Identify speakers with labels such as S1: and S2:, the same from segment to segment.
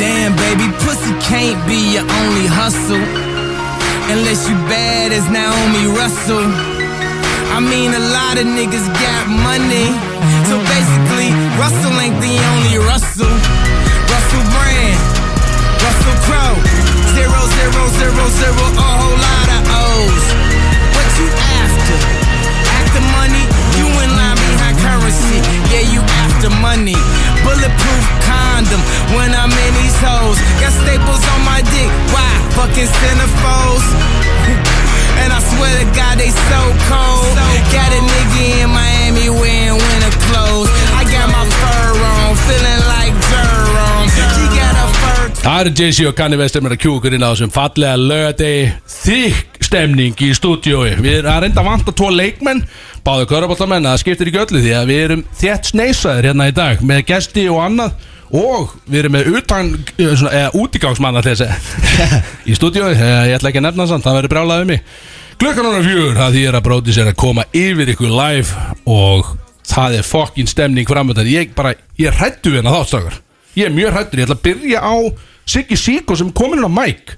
S1: Damn, baby, pussy can't be your only hustle. Unless you bad as Naomi Russell. I mean, a lot of niggas got money. So basically, Russell ain't the only Russell. Russell Brand, Russell Crowe. Zero, zero, zero, zero, a whole lot of O's. What you after? After money? You in line behind currency. Yeah, you after money. Bulletproof condom when I'm in these hoes. Got staples on my dick. Why? Fucking centerfolds. and I swear to God, they so cold. Got a nigga in Miami wearing winter clothes. I got my fur on, feeling like Jerome. She got a fur
S2: Það eru JC og Kanye West sem er að kjú okkur inn á þessum fallega lögadegi þykk stemning í stúdiói Við erum að reynda að vanta tvo leikmenn báðu körabóttamenn að það skiptir ekki öllu því að við erum þétt sneisaðir hérna í dag með gesti og annað og við erum með utan, eh, svona, eða útigangsmann allir þessi í stúdiói, Eh, ég ætla ekki að nefna þann, það verður brjálaðið mig Klukkan ára fjögur, það þýðir að bróti sér að koma yfir ykkur live og það er fokkin stemning framöndan ég bara, ég hrættu við hérna þáttakar ég er mjög hrættur, ég ætla að byrja á Siggi Siko sem er komin inn á mæk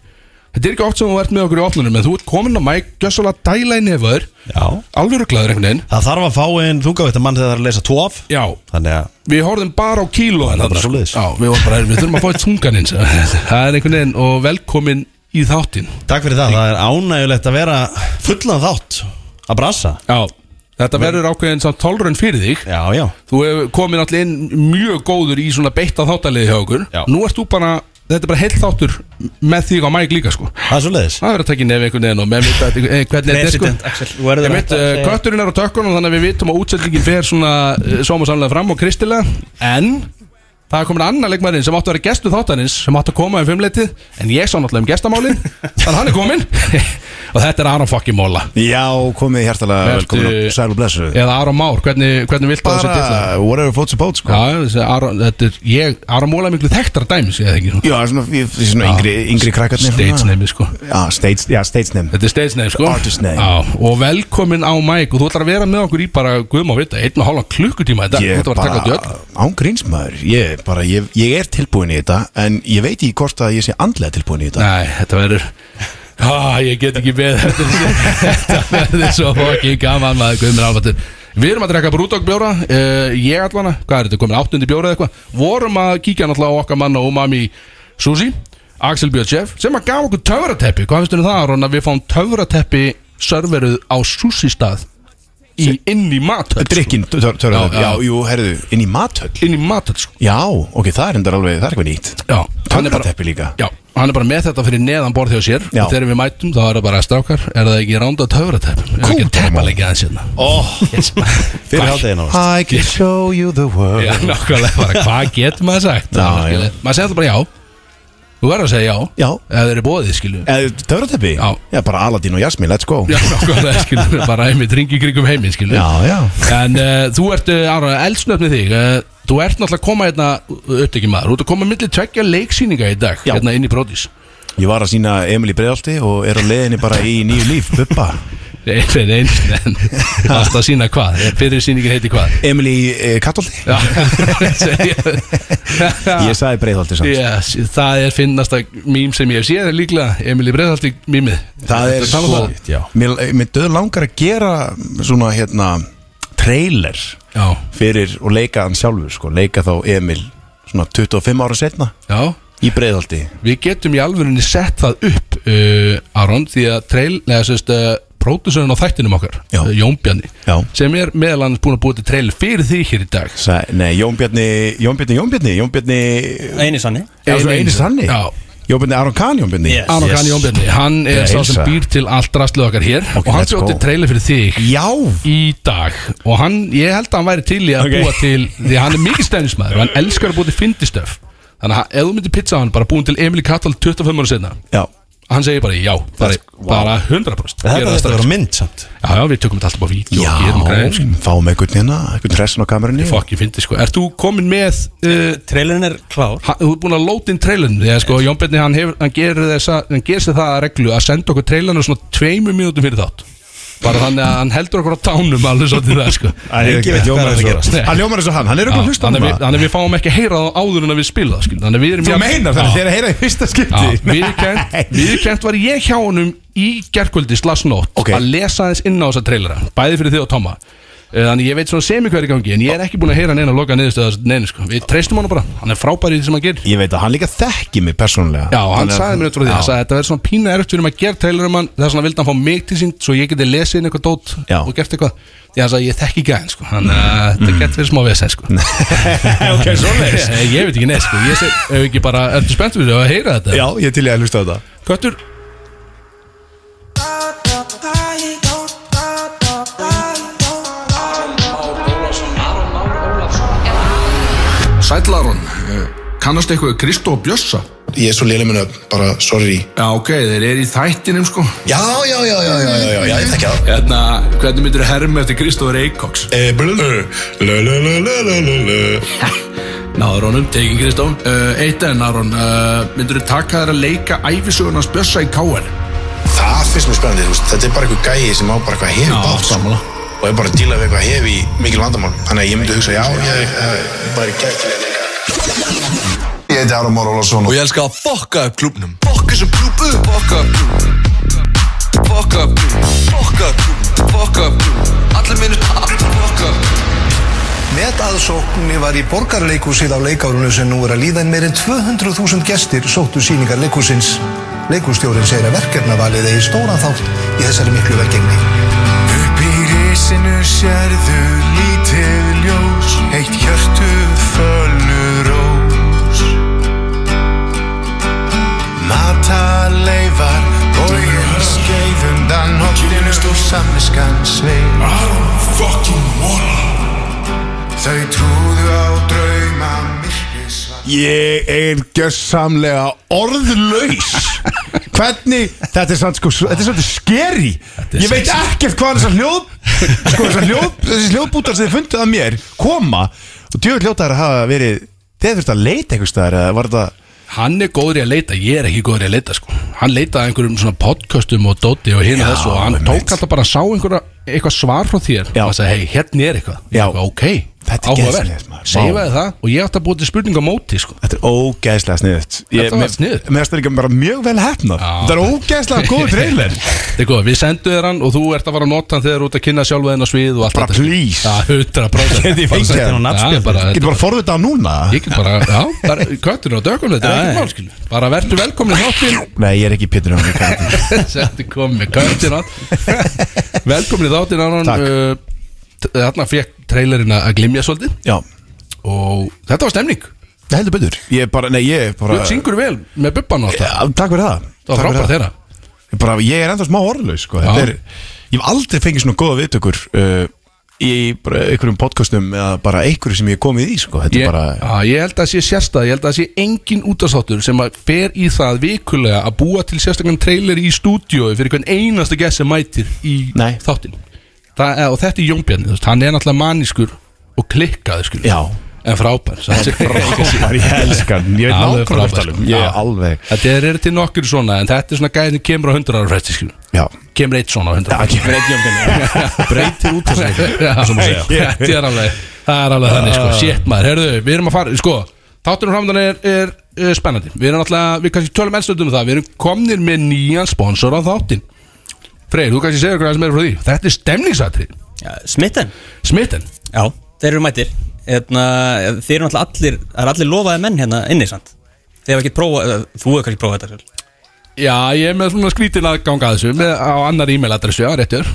S2: þetta er ekki oft sem þú ert með okkur í oflunum en þú ert komin inn á mæk, gjössalega dæla í nefur
S3: Já.
S2: alveg rugglaður einhvern veginn
S3: Það þarf að fá einn þungavittan mann þegar það er að lesa tóaf
S2: já,
S3: Þannig að
S2: við horfðum bara á kíló
S3: Það er bara svoleiðis.
S2: já, við vorum bara, við þurfum að fá eitt tungan eins það er einhvern veginn og velkomin í þáttin
S3: takk fyrir það, það er ánægulegt að vera fullan þátt að brasa
S2: já, þetta verður ákveðin samt tólrun fyrir þig
S3: Já, já
S2: þú hefur komið náttúrulega inn mjög góður í svona beitta þáttaliði hjá okkur
S3: Já.
S2: nú ert þú bara, þetta er bara heill þáttur með þig á mæk líka sko
S3: Það er svo leiðis
S2: það verður að taka í nefn einhvern veginn og með mitt að eh, hvernig þetta er sko
S3: Resident Axel, þú verður
S2: Ég
S3: að
S2: veit,
S3: hætta að
S2: uh,
S3: segja-
S2: kötturinn er á tökkunum þannig að við vitum að útsendingin fer svona uh, sóma samlega fram og kristilega en það er komin annar leikmærin sem átti að vera gestu þáttanins sem átti að koma um fimmleitið en ég sá náttúrulega um gestamálin þannig að hann er komin og þetta er Aron Fokki Móla
S4: Já, komið hjartalega
S2: Vertu-
S4: velkomin og sæl og blessu
S2: eða Aron Már, hvernig, hvernig viltu að þessi titla?
S4: Bara whatever floats your boat sko
S2: Já, þessi Aron, þetta er ég, Aron Móla er miklu þekktar dæmis eða ekki svona
S4: Já, svona, ég, svona yngri, yngri krakkarnir svona.
S2: Stage name, sko
S4: Já, stage, já, stage name
S2: Þetta er stage name, sko
S4: Artist name.
S2: Já, og velkomin á Mike og þú ætlar að vera með okkur í bara guðum að vita, einn og hálfan klukkutíma þetta,
S4: Ég
S2: þetta var að taka djöll
S4: bara, án grínsmaður Ég bara, ég, ég er tilbúin í þetta En ég veit ekki hvort að ég sé andlega tilbúin í þetta
S2: Nei, þetta verður ah, Ég get ekki beð Þetta verður svo fokkin gaman maður Guðmur Alvartur Við erum að drekka brúdokk bjóra uh, Ég allan, hvað er þetta, komin áttundi bjóra eða eitthvað Vorum að kíkja náttúrulega á okkar mann og umami Susi, Axel Björn Sjef Sem að gaf okkur töfrateppi Hvað finnst þér um það, Aron, að við fáum töfrateppi Serveruð á Susi stað í, Inn í mathöll sko.
S4: Drikkin, törðu
S2: Já,
S4: það Já,
S2: já.
S4: jú, herðu, inn í mathöll
S2: Inn í mathöll, sko
S4: Já, ok, það er endar alveg, það er eitthvað nýtt
S2: Já, hann er bara-
S4: Töfrateppi líka
S2: Já, hann er bara með þetta fyrir neðan borð hjá sér
S4: Já.
S2: og þegar við mætum þá er það bara strákar er það ekki ránda töfratepp er það ekki
S4: Kútamál.
S2: teppalegja aðeins hérna
S3: oh, Fyrir hátæðin á
S4: I can show you the world
S2: Já, nákvæmlega bara hvað getur maður sagt
S4: Já,
S2: Það er skilur.
S4: já.
S2: maður segir það bara já þú verður að segja já
S4: Já.
S2: ef þeir eru bóðið skilu
S4: Törðateppi?
S2: Já.
S4: Já, bara Aladin og Jasmine, let's go
S2: Já, nákvæmlega skilu bara einmitt ringi kringum heiminn skilu
S4: já, já.
S2: En uh, þú ert, uh, Aron, eldsnöfn með þig uh, Þú ert náttúrulega að koma hérna upptekið maður, þú ert að koma millir tveggja leiksýninga í dag,
S4: Já.
S2: hérna inn í Brodís
S4: Ég var að sína Emil í Breiðalti og er á leiðinni bara í nýju líf, buppa
S2: Nei, nei, nei, nei, varst að sína hvað Fyrir sýningin heiti hvað
S4: Emil í e, Katolti
S2: Já, segja-
S4: Ég sagði Breiðalti samt
S2: Yes, það er finnasta mím sem ég hef séð er líklega Emilí Breiðhaldi mímið
S4: Það er
S2: Þetta
S4: svo,
S2: talað um það.
S4: mér, mér döð langar að gera svona hérna trailer
S2: Já,
S4: fyrir og leika hann sjálfur sko, leika þá Emil svona 25 ára setna
S2: já
S4: í Breiðalti
S2: Við getum í alvörunni sett það upp uh, Aron, því að trail, neða, sérst, uh, pródusörinn á þættinum okkar
S4: Já.
S2: uh, Jón Bjarni,
S4: Já.
S2: sem er meðal annars búin að búið til trail fyrir því hér í dag
S4: Sa, Nei, Jón Bjarni, Jón Bjarni, Jón Bjarni Jón Bjarni,
S3: Einu sanni
S4: Já, svona
S2: Eini-
S4: eini sanni
S2: Já.
S4: Jón Bjarni, Aron Kahn Jón Bjarni
S3: Yes.
S2: Aron Kani Jón Bjarni, hann er
S4: Ég
S2: sá sem
S4: heilsa.
S2: býr til allt rastlið okkar hér
S4: Ok,
S2: og hann
S4: let's
S2: bjóti
S4: go.
S2: trailer fyrir þig
S4: Já,
S2: í dag og hann, ég held að hann væri til í að
S3: Ok.
S2: búa til því að hann er mikið stefnismæður og hann elskar að búa til fyndistöf þannig að hann- ef þú myndir pizza hann bara búin til Emil Kattal 25 ára senna
S4: já
S2: hann segir bara já, bara,
S4: That's- wow.
S2: bara 100%
S3: Þetta
S2: Gera það
S3: þarf að
S2: strax.
S3: vera mynd samt
S2: já, já, við tökum þetta alltaf á vídeo og gerum sko. greið
S4: fáum einhvern hérna, einhvern hressin á kamerunni
S2: fokk, ég fyndi sko, ert þú komin með uh,
S3: Trailerin er klár
S2: ha- þú ert búin að lóta inn trailerin því að sko, Jón Benni hann, hefur- hann gerir þessa hann gerir sér það að reglu að senda okkur trailerinu svona tveimur mínútum fyrir þátt bara þannig að hann heldur okkur á tánum alveg svolítið það sko
S3: Engi veit hvað er að gerast
S2: Nei.
S4: Hann ljómar eins og hann, hann er okkur
S2: Já,
S4: að hlusta á
S2: þannig að við-
S4: það.
S2: þannig að við fáum ekki að heyra það áður en að við spila það skil Þannig að við erum
S4: Þú
S2: jafn-
S4: meinar þannig
S2: Já.
S4: þegar að heyra í fyrsta
S2: Já,
S4: skipti
S2: viðurkennt, viðurkennt var ég hjá honum í gerkvöldi slagsnótt
S4: Ok.
S2: að lesa aðeins inn á þessa trailera bæði fyrir þið og Toma Eh, Þannig ég veit svona semi hver í gangi en ég er ekki búin að heyra neina að loka niðurstöða neina sko. Við treystum hann bara, hann er frábæri í því sem hann gerir
S4: Ég veit að hann líka þekki mig persónulega
S2: Já, hann
S4: Þannig að-
S2: sagði mér eftir því, hann
S4: Já.
S2: sagði þetta verður svona pína erft fyrir mig að gera trailer um hann þess vegna vildi hann fá mig til sín svo ég geti lesið inn eitthvað dót
S4: Já.
S2: og gert eitthvað því hann sagði ég þekki ekki hann sko þannig að þetta getur verið smá vesen sko
S4: Ok, svoleiðis.
S2: Ég- Ég veit ekki neð sko, ég sé, ef ekki bara, ertu spennt fyrir því að heyra þetta?
S4: Já, ég er til ég að hlusta á þetta
S2: Köttur,
S5: Sællarón, Eh, kannast eitthvað við Kristó og Bjössa?
S6: Ég er svo léleg minna, bara sorry
S5: Já, ok, þeir eru í þættinum sko.
S6: Já, já, já, já, já, já, já, já, ég þekki það
S5: Hérna, hvernig myndir þú herma eftir Kristó Reykjóks?
S6: Eh, blullu, lu, lu, lu, lu, lu, lu, lu.
S5: Náður honum, tekin Kristó. Uh, eitt enn, Aron, uh, myndir þú taka þér að leika æfisögunars Bjössa í KR?
S6: Það finnst mér spennandi, þú veist, þetta er bara einhver gæi sem á bara eitthvað hefi bát sko.
S5: sammála.
S6: og er bara að díla við eitthvað hefi mikil vandamál þannig að ég myndi hugsa, já, ég eh, bara gætilega leika Ég heiti Aron Már Ólafsson og
S7: Og ég elska að fokka upp klubnum Fokka sem klubu Fokka upp klubnum Fokka upp klubnum Fokka upp klubnum Fokka upp klubnum Allir minnir Fokka upp klubnum
S8: Metaðsókn var í borgarleikúsið á leikárunu sem nú er að líða en meirinn 200.000 gestir sóttu síningar leikúsins. Leikústjórin segir að verkefnavalið eigi stóran þátt í þessari miklu verkefni.
S9: Upp í risinu sérðu lítið ljós Eitt hjörtu fölnuð rós Mataleifar Bóin skeið undan Hokkinu og samviskan sveið Þau trúðu á drauma myrkisvar
S4: Ég er gjössamlega orðlaus Hvernig, þetta er samt sko Þetta er svolítið skeri
S2: er
S4: Ég veit ekkert hvað þessar hljóð Sko þessar hljóð, þessi hljóðbútar sem þið funduð að mér Koma og djöfur hljóðar að hafa verið Þið þurft að leita einhvers staðar eða var þetta
S2: hann er góður í að leita, ég er ekki góður í að leita sko. hann leitaði einhverjum svona podcastum og dóti og hinn og þessu og hann
S4: einmitt.
S2: tók alltaf bara að sá einhverja, eitthvað svar frá þér
S4: Já.
S2: og sagði, hei, hérna er eitthvað,
S4: Já.
S2: Ég eitthvað ok,
S4: Þetta er geðslega, maður. Vá.
S2: seifaði það og ég átti að búið til spurning á móti sko.
S4: Þetta er ógæðslega sniðut
S2: Þetta var sniðugt.
S4: Mér finnst það líka bara mjög vel hefnar
S2: Já.
S4: Þetta er ógæðslega góð trailer
S2: Þetta er góð, við sendum þér hann og þú ert að fara að nota hann þegar þú ert að kynna sjálfa þenn á svið og allt
S4: Bara
S2: þetta, sko.
S4: please.
S2: Já, 100%
S3: Geti ég fengið þennan nafnspjald?
S2: Já, bara-
S4: Getur bara forvitað á núna
S2: Ég get bara, já, bara köttinu og dökum þetta er
S3: Já,
S2: ekki
S3: já.
S2: mál, skilu Bara verður velkomin í þáttin
S4: Nei, ég er ekki Pétur Jón, ég kann ekki.
S2: Setti komið með köttinu Velkomin í þáttin annan
S4: Takk.
S2: uh, t- Þarna fekk trailerinn að glimja svolítið
S4: Já,
S2: Og þetta var stemning
S4: Nei, heldur betur Ég bara, nei, ég bara
S2: Þú syngur vel með bubban og
S4: Já,
S2: alltaf
S4: Takk fyrir það
S2: Það
S4: Takk
S2: var
S4: fyrir
S2: frábært þeirra
S4: Ég bara, ég er enda smá orðlaus sko. Þetta
S2: Já.
S4: er, ég hef aldrei fengið svona góða viðtökur uh, í bara einhverjum podcastum eða bara einhverju sem ég hef komið í sko. þetta
S2: Ég,
S4: er bara,
S2: á, ég held að sé sérstað, ég held að sé engin útastáttur sem að fer í það vikulega að búa til sérstakann trailer í stúdíói fyrir hvern einasta gæst sem mætir í
S4: Nei.
S2: þáttin það, og þetta er Jón Bjarni, þú veist, hann er náttúrulega manískur og klikkaður skil
S4: Já.
S2: en frábær, svo þetta er frábær
S4: bara ég elskar hann. ég veit
S2: Alveg
S4: nákvæmlega
S2: frábær,
S4: hvað tala um.
S2: sko.
S4: ég
S2: Já.
S4: er alveg
S2: Þetta er, er til nokkur svona, en þetta er svona gæðin kemur á 100 ára fresti skil
S4: já,
S2: kemur eitt svona á 100
S4: Já, kemur einn
S2: jólkenni breytir út þessu þetta er alveg það er alveg þannig sko shit maður herðu við erum að fara sko þáttunum framdann er, er, er spennandi við erum alltaf við kannski tölum ennstundum um það við erum komnir með nýjan sponsor á þáttin Freyr þú kannski segir okkur aðeins meira frá því þetta er stemningsatri
S10: Smitten
S2: smitten
S10: Já Þeir eru mættir hérna, Þeir eru náttúrulega allir Það eru allir lofaði menn hérna inni sant Þeir hafa ekki prófað eh, Þú hefur kannski prófað þetta sjálf
S2: já ég er með svona skrítin aðgang að þessu með, á annar e-mail adressu já réttur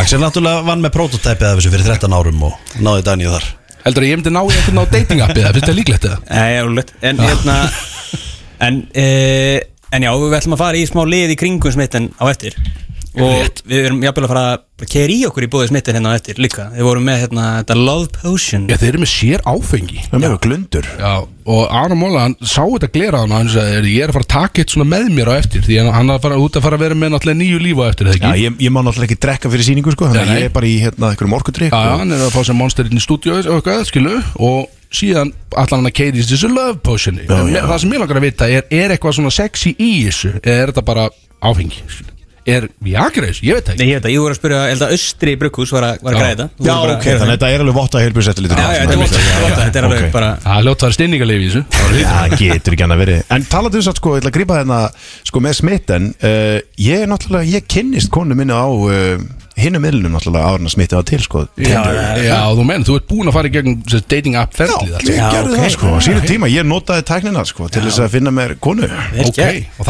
S3: Axel náttúrulega vann með prototypið af þessu fyrir 13 árum og náði Daníu þar
S2: heldur að ég myndi ná í einhvern á dating appið það finnst það líklegt eða
S10: Nei, alveg En hérna En e, En já, við ætlum að fara í smá lið í kringum smitten á eftir Og
S2: Rétt.
S10: við erum jafnvel að fara að keri í okkur í bóði smitten hérna á eftir líka Við vorum með hérna þetta Love Potion
S2: já þeir eru með sér áfengi
S4: það er mjög glundur
S2: Já, og Aron Móla, hann sá þetta glera hann og hann sagði, ég er að fara að taka eitt svona með mér á eftir því hann- hann er að fara út að fara að vera með náttúrulega nýju líf á eftir, eða
S4: já,
S2: ekki?
S4: ég, ég má náttúrulega ekki drekka fyrir síningu sko, þannig
S2: Nei,
S4: að
S2: nei.
S4: ég er bara í hérna, einhverjum orkudrykk
S2: Já, já,
S4: og-
S2: hann er að fá sér monsterinn í stúdíu og eitthvað, skilu, og síðan allan hann að keiri þessu love potioni
S4: Já, já.
S2: það sem ég langar að vita er, er eitthvað svona sexy í þessu, eða er þetta bara áfengi? skilu? er Viagraus, ég veit það
S10: ekki Nei, ég veit það, ég voru að spyrja, ég held að Östri Brukkús var að, var að græða þetta Þú
S4: Já,
S10: voru bara-
S4: ok, þannig að þetta er alveg votta heilbjörnseftirlítur
S10: Já, já, þetta er votta- votta, þetta er alveg bara-
S2: Það er ljótt að það er stinningalegi í þessu
S4: Já, getur ekki hann að veri En talaðu þess að sko, ég ætla að grípa hérna sko með smitten uh, Ég er náttúrulega, ég kynnist konu minni á uh, hinnum miðlunum náttúrulega áður en að smitti var til sko
S2: Já,
S4: Tinder.
S2: já, þú menn, þú ert búin að fara í gegn þessi dating app ferlið allt
S4: Ég
S2: saman.
S4: gerði það sko, á sínu tíma, ég notaði tæknina sko til þess að finna mér konu
S10: Ok,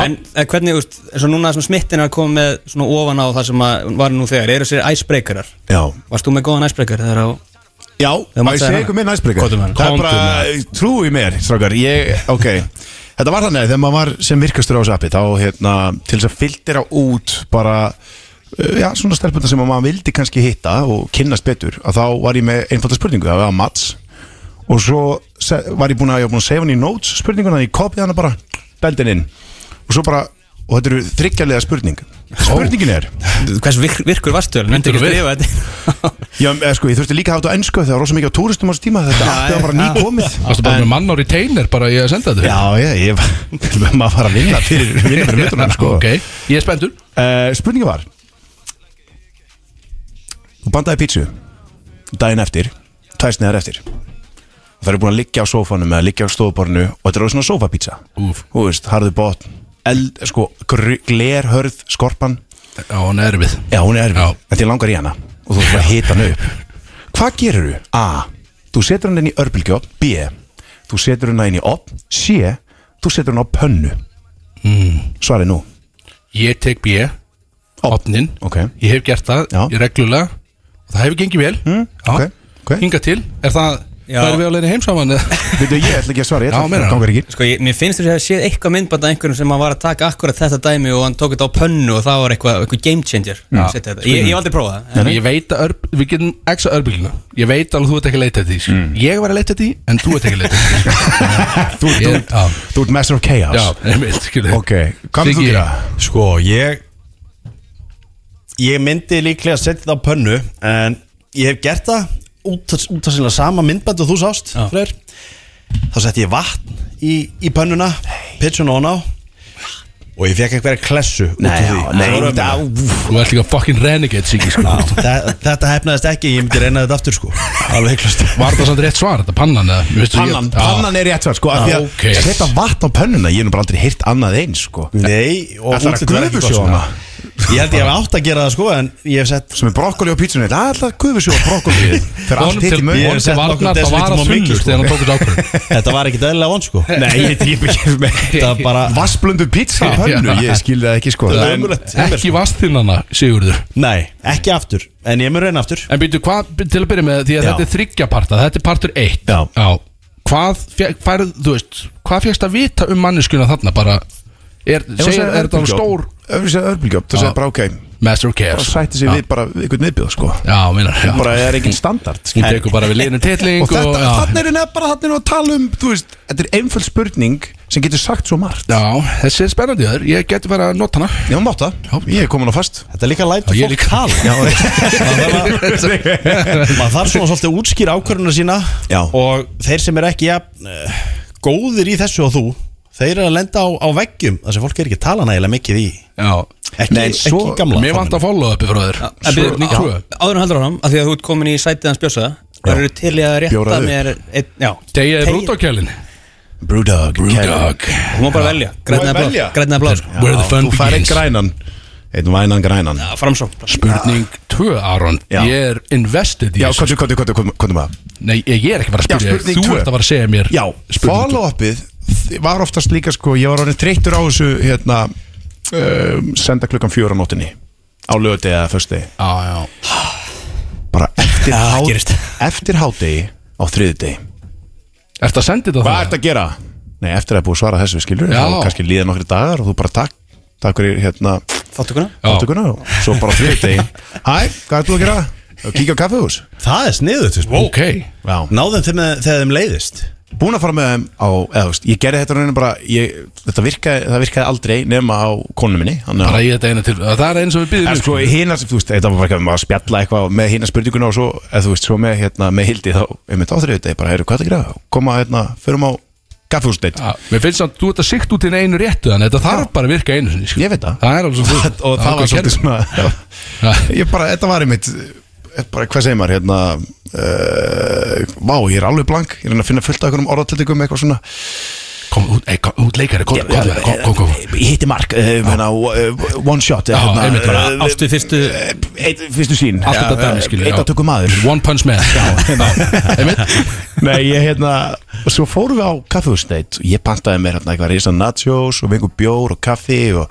S10: en, en hvernig, úst, eins og núna sem smittin er að koma með svona ofan á það sem að var nú þegar, eru sér æsbreykarar
S4: Já
S10: Varst þú með góðan æsbreykar þegar á
S4: Já,
S10: Þegar
S4: Má ég segja ykkur minn æsbreykar?
S10: Kóttum hann
S4: Það er bara, trúi mér, strákar Ég, ok Þetta var þannig að þegar maður var sem virkastur á þessu appi þá, hérna, til þess að filtera út bara, uh, já, svona stelpunda sem að maður vildi kannski hitta og kynnast betur, að þá var ég með einfalda spurningu, það var Mats og svo se- var ég búin að, ég var búin að save hann í notes spurninguna, ég kopið hana bara beldin inn, og svo bara og þetta eru þryggjarlega spurning Spurningin er
S10: Hvers virk, virkur varstu? Myndi ekki skrifa þetta
S4: Já, eða sko, ég þurfti líka að hafa þetta á ennsku Það var rosa mikið á túristum á þessu tíma Þetta átti að bara nýkomið
S2: Varstu bara með mann á retainer bara í að senda þetta?
S4: Já, já, ég var maður var að vinna fyrir, vinna fyrir myndunum sko.
S2: Ok, ég er spenntur
S4: uh, Spurninga var Þú bandaði pítsu Daginn eftir, tvær sniðar eftir Og það er búin að liggja á sófanum Eða liggja á stofuborinu Og þetta er orðið svona sófapítsa
S2: Úf.
S4: Þú veist, harðu bótt Eld, sko, gr- glerhörð, skorpan
S2: Já, hún er erfið
S4: Já, hún er erfið, en þið langar í hana Og þú ert bara að hita hana upp Hvað gerir þú? A. Þú setur hana inn í örbylgjóp B. Þú setur hana inn í op C. Þú setur hana á pönnu
S2: mm.
S4: Svarið nú
S2: Ég tek B Opnin
S4: okay.
S2: Ég hef gert það Ég reglulega Og það hefur gengið vel mm. okay.
S4: okay.
S2: Hinga til Er það
S10: Já.
S2: Það er við á leiðinni heim saman
S4: Veitu, ég ætla ekki að svara
S2: ætla- Já, meina það. gangar
S4: ekki
S10: Sko, ég, mér finnst þess að ég hef séð eitthvað myndband af einhverjum sem að var að taka akkurat þetta dæmi og hann tók þetta á pönnu og það var eitthvað, eitthvað game changer
S2: Já.
S10: Setja þetta. Ég, ég hef aldrei prófað það
S2: En ég veit að örb, Við getum exa örbylgina Ég veit alveg þú ert ekki að leita eftir því sko.
S3: Mm.
S2: Ég var að leita eftir því En þú ert ekki að leita eftir
S4: Þú,
S2: því
S4: þú,
S2: Ég- Já.
S4: þú ert master of chaos
S2: Já, einmitt, skilur.
S4: Ok, hvað myndir þú
S2: Siggi.
S4: gera?
S3: Sko, ég Ég myndi líklega að setja það á pönnu En ég hef gert það Út af út af sinna sama myndbænd og þú sást Freyr Þá setti ég vatn í, í pönnuna Pitsun on á Og ég fekk einhverja klessu út af
S2: Nei,
S3: því
S2: já, nei,
S3: Það var-
S2: það-
S3: Úff.
S2: Þú ert líka fucking renegade Siggi sko.
S3: Já, þa- Þetta hefnaðist ekki, ég myndi reyna þetta aftur sko Alveg heiklust
S2: Var það samt rétt svar Þetta pannan eða? Mér finnst þú-
S4: Pannan,
S2: Já.
S4: pannan er rétt svar sko, af því að
S2: Ok.
S4: setja vatn á pönnuna, ég hef nú bara aldrei heyrt annað eins sko.
S3: Nei, og
S4: Ætlar að
S3: útlitið var ekki gott,
S4: gufusjóna
S3: Ég held ég hef átt að gera það sko En ég hef sett
S4: Sem er brokkoli á pítsunni, það er alltaf gufusjóna brokkoli Fyrir
S2: Honum
S4: allt hitt
S2: til-
S4: í mögum
S2: honum til varnar, það var að þunnur
S3: sko.
S4: sko.
S2: þegar hann tók þetta ákvörðun.
S3: Þetta var ekkit eðlilega vond sko
S4: Nei, ég dýp ekki með
S3: Þetta var bara
S4: Vassblöndu pizza í pönnu, ég skilði það ekki sko
S3: Það er
S4: En-
S3: ömurlegt. sko.
S2: Ekki vastinnana, Sigurður
S3: Nei, ekki aftur En ég mun reyna aftur
S2: En býtu, hvað, til að byrja með því að
S3: Já.
S2: þetta er þryggjaparta Þetta er partur 1
S3: Já.
S2: Hvað fekk, færð, þú veist Hvað fegst að vita um manneskuna þarna bara Er,
S4: Ef hún
S2: segir,
S4: segir
S2: er þetta alveg stór
S4: örbylgjuofn- Ef við segja örbylgjóp, það segja bara ok
S2: Master of
S4: Og
S2: Chaos
S4: sætti sig
S2: Já.
S4: við bara einhvern viðbjóð sko
S2: Já, minna já.
S4: Bara er ekkert standard
S2: Hún tekur bara við liðinu titling
S4: Og þetta,
S2: já.
S4: þannig er nefn bara þannig að tala um Þú veist, þetta er einföld spurning sem getur sagt svo margt
S2: já, þessi er spennandi þar Ég geti verið að nota hana
S4: Já, mátt það, ég er komin á fast
S3: Þetta er líka lætur
S2: Já, ég
S3: fólk
S2: líka.
S3: tala
S4: Já,
S3: Maður þarf svona svolítið að útskýra ákvörðuna sína
S4: Já.
S3: Og þeir sem er ekki ja, góðir í þessu og þú Þeir eru að lenda á, á veggjum Það sem fólk er ekki að tala nægilega mikið í
S2: Já
S3: Ekki,
S4: Nei,
S3: ekki
S4: svo-
S3: í gamla
S2: Mér vant að follow upi frá þér
S10: En byrju,
S2: Spurning
S10: á-
S2: 2
S10: Áður en heldur hann, af því að þú ert komin í sætið hans bjösa Það eru til í að rétta
S4: Bjóraðu.
S10: mér einn- Já,
S2: Tegja þér
S10: Tegja-
S2: út á kjælin
S4: Brewdog
S2: Dog
S10: þú má bara velja
S4: mátt
S10: Grænna blá,
S4: velja.
S10: grænna blá sko.
S2: Where the fun
S4: Þú fær einn
S2: begins
S4: grænan Einn vænan grænan
S10: Já, Framsókn bara.
S2: Spurning 2, Aron
S4: Já.
S2: Ég er invested í
S4: Já,
S2: þessu
S4: kontu, kontu, kontu, kontu maður
S2: Nei, ég er ekki bara að
S4: Já,
S2: spyrja þig.
S4: spurning
S2: Þú
S4: tvö.
S2: ert að fara að segja mér
S4: Já,
S2: spurning tvö.
S4: follow-upið var oftast líka sko Ég var orðin treyttur á þessu hérna um, Senda klukkan fjóra á nóttinni Á lögdegi eða föstudegi
S2: Já, já
S4: Bara eftir,
S10: það
S4: hát,
S10: gerist.
S4: eftir hátdegi á þriðdegi
S2: Ertu að senda þetta
S4: Hvað ert að gera? Nei, eftir að búið að svara þessu skilur
S2: Já.
S4: þá kannski líða nokkri dagar og þú bara takk takk fyrir hérna
S10: Þáttökuna
S4: átökuna og svo bara þriðið degi Hæ, hvað ert þú að gera? Kíkja á kaffehús
S3: Það er sniðut
S2: Ok
S4: Já
S3: Náðum þeim með, þegar þeim leiðist
S4: Búin að fara með þeim á, eða þú veist, ég gerði þetta raunin bara ég, þetta virkaði, það virkaði aldrei nema á konu minni þannig
S2: Bara
S4: að-
S2: í þetta eina til Það er eins og við um,
S4: En
S2: býðum
S4: sko hina, þú veist, þetta var bara ekki að maður spjalla eitthvað með hina spurninguna og svo, eða þú veist, svo með hérna, með Hildi þá, einmitt á þriðið degi bara, heyrðu, hvað er það að gera? Koma, hérna, förum á kaffehúsdeitt
S2: Mér finnst samt, þú ert að sikta út þinn einu réttu Þannig að þetta þarf bara að virka einu sinni sko.
S4: Ég veit það
S2: Það er alveg svo fúl
S4: Og það var
S2: hérna.
S4: svolítið svona
S2: Já.
S4: Ég bara, þetta var einmitt eh, bara, Hvað segir maður, hérna uh, Vá, ég er alveg blank Ég er að finna fullt af einhverjum orðatildingum eitthvað svona
S2: Kom, út, ey, kom, út leikari, kom, kom, kom, kom, kom.
S4: Ég hitti Mark, uh, hérna, uh, one shot
S2: Já,
S4: hérna,
S2: einmitt bara
S4: eh,
S2: ástu fyrstu
S10: Eh,
S4: eitt, Fyrstu sín
S2: Allt þetta
S4: Já,
S2: dæmi, skilur,
S4: Eitt
S2: já.
S4: að tökum maður
S2: One punch man
S4: Nei, ég hérna og Svo fórum við á kaffehúsneitt og ég pantaði mér hérna eitthvað risa nachos og vingur bjór og kaffi og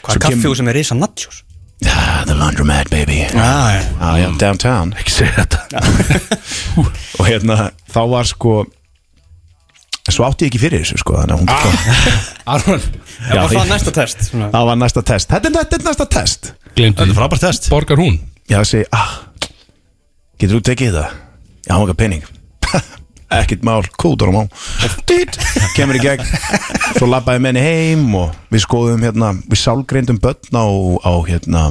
S10: Hvað er kaffihús sem er risa nachos?
S4: Ah, the laundromat baby
S10: Já, já.
S4: ah, já, Downtown Ekki segja þetta Og hérna, þá var sko Svo átti ég ekki fyrir þessu sko Þannig að hún
S2: Arman
S10: Það var það næsta test svona.
S4: Það var næsta test Þetta er, þetta er næsta test
S2: Glemdi
S3: Þetta er frábært test
S2: Borgar hún
S4: Já, það segi, ah, getur þú tekið það? Já, hann var pening Ekkert mál, kútur á má Dýt, kemur í gegn Svo labbaði menni heim og við skoðum hérna Við sálgreindum börn á, á hérna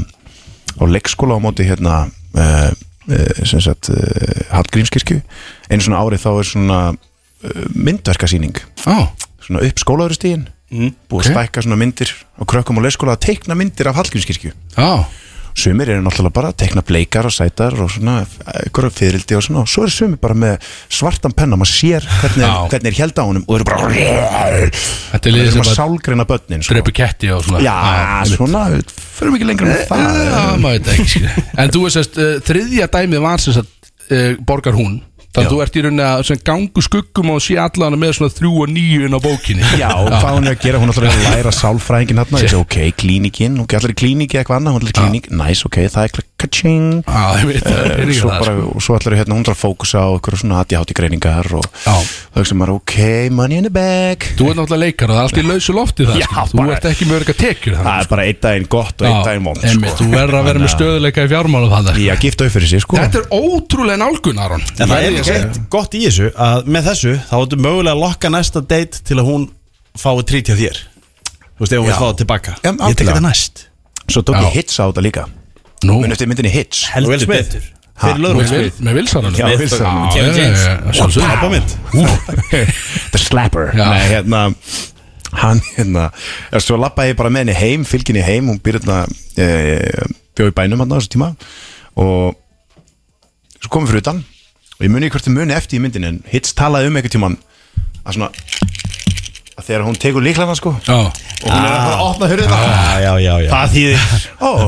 S4: Á leikskóla á móti hérna uh, uh, Sem sagt, uh, Hallgrímskirkju Einu svona árið þá er svona uh, myndverkasýning
S2: Á,
S4: Svona upp skólaðurstíðin mm, Búið að stækka svona myndir á krökkum á leikskóla Að teikna myndir af Hallgrímskirkju
S2: á
S4: sumir eru náttúrulega bara að tekna bleikar og sætar og svona, ykkur fyrildi og svona og svo eru sumir bara með svartan penna maður sér hvernig,
S2: Já.
S4: hvernig er held á honum og eru bara
S2: Þetta er liðið
S4: sem
S2: sem
S4: að
S2: bara
S4: sálgreina börnin sko.
S2: drepa ketti og svona Eh,
S4: já, svona, við förum ekki lengra með það
S2: Já, maður veit það ekki skilur. En þú veist, uh, þriðja dæmið var sem sagt uh, borgar hún Þannig að þú ert í rauninni að sem gangu skuggum og sé allan með svona þrjú og níu inn á bókinni
S4: Já, hvað hún er að gera, hún ætlar að læra sálfræðingin hérna, ég segi ok, klíningin, hún ætlar í klíningi eitthvað annað, hún ætlar í klíning, næs, ok, það er kaching,
S2: Já, ég veit það er
S4: Eh,
S2: ekki
S4: svo
S2: það,
S4: bara,
S2: sko.
S4: og svo ætlar hérna hún er að fókusa á eitthvað svona aðjátt í greiningar og
S2: Já.
S4: þá hugsa maður, ok, money in the bag
S2: Þú ert náttúrulega leikar og það er allt í lausu lofti það
S4: Já,
S2: sko. Þú
S4: bara-
S2: ert ekki með örg að tekjur
S4: Það er bara einn daginn gott og einn daginn vond sko.
S2: einmitt, Þú verður að vera með stöðuleika í fjármálum það
S4: Ég að gifta upp fyrir sig sko
S2: Þetta er ótrúlega nálgun, Aron
S3: En það er
S2: Ég-
S3: líka eitt gott í þessu að með þessu þá ertu mögulega að lokka næsta date til að hún fái trítja þér Þú veist, ef hún vil
S4: Já.
S3: fá það tilbaka Ég
S4: Já,
S3: tek
S4: algjörlega.
S3: þetta næst
S4: Svo tók
S2: Já.
S4: ég hits á þetta líka
S2: Nú,
S4: Muni eftir myndinni hits
S3: Will Smith Fyrir lögum
S2: með vil- með vilsananum
S4: Já, Wilson.
S10: Kevin James.
S2: James
S3: Pappamynd
S4: The slapper
S2: Já.
S4: Nei, hérna Hann hérna ja, Svo lappaði ég bara með henni heim Fylginni heim Hún býr hérna e, Bjóð í bænum hann á þessu tíma Og Svo komum fyrir utan Og ég muni ekki hvort þið muni eftir í myndinni En hits talaði um eitthvað tíman Að svona að Þegar hún tekur líklana sko Og
S2: Já,
S4: hún er að fara að opna hurðina
S3: Ah, Já, já, já, já
S4: Það þýðir oh,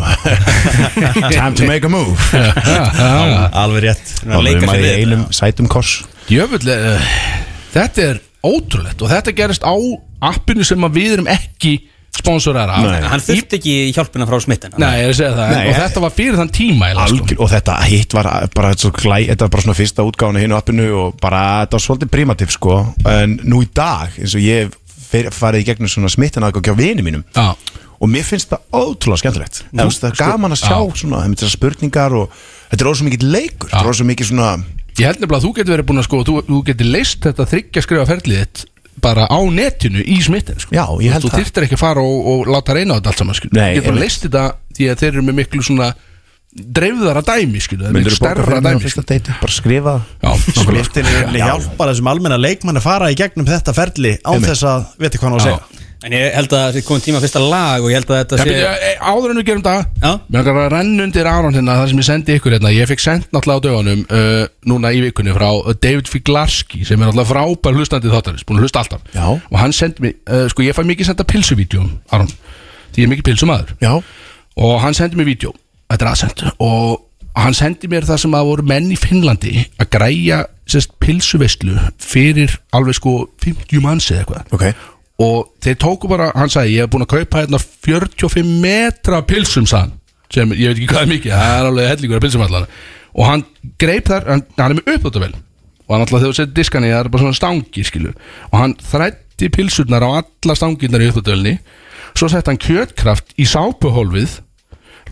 S4: Time to make a move
S3: Alveg rétt
S4: Það er maður í einum sætum kors
S2: Jöfull, uh, þetta er ótrúlegt og þetta gerist á appinu sem að við erum ekki sponsorar af
S4: Nei.
S10: Hann þurfti ekki hjálpina frá smittin
S2: Nei, ég er að segja það
S4: Nei,
S2: Og
S4: ég-
S2: þetta var fyrir þann tíma eiginlega, sko.
S4: Algjör, og þetta hitt var bara svo glæ, þetta var bara svona fyrsta útgáðan hinn á appinu og bara þetta var svolítið primativ sko en nú í dag eins og ég hef farið í gegnum svona smittin aðgjóð hjá vini mínum
S2: Já.
S4: og mér finnst það ótrúlega skemmtilegt Þú veist, það er gaman að sjá svona það er þessar spurningar og þetta er ósum mikið leikur þetta er ósum mikið svona
S2: Ég held nefnilega að þú getur verið búin að sko Þú, þú getur leist þetta þryggja skrifa ferlið þitt bara á netinu í smittin sko.
S4: Já, ég held
S2: Þú
S4: það.
S2: þyrftir ekki að fara og, og láta reyna á þetta allt saman skilur.
S4: Nei,
S2: Þú getur bara
S4: einmitt.
S2: leist þetta því að þeir eru með miklu svona dreifðara dæmi skilur, það er miklu
S4: Myndirðu borga
S2: stærra
S4: fyrir mig á
S2: dæmi sko?
S4: fyrsta deiti? bara skrifa
S2: Já, nákvæmlega, sko.
S3: Smittin er eiginlega hjálpar þessum almenna leikmann að fara í gegnum þetta ferli án
S4: Einmitt.
S3: þess að viti hvað hann á að
S2: Já.
S3: segja
S10: En ég held að það komið tíma á fyrsta lag og ég held að þetta
S2: Það
S10: sé
S2: byrja, e, áður en við gerum það
S10: Já.
S2: Mér langar að renna undir Aron hérna Það sem ég sendi ykkur hérna Ég fekk sendt náttúrulega á dögunum uh, Núna í vikunni frá uh, David Figlarski Sem er náttúrulega frábær hlustandi þáttarins Búin að hlusta alltaf
S4: Já.
S2: Og hann sendi mér uh, Sko ég fæ mikið senda pilsuvídjum Aron Því ég er mikið pilsumadur
S4: já,
S2: Og hann sendi mér vídjó Þetta er aðsend Og hann sendi mér það sem að voru menn í Finnlandi Að græja sérst pilsuveislu Fyrir alveg sko 50 manns eða eitthvað
S4: ok
S2: og þeir tóku bara, hann sagði ég hef búin að kaupa hérna 45 metra af pilsum sann, sem ég veit ekki hvað er mikið það er alveg hellingur af pilsum allan og hann greip þar, hann, hann er með uppdóttavel og hann alltaf þegar þú setur diskan í það er bara svona stangi skilu og hann þrætti pilsurnar á alla stanginnar í uppdóttavelni svo sett hann kjötkraft í sápuhólfið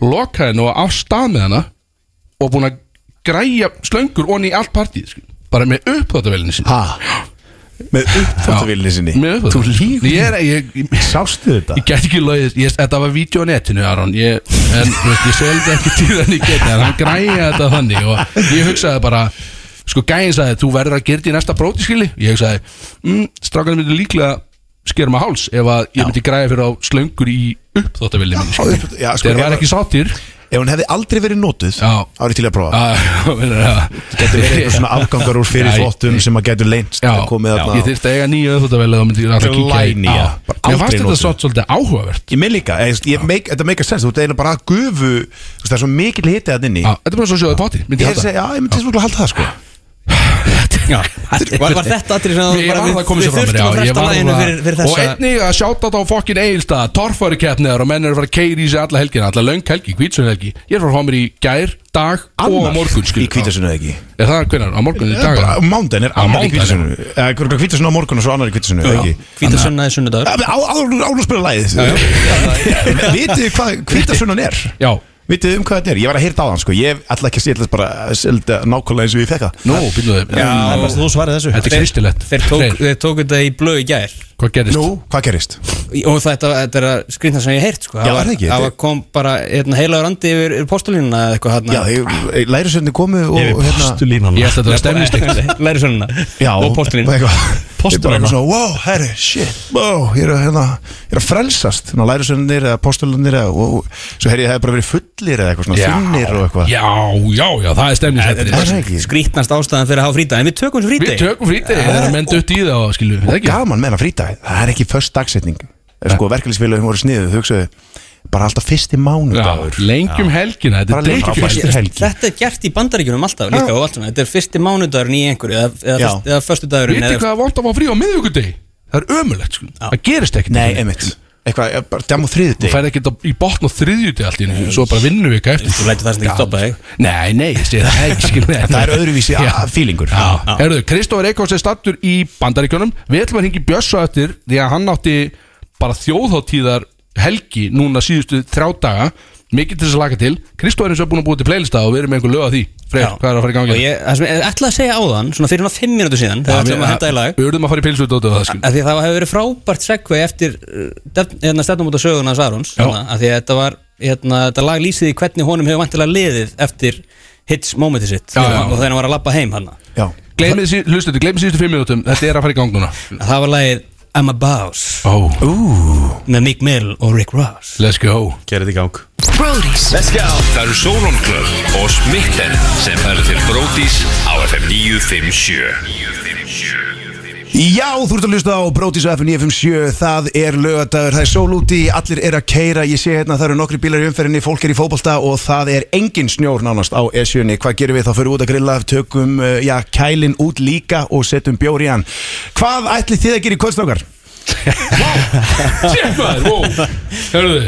S2: lokaði hennu á stað með hana og búin að græja slöngur onni í allt partíð skilu bara með uppdóttavelni sinni
S4: ha með uppfóttavílinni sinni
S2: með uppdóttavelni ég er, ég, ég,
S4: sástu þetta
S2: Ég get ekki logið, ég, þetta var vídeo á netinu Aron, ég, en þú veist, ég seldi ekki tíðan í geti en hann græja þetta þannig og ég hugsaði bara sko gæinn sagði, þú verður að gera því næsta bróti skili ég sagði, mm, strákanum myndi líklega skera maður háls ef að ég myndi græða fyrir á slöngur í uppþóttavilli minni
S4: Já,
S2: skilur.
S4: upp- já, sko,
S2: þeir
S4: ef-
S2: var ekki sáttir
S4: Ef hún hefði aldrei verið notuð
S2: Já.
S4: Árið til að prófa
S2: Þetta
S4: Getur verið eitthvað svona afgangar úr fyrir þvottum sem að getur leynst
S2: Já,
S4: og komið
S2: já.
S10: Hérna.
S4: þarna
S2: ég þyrfti að eiga nýja auðvitaðveli þá myndi ég alltaf kíkja í-
S4: Glænýja.
S2: Já.
S4: Bara
S2: Mér
S4: aldrei
S2: fannst þetta
S4: notuð.
S2: svolítið svolítið áhugavert
S4: Ég minn líka, ég, ég make, þetta make a sense Þú ert eiginlega bara að gufu þú veist, Það er svo mikil hitið að inni
S2: Já, Þetta er bara svo sjóðið poti myndi
S4: Ég
S2: ég
S4: er að segja,
S2: halda.
S4: já, ég myndi svona halda það sko
S2: Já.
S10: Var- var þetta atriði sem
S2: Ég
S10: bara
S2: varð
S10: við-
S2: að koma sér
S10: við
S2: fram
S10: þurftum að
S2: já, ég
S10: fresta
S2: varð
S10: laginu
S2: að-
S10: fyrir- fyrir þessa-
S2: Og einnig að sjáta þetta á fokkin Egilstað Torfari keppniðar og menn eru að fara að keiri í sig alla helgina Alla löng helgi, hvítsun helgi Ég er að fara að fá mér í gær, dag og á
S4: Annar
S2: morgun
S4: Í
S2: skilur.
S4: kvítasunni eða ekki
S2: Er það hvernig? Á morgun í dag?
S4: Bara á Mándaginn er
S2: Á
S4: annar í
S2: mánudaginn.
S4: kvítasunni Hvernig kvítasunni á morgun og svo annar í kvítasunni eða ekki
S10: Hvítasunna er sunnudagur
S4: Áður að spila læðið Vitið þið hvað kvítasunnan er?
S2: Já
S4: Vitið þið um hvað þetta er? Ég var að heyrta á hann sko Ég ætla ekki að sýtla bara að selda nákvæmlega eins og ég fekk það
S2: Nú, býtum við
S4: Það er bara þú svarið þessu
S2: Þetta er kristilegt
S10: Þeir tók- þeir tóku þetta í blöð í gær
S2: Hvað gerist?
S4: Nú, hvað gerist?
S10: Og þetta, þetta er að skrýnta sem ég hef heyrt sko.
S4: Já, er það ekki?
S10: Það
S4: Þetta
S10: var- kom bara hérna, heilagur andi yfir, yfir postulínuna eða eitthvað hérna
S4: Já, ég- lærisveinnir komu og
S3: Yfir
S4: hérna-
S3: postulínana.
S2: Ég ætla þetta að stemnist
S10: Læri sönnuna
S4: Já,
S10: Og postulínuna
S4: eitthvað. Ég bara
S3: Postulínana.
S4: eitthvað svona, wow, herri, shit Wow, ég er að, hérna, ég er að frelsast Ná lærisönnir eða postulunir eða, og, Svo herri, ég hef bara verið fullir eða eitthvað svona Þunnir og eitthvað
S2: Já, já, já, það er stemnist
S4: Það er það ekki
S10: Skrýtnast ástæðan fyrir að hafa frítag En við tökum þessu
S2: Við
S10: frítag
S2: tökum frítið, það er að menn dutt í það skilu, er það ekki?
S4: Gaman meðan frítag, það er ekki först dagsetning Sko, verkefnisfélagum voru sniðu, þau hugsaðu Bara alltaf fyrsti mánudagur
S2: Já, lengjum helgina, þetta
S4: Bara
S2: er
S4: lengjum
S2: drengjum
S4: fyrstu helgi
S10: Þetta er gert í bandaríkjunum alltaf líka og allt svona Þetta er fyrsti mánudagurinn í einhverju Eða,
S4: Já.
S10: eða, fyrst- eða föstudagurinn
S2: Vitið
S10: eða-
S2: hvað er vant að fá frí á miðvíkudegi? Það er ömulegt, sko, það gerist ekkert
S4: Nei, einmitt Eitthvað, ég bara dæma
S2: Þú
S4: þriðið
S2: færði ekkert á- í botn og þriðjúti allt í henni Svo bara vinnum við ekki eftir
S10: Þú lætur það sem ekki
S2: Já.
S10: stoppa þig.
S2: Nei, nei, ég sé það ekki skilu
S4: Það er öðruvísi a- feelingur
S2: Já. Herðu, Kristófur Eikváls er stattur í bandaríkjunum Við ætlum að hringi Bjössa eftir Því að hann átti bara þjóðháttíðar helgi Núna síðustu þrjá daga Mikið til þess að laka til Kristófur er eins og búin að búið til playlista Og við erum með einhver lög að því Freyr,
S10: Já.
S2: hvað er að fara í gangi?
S10: Og ég það sem ég ætlaði að segja áðan Svona fyrir hann fimm mínútur síðan Þegar ætlaðum að henda í lag
S2: Við urðum að fara í pilsut og það sko. skil
S10: Af því að það hefur verið frábært segvei eftir hérna, stefnum út af söguna hans Arons
S2: Já.
S10: hérna, af því að þetta var hérna, þetta lag lýsið í hvernig honum hefur vantilega liðið eftir hits momenti sitt
S2: Já, já.
S10: og þegar hann var að lappa heim hann
S4: Já
S2: Gleimið sí, hlustu, gleimið síðustu fimm minútum Þetta er að fara í gang núna
S10: það var lagið I'm a Boss
S2: Ó,
S10: með Mick Mill og Rick Ross
S2: let's go
S3: Gerið í gang
S11: Það eru Solon Club og Smitten sem færðu til Brótis á FM 957
S4: Já, þú ert að hlusta á Brótis á FM 957 Það er lögadagur, það er sól úti Allir er að keira, ég sé hérna að það eru nokkri bílar í umferðinni Fólk er í fótbolta og það er engin snjór nánast á esjunni Hvað gerum við þá fyrir út að grilla Tökum, uh, já, kælin út líka og setjum bjór í hann Hvað ætli þið að gera í kvöldstokkar?
S2: Sér maður, wow Hörðu,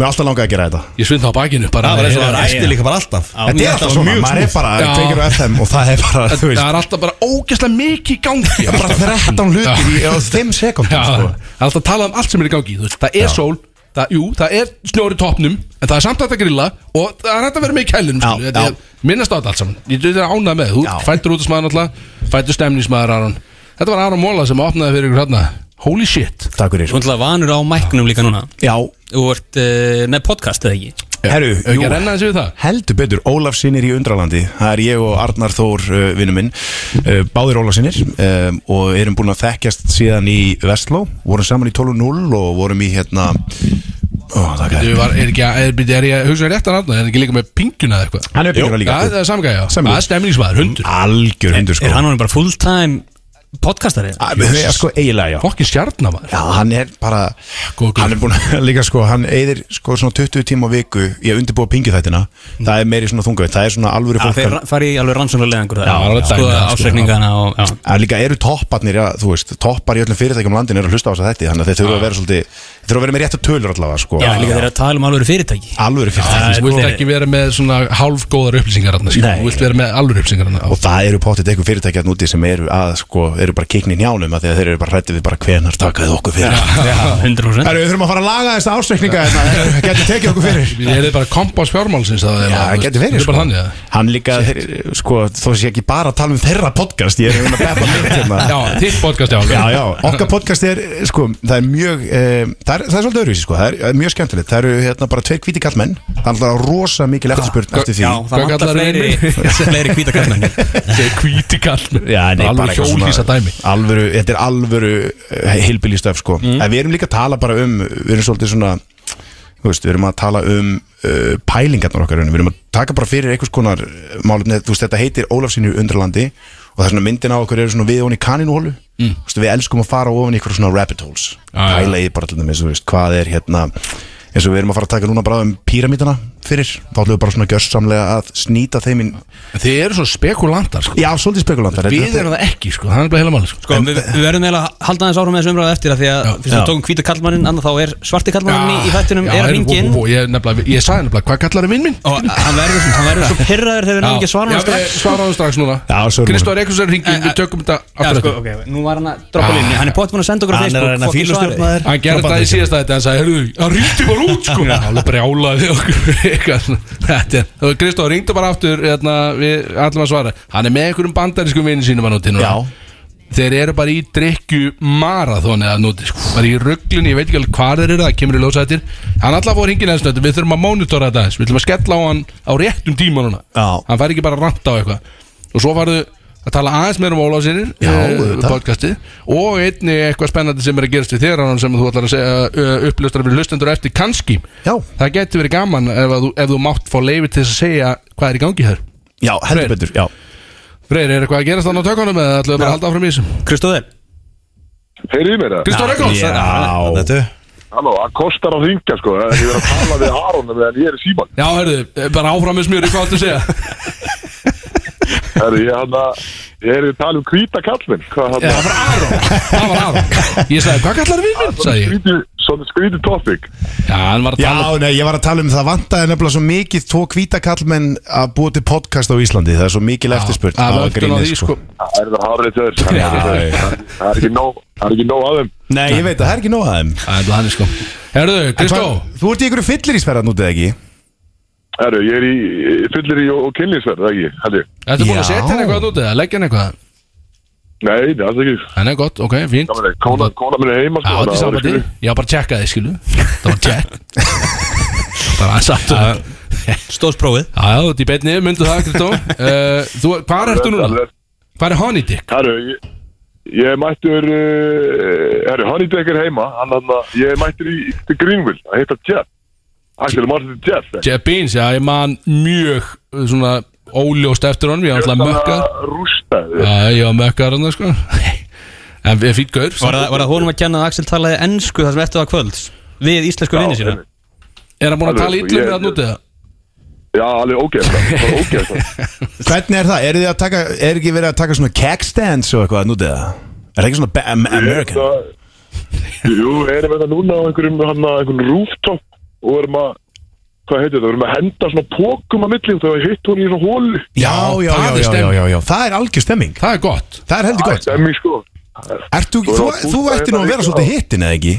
S4: Mér er alltaf langað að gera þetta
S2: ég svinn það á bakinu bara
S3: Það var eins
S2: Ég-
S3: og það ræsti líka bara alltaf
S4: Þetta er alltaf svona, maður er bara
S2: Já.
S4: kveikir á FM og það er bara, þú
S2: Það
S4: veist
S2: er alltaf bara ógeðslega mikið í gangi
S4: Það er bara 13 hlutir í á
S2: Já,
S4: 5 sekundum
S2: það
S4: sko.
S2: er alltaf að tala um allt sem er í gangi þú veist, Það er sól, það, jú, það er snjóri topnum En það er samt hægt að grilla Og það er hægt að vera með í kælunum skilur,
S4: Já,
S2: þetta er- Minnast á þetta allt saman Ég þetta er ánað með, þú
S4: Já.
S2: fættur út af smaður alltaf Fættur stemningsmaður Aron Þetta var Aron Móla sem opnaði fyrir ykkur hérna Holy shit
S4: Takk fyrir
S10: Þú ætlaði vanur á mæknum líka núna
S4: Já,
S10: Þú ert uh, með podcast eða ekki Sko.
S4: herru,
S2: Hefur ekki að renna þessu við það?
S4: Heldur betur, Ólafsinir í Undralandi Það er ég og Arnar Þór uh, vinnu minn uh, Báðir Ólafsinir um, Og erum búin að þekkjast síðan í Vestló Vorum saman í 12.0 og vorum í hérna Ó, það
S2: Þú
S4: er
S2: var, er ekki að, er, byrju, er ég að hugsa rétt að ranna Er ekki líka með pingjuna eða eitthvað?
S4: Hann er byrjur að
S2: Já,
S4: líka
S2: það er samgæja, já Það
S4: Samgæja.
S2: er stemningsmaður, hundur
S4: Algjör hundur sko
S10: Er hann orðinn bara full time podcastari?
S4: Æ, við- við- Sko eiginlega já
S2: Fokkin stjarnamaður Sko,
S4: Já, hann er bara
S2: Góð guð.
S4: Hann er búin að líka sko Hann eyðir sko svona 20 tíma á viku Ég undirbúa pingið þættina Það er meiri svona þungaveit Það er svona alvöru
S10: Já,
S4: fólk
S10: þeir fari í alveg rannsóknulega einhver
S2: Já, alveg
S10: Skoða
S2: dæmi, sko.
S10: ásreikningana og já.
S4: Það líka eru topparnir, já, þú veist, toppar í öllum fyrirtækjum landin eru að hlusta á þess að þetta þannig að þeir þurfa að vera svolítið, þeir þurfa að vera með rétt að tölur allavega, sko.
S10: Já, líka þeir eru að tala um alveg fyrirtæki sko.
S4: Alvöru fyrirtæki,
S2: Þú vilt ekki vera með svona hálfgóðar upplýsingar hérna, skilur.
S4: Nei.
S2: Þú vilt vera með alveg upplýsingar hérna
S4: Og það eru potið eitthvað fyrirtæki að núti sem eru að, sko, eru bara kikni njánum að því að þeir eru bara hrætti við bara hvenar takaði okkur fyrir
S2: Já, 100%
S4: Herru, við þurfum að fara að laga þessa ársreikninga hérna Getur tekið okkur fyrir
S2: Ég er bara kompás fjármálsins að
S4: Já, það getur verið
S2: sko
S4: sko. Hann líka, þeir, sko, þó sé ekki bara að tala um þeirra podcast Ég er að beppa mitt hérna
S2: Já, þitt podcast, já
S4: Já, já, okkar podcast er, sko, það er mjög, e, það, er, það er svolítið öðruvísi, sko, það er, það er mjög skemmtilegt Það eru hérna bara tveir hvíti kallmenn, það er alltaf rosa mikil eftirspurn eftir því
S10: Já, það vantar fleiri, fleiri hvíta kallmenn
S2: Hvíti kallmenn
S4: Já, nei,
S2: Alveg
S4: bara eitthvað svona-
S2: hjólhýsa dæmi.
S4: Alvöru, þetta er alvöru heilbili stöf, sko mm. Við erum líka að tala bara um, við erum svolítið svona, þú veist, við erum að tala um uh, pælingarnar okkar í rauninni. Við erum að taka bara fyrir einhvers konar uh, málefni, þú veist, þetta heitir Ólafsinu undralandi Og það er svona myndin á okkur eru svona við ofan í kaninhólu mm. Vistu, Við elskum að fara ofan í ykkur svona rabbit holes
S2: Já, já.
S4: Pæla í bara til dæmis, þú veist, hvað er hérna eins og við erum að fara að taka núna bara um píramítana fyrir, þá ætlum við bara svona gjörsamlega að snýta þeim inn
S2: Þið eru svo spekulantar sko.
S4: Já, svolítið spekulantar
S2: Við erum það ekki, sko, það er bara heila máli sko.
S10: Sko, við, við verðum eiginlega að halda aðeins áhrum með þessu umræðu eftir að því að
S2: Já.
S10: fyrst við tókum hvíta kallmannin, annað þá er svarti kallmannin í, í þættinum,
S2: Já,
S10: er að
S2: heyrðu, vó,
S10: ringin
S2: vó, vó, Ég, nefnilega- ég sagði nefnilega, hvað kallar er minn minn?
S10: og hann verður hann verður svo pirraður þegar við náum ekki að svara honum strax. Eh,
S2: Svaraðu strax núna
S4: svo erum við-
S2: Kristóður Ekkursson ringin, við tökum þetta
S10: Já,
S2: aftur
S10: sko,
S2: eftir. Ah.
S10: ok, nú var hann að droppa línni, hann er bótt búinn að senda okkur á
S2: Hann er
S10: Facebook
S2: að reyna að fílastjórna
S10: fucking svarið.
S2: þér. Hann gerði þetta í síðasta þetta Hann sagði, herruðu, hann ringdi bara út sko Já, Alveg brjálaði okkur eitthvað svona. Þetta er Kristóð, ringdu bara aftur hérna, Við ætlum að svara Hann er með einhverjum bandarískum vinni sínum að núti núna Þeir eru bara í drikju marathon eða núti, sko, bara í rugglun, ég veit ekki alveg hvað þeir eru, það kemur í ljósættir Hann alltaf fór hringin eða snötu, við þurfum að mónitora þetta aðeins, við þurfum að skella á hann á réttum tíma núna Já. Hann fær ekki bara að ranta á eitthvað Og svo farðu að tala aðeins meira um Ólafsinir
S4: Já, eh, auðvitað.
S2: podcastið og einni eitthvað spennandi sem er að gerast við þér Aron, sem þú ætlar að segja, ö, uppljóstra fyrir hlustendur eftir kannski
S4: Já.
S2: það getur verið gaman ef, að þú, ef þú mátt fá leifi til þess að segja hvað er í gangi hér
S4: Já, heldur betur, já
S2: Freyr, er eitthvað að gerast þannig á tökunum eða ætlum við bara að halda áfram í þessum
S10: Kristóður
S12: Heyrðu í mér það?
S2: Kristóður Egglos
S4: Þetta er
S12: Halló, það kostar að ringja sko það er Ég verið að tala við Aron meðan ég er í síman
S2: Já, hörðu, bara áfram með smjöri, hvað ættu að segja?
S12: Herri, ég, hana, ég er að tala um hvíta kallminn Hvað hérna? hann
S2: Það var Aron Ég sagði, hvað kallar við minn? sagði ég.
S12: Svona skrítið topic
S2: Já, hann var að
S4: Já,
S2: tala
S4: nei, ég var að tala um það vantaði nefnilega svo mikið tvo kvítakallmenn að búa til podcast á Íslandi það er svo mikil eftirspurt
S2: að vöntun á því, sko.
S12: Það er það hárið til þess Það
S4: Já,
S12: er-
S4: já.
S12: það er ekki nóg Það er ekki nóg að þeim
S4: Nei, ég veit að það er ekki nóg að þeim
S2: Það er hann, sko Herðu, Kristó
S4: Þú ert í ykkur fyllir í sverðan út eða ekki?
S12: Herru, ég er í í- fyllir í og og kynlífsverð, það ekki, held ég
S2: Þetta búin að setja hann eitthvað út eða leggja hann eitthvað
S12: Nei, það er ekki
S2: Þannig er gott, ok, fínt
S12: Gaman, Kona, kona minn er heima
S2: Já,
S12: sko
S2: þetta er
S12: þannig að
S2: sambandi
S12: það er-
S2: Ég var bara að tjekka þið, skilu Það var tjekk Bara að sattu
S10: Stóðsprófið
S2: Já, já, þú ert í beinni, myndu það, Kristó uh, Þú, hvað ertu núna? Hvað er Honey Dick?
S12: Herru, ég, ég er mættur uh, Herru, Honeydeck er heima hann, hann, Ég er mættur í, til Greenville að hitta Jeff Axel Martin Jeff
S2: Jeff Beans, já, ég man mjög uh, svona óljóst eftir honum Ég var alltaf mökkar
S12: Rústaði
S2: Já, ég var mökkar hann, sko En við fýtt gaur
S10: Var það var það honum að kenna að Axel talaði ennsku þar sem eftir var kvölds Við íslensku vinni sína
S2: Er hann búin að
S12: Alveg,
S2: tala
S12: sko,
S2: illum
S12: ég-
S2: við hann úti? eða?
S12: Já, alveg ógeðst það Ógeðst það
S4: Hvernig er það? Er, að taka, er ekki verið að taka svona kegstands og eitthvað nút eða? Er það ekki svona ba- am- American?
S12: hérna- Jú, erum við það núna á einhverjum, hann, einhverjum rooftop og erum að hvað heitir það, við erum að henda svona pókum að milli og það hitt hún í svona hóli
S4: Já, já, já,
S12: það er
S4: já, já,
S12: stemning.
S4: já, já Það er algjör stemming
S2: Það er gott
S4: Það er heldur gott
S12: Stemmi sko
S4: Ert þú, þú, þú ætti nú að vera svolítið hittin eða ekki?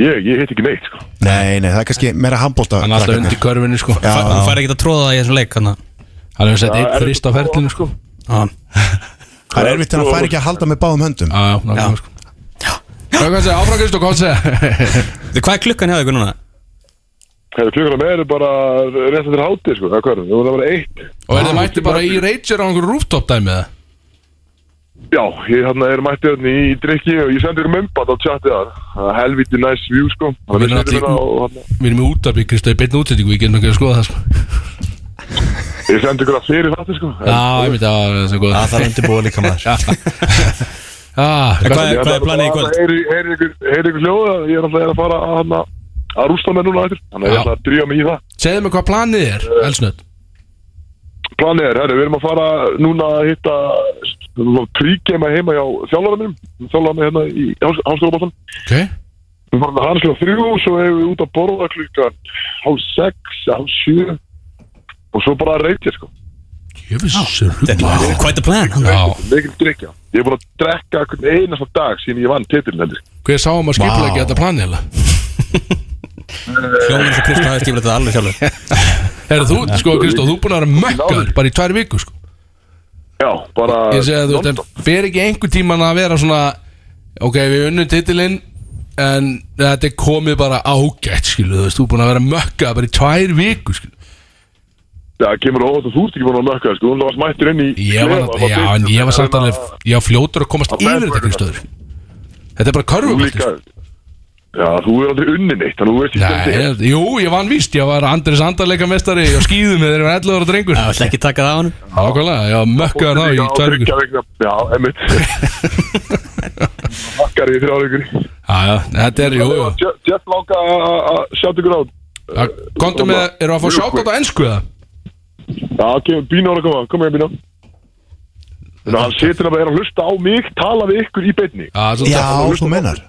S12: Ég, ég hitt ekki neitt sko
S4: Nei, nei, það er kannski meira handbólta
S2: Hann er alltaf undir körfinni, sko
S4: Já,
S10: Hann
S4: já.
S10: fær ekki að tróða það í þessum leik hann
S2: Hann hefur sett
S12: Já,
S2: eitt
S12: er-
S2: þrist á ferlinu, sko
S4: Það er erfitt en hann fær ekki að halda með báðum höndum
S2: Já, já, nákvæmlega, sko Hvað er að segja, áfram Kristó, hvað er að segja?
S10: Hvað er klukkan hjá ykkur núna?
S12: Hefur klukkuna með eru bara rétt eftir hátir sko, eða hvað er það, það var bara eitt
S2: Og er þið mætti bara í Rager á einhverju rooftop dæmi eða?
S12: Já, ég hann er mættið hann í drikki og ég sendi þér mömbat á chatið þar Það er helviti næs view sko
S2: Og við erum
S12: Þannig
S2: allir-
S12: að þarna-
S2: Við erum í útarbyggð, Kristó, í beinni útsendingu, ég getum ekki að skoða það, sko
S12: Ég sendi ykkur að fyrir þetta sko
S2: Já, ég myndi að það er svo góð
S13: Það þarf undirbúa líka maður
S2: Já,
S12: Heyri ykkur, heyri ykkur hljóða, ég er alltaf að fara að, hana, að rústa með núna eftir Þannig að
S2: Já.
S12: ég ætla að drífa mig í það
S2: Segðu mig hvað planið er, Elsnött
S12: Planið er, herri, við erum að fara núna að hitta príkema heima hjá þjálfara mínum Þjálfara mig hérna í háskólabóttan
S2: Ok
S12: Við farum að hans klukkan þrjú Svo hefur við út að borða klukkan hálf sex, hálf sjö Og svo bara að reytja sko
S2: Jöfis rugl
S10: Wow, quite a plan
S2: Já.
S12: Mikil drikja Ég er búin að drekka hvern einasta dag síðan ég vann titilin henni
S2: Hver sá um að skipla ekki þetta planið heila?
S10: Hljómar eins og Kristó hafi skipulagt þetta alveg sjálfur
S2: Herra, þú, sko, Kristó, þú er búin að vera mökkaður bara í tvær vikur, sko
S12: Já, bara
S2: Ég segi að þú veist, en fer ekki einhver tíman að vera svona Ok, við unnum titilinn En þetta er komið bara ágætt, skilu, þú veist Þú er búin að vera mökkaður bara í tvær vikur, skilu
S12: Það kemur á óvart að þú ert ekki búin að mökka sko Hún var mættir inn í
S2: Ég var,
S12: klefa,
S2: já,
S12: bara
S2: en ég var samt alveg Ég var fljótur að komast
S12: Að
S2: yfir þetta,
S12: meðvitað.
S2: Kristó Þetta er bara körfubolti, sko
S12: Já, þú er aldrei unnin eitt Þannig að þú veist ég
S2: Nei,
S12: stendur.
S2: ég- jú, ég vann víst, ég var Andris Andarleika mestari og skýðum með þeirra 11 ára drengur Já,
S10: ætla ekki taka það á hann
S2: Nákvæmlega, ég var mökkaður þá í
S12: Já,
S2: tvær vikur
S12: þriggja vikna- Já, emmitt Makkar í þrjáleikur
S2: Já, já, þetta er, jú, jú
S12: Jeff Láka að sjátt ykkur á
S2: Já, Komdu með, eru að fá sjátt á ennsku eða?
S12: Já, kemur Bína ára að koma Kom ég Bína Þannig að hann setur að vera að hlusta á mig Tala við ykkur í beinni
S2: Já, þú mennar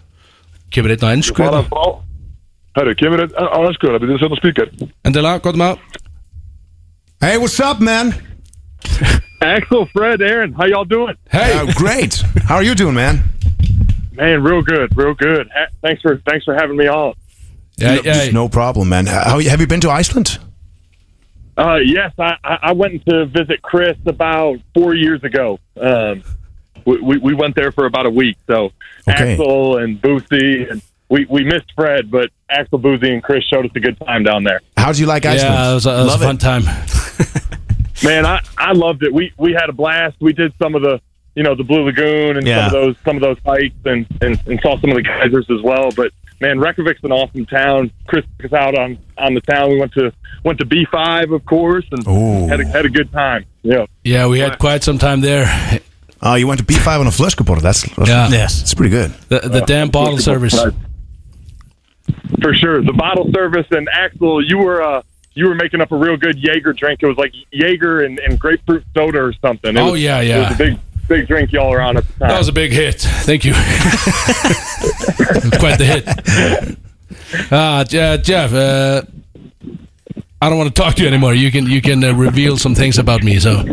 S2: Kemur einn á ennsku
S12: Bara
S2: eða?
S12: frá Herru, kemur einn á ennsku Það byrjuðu að setja spíkar
S2: Endilega, komdu með
S13: Hey, what's up, man?
S14: Axel, Fred, Aaron, how y'all doing?
S2: Hey,
S13: great. How are you doing, man?
S14: Man, real good, real good. Ha- Thanks for thanks for having me on.
S2: Yeah, yeah.
S4: No problem, man. How, have you been to Iceland?
S14: Uh, yes, I, I I went to visit Chris about four years ago. Um, we, we, we went there for about a week. So
S4: Okay.
S14: Axel and Boosie and we, we missed Fred, but Axel, Boosie, and Chris showed us a good time down there.
S4: How do you like
S2: Yeah,
S4: Iceland?
S2: that was a- that was a
S4: Love
S2: fun time.
S14: Man, I, I loved it. We we had a blast. We did some of the you know the Blue Lagoon and
S4: Yeah.
S14: some of those some of those hikes and, and, and saw some of the geysers as well. But man, Reykjavik's an awesome town. Chris took us out on, on the town. We went to went to B five of course and had a, had a good time. Yeah.
S2: Yeah, we had quite some time there
S4: Oh, you went to B5 on a flushkapur. That's, that's
S2: Yeah. Yes.
S4: It's pretty good.
S2: The, the damn bottle service
S14: Uh, For sure, the bottle service and Axel, you were uh, you were making up a real good Jaeger drink. It was like Jaeger and, and grapefruit soda or something. It
S2: Oh,
S14: was-
S2: yeah,
S14: it
S2: yeah.
S14: was a big big drink y'all were on at the time.
S2: That was a big hit, thank you Quite the hit Ah, Je- Jeff, uh, I don't want to talk to you anymore You can, you can uh, reveal some things about me, so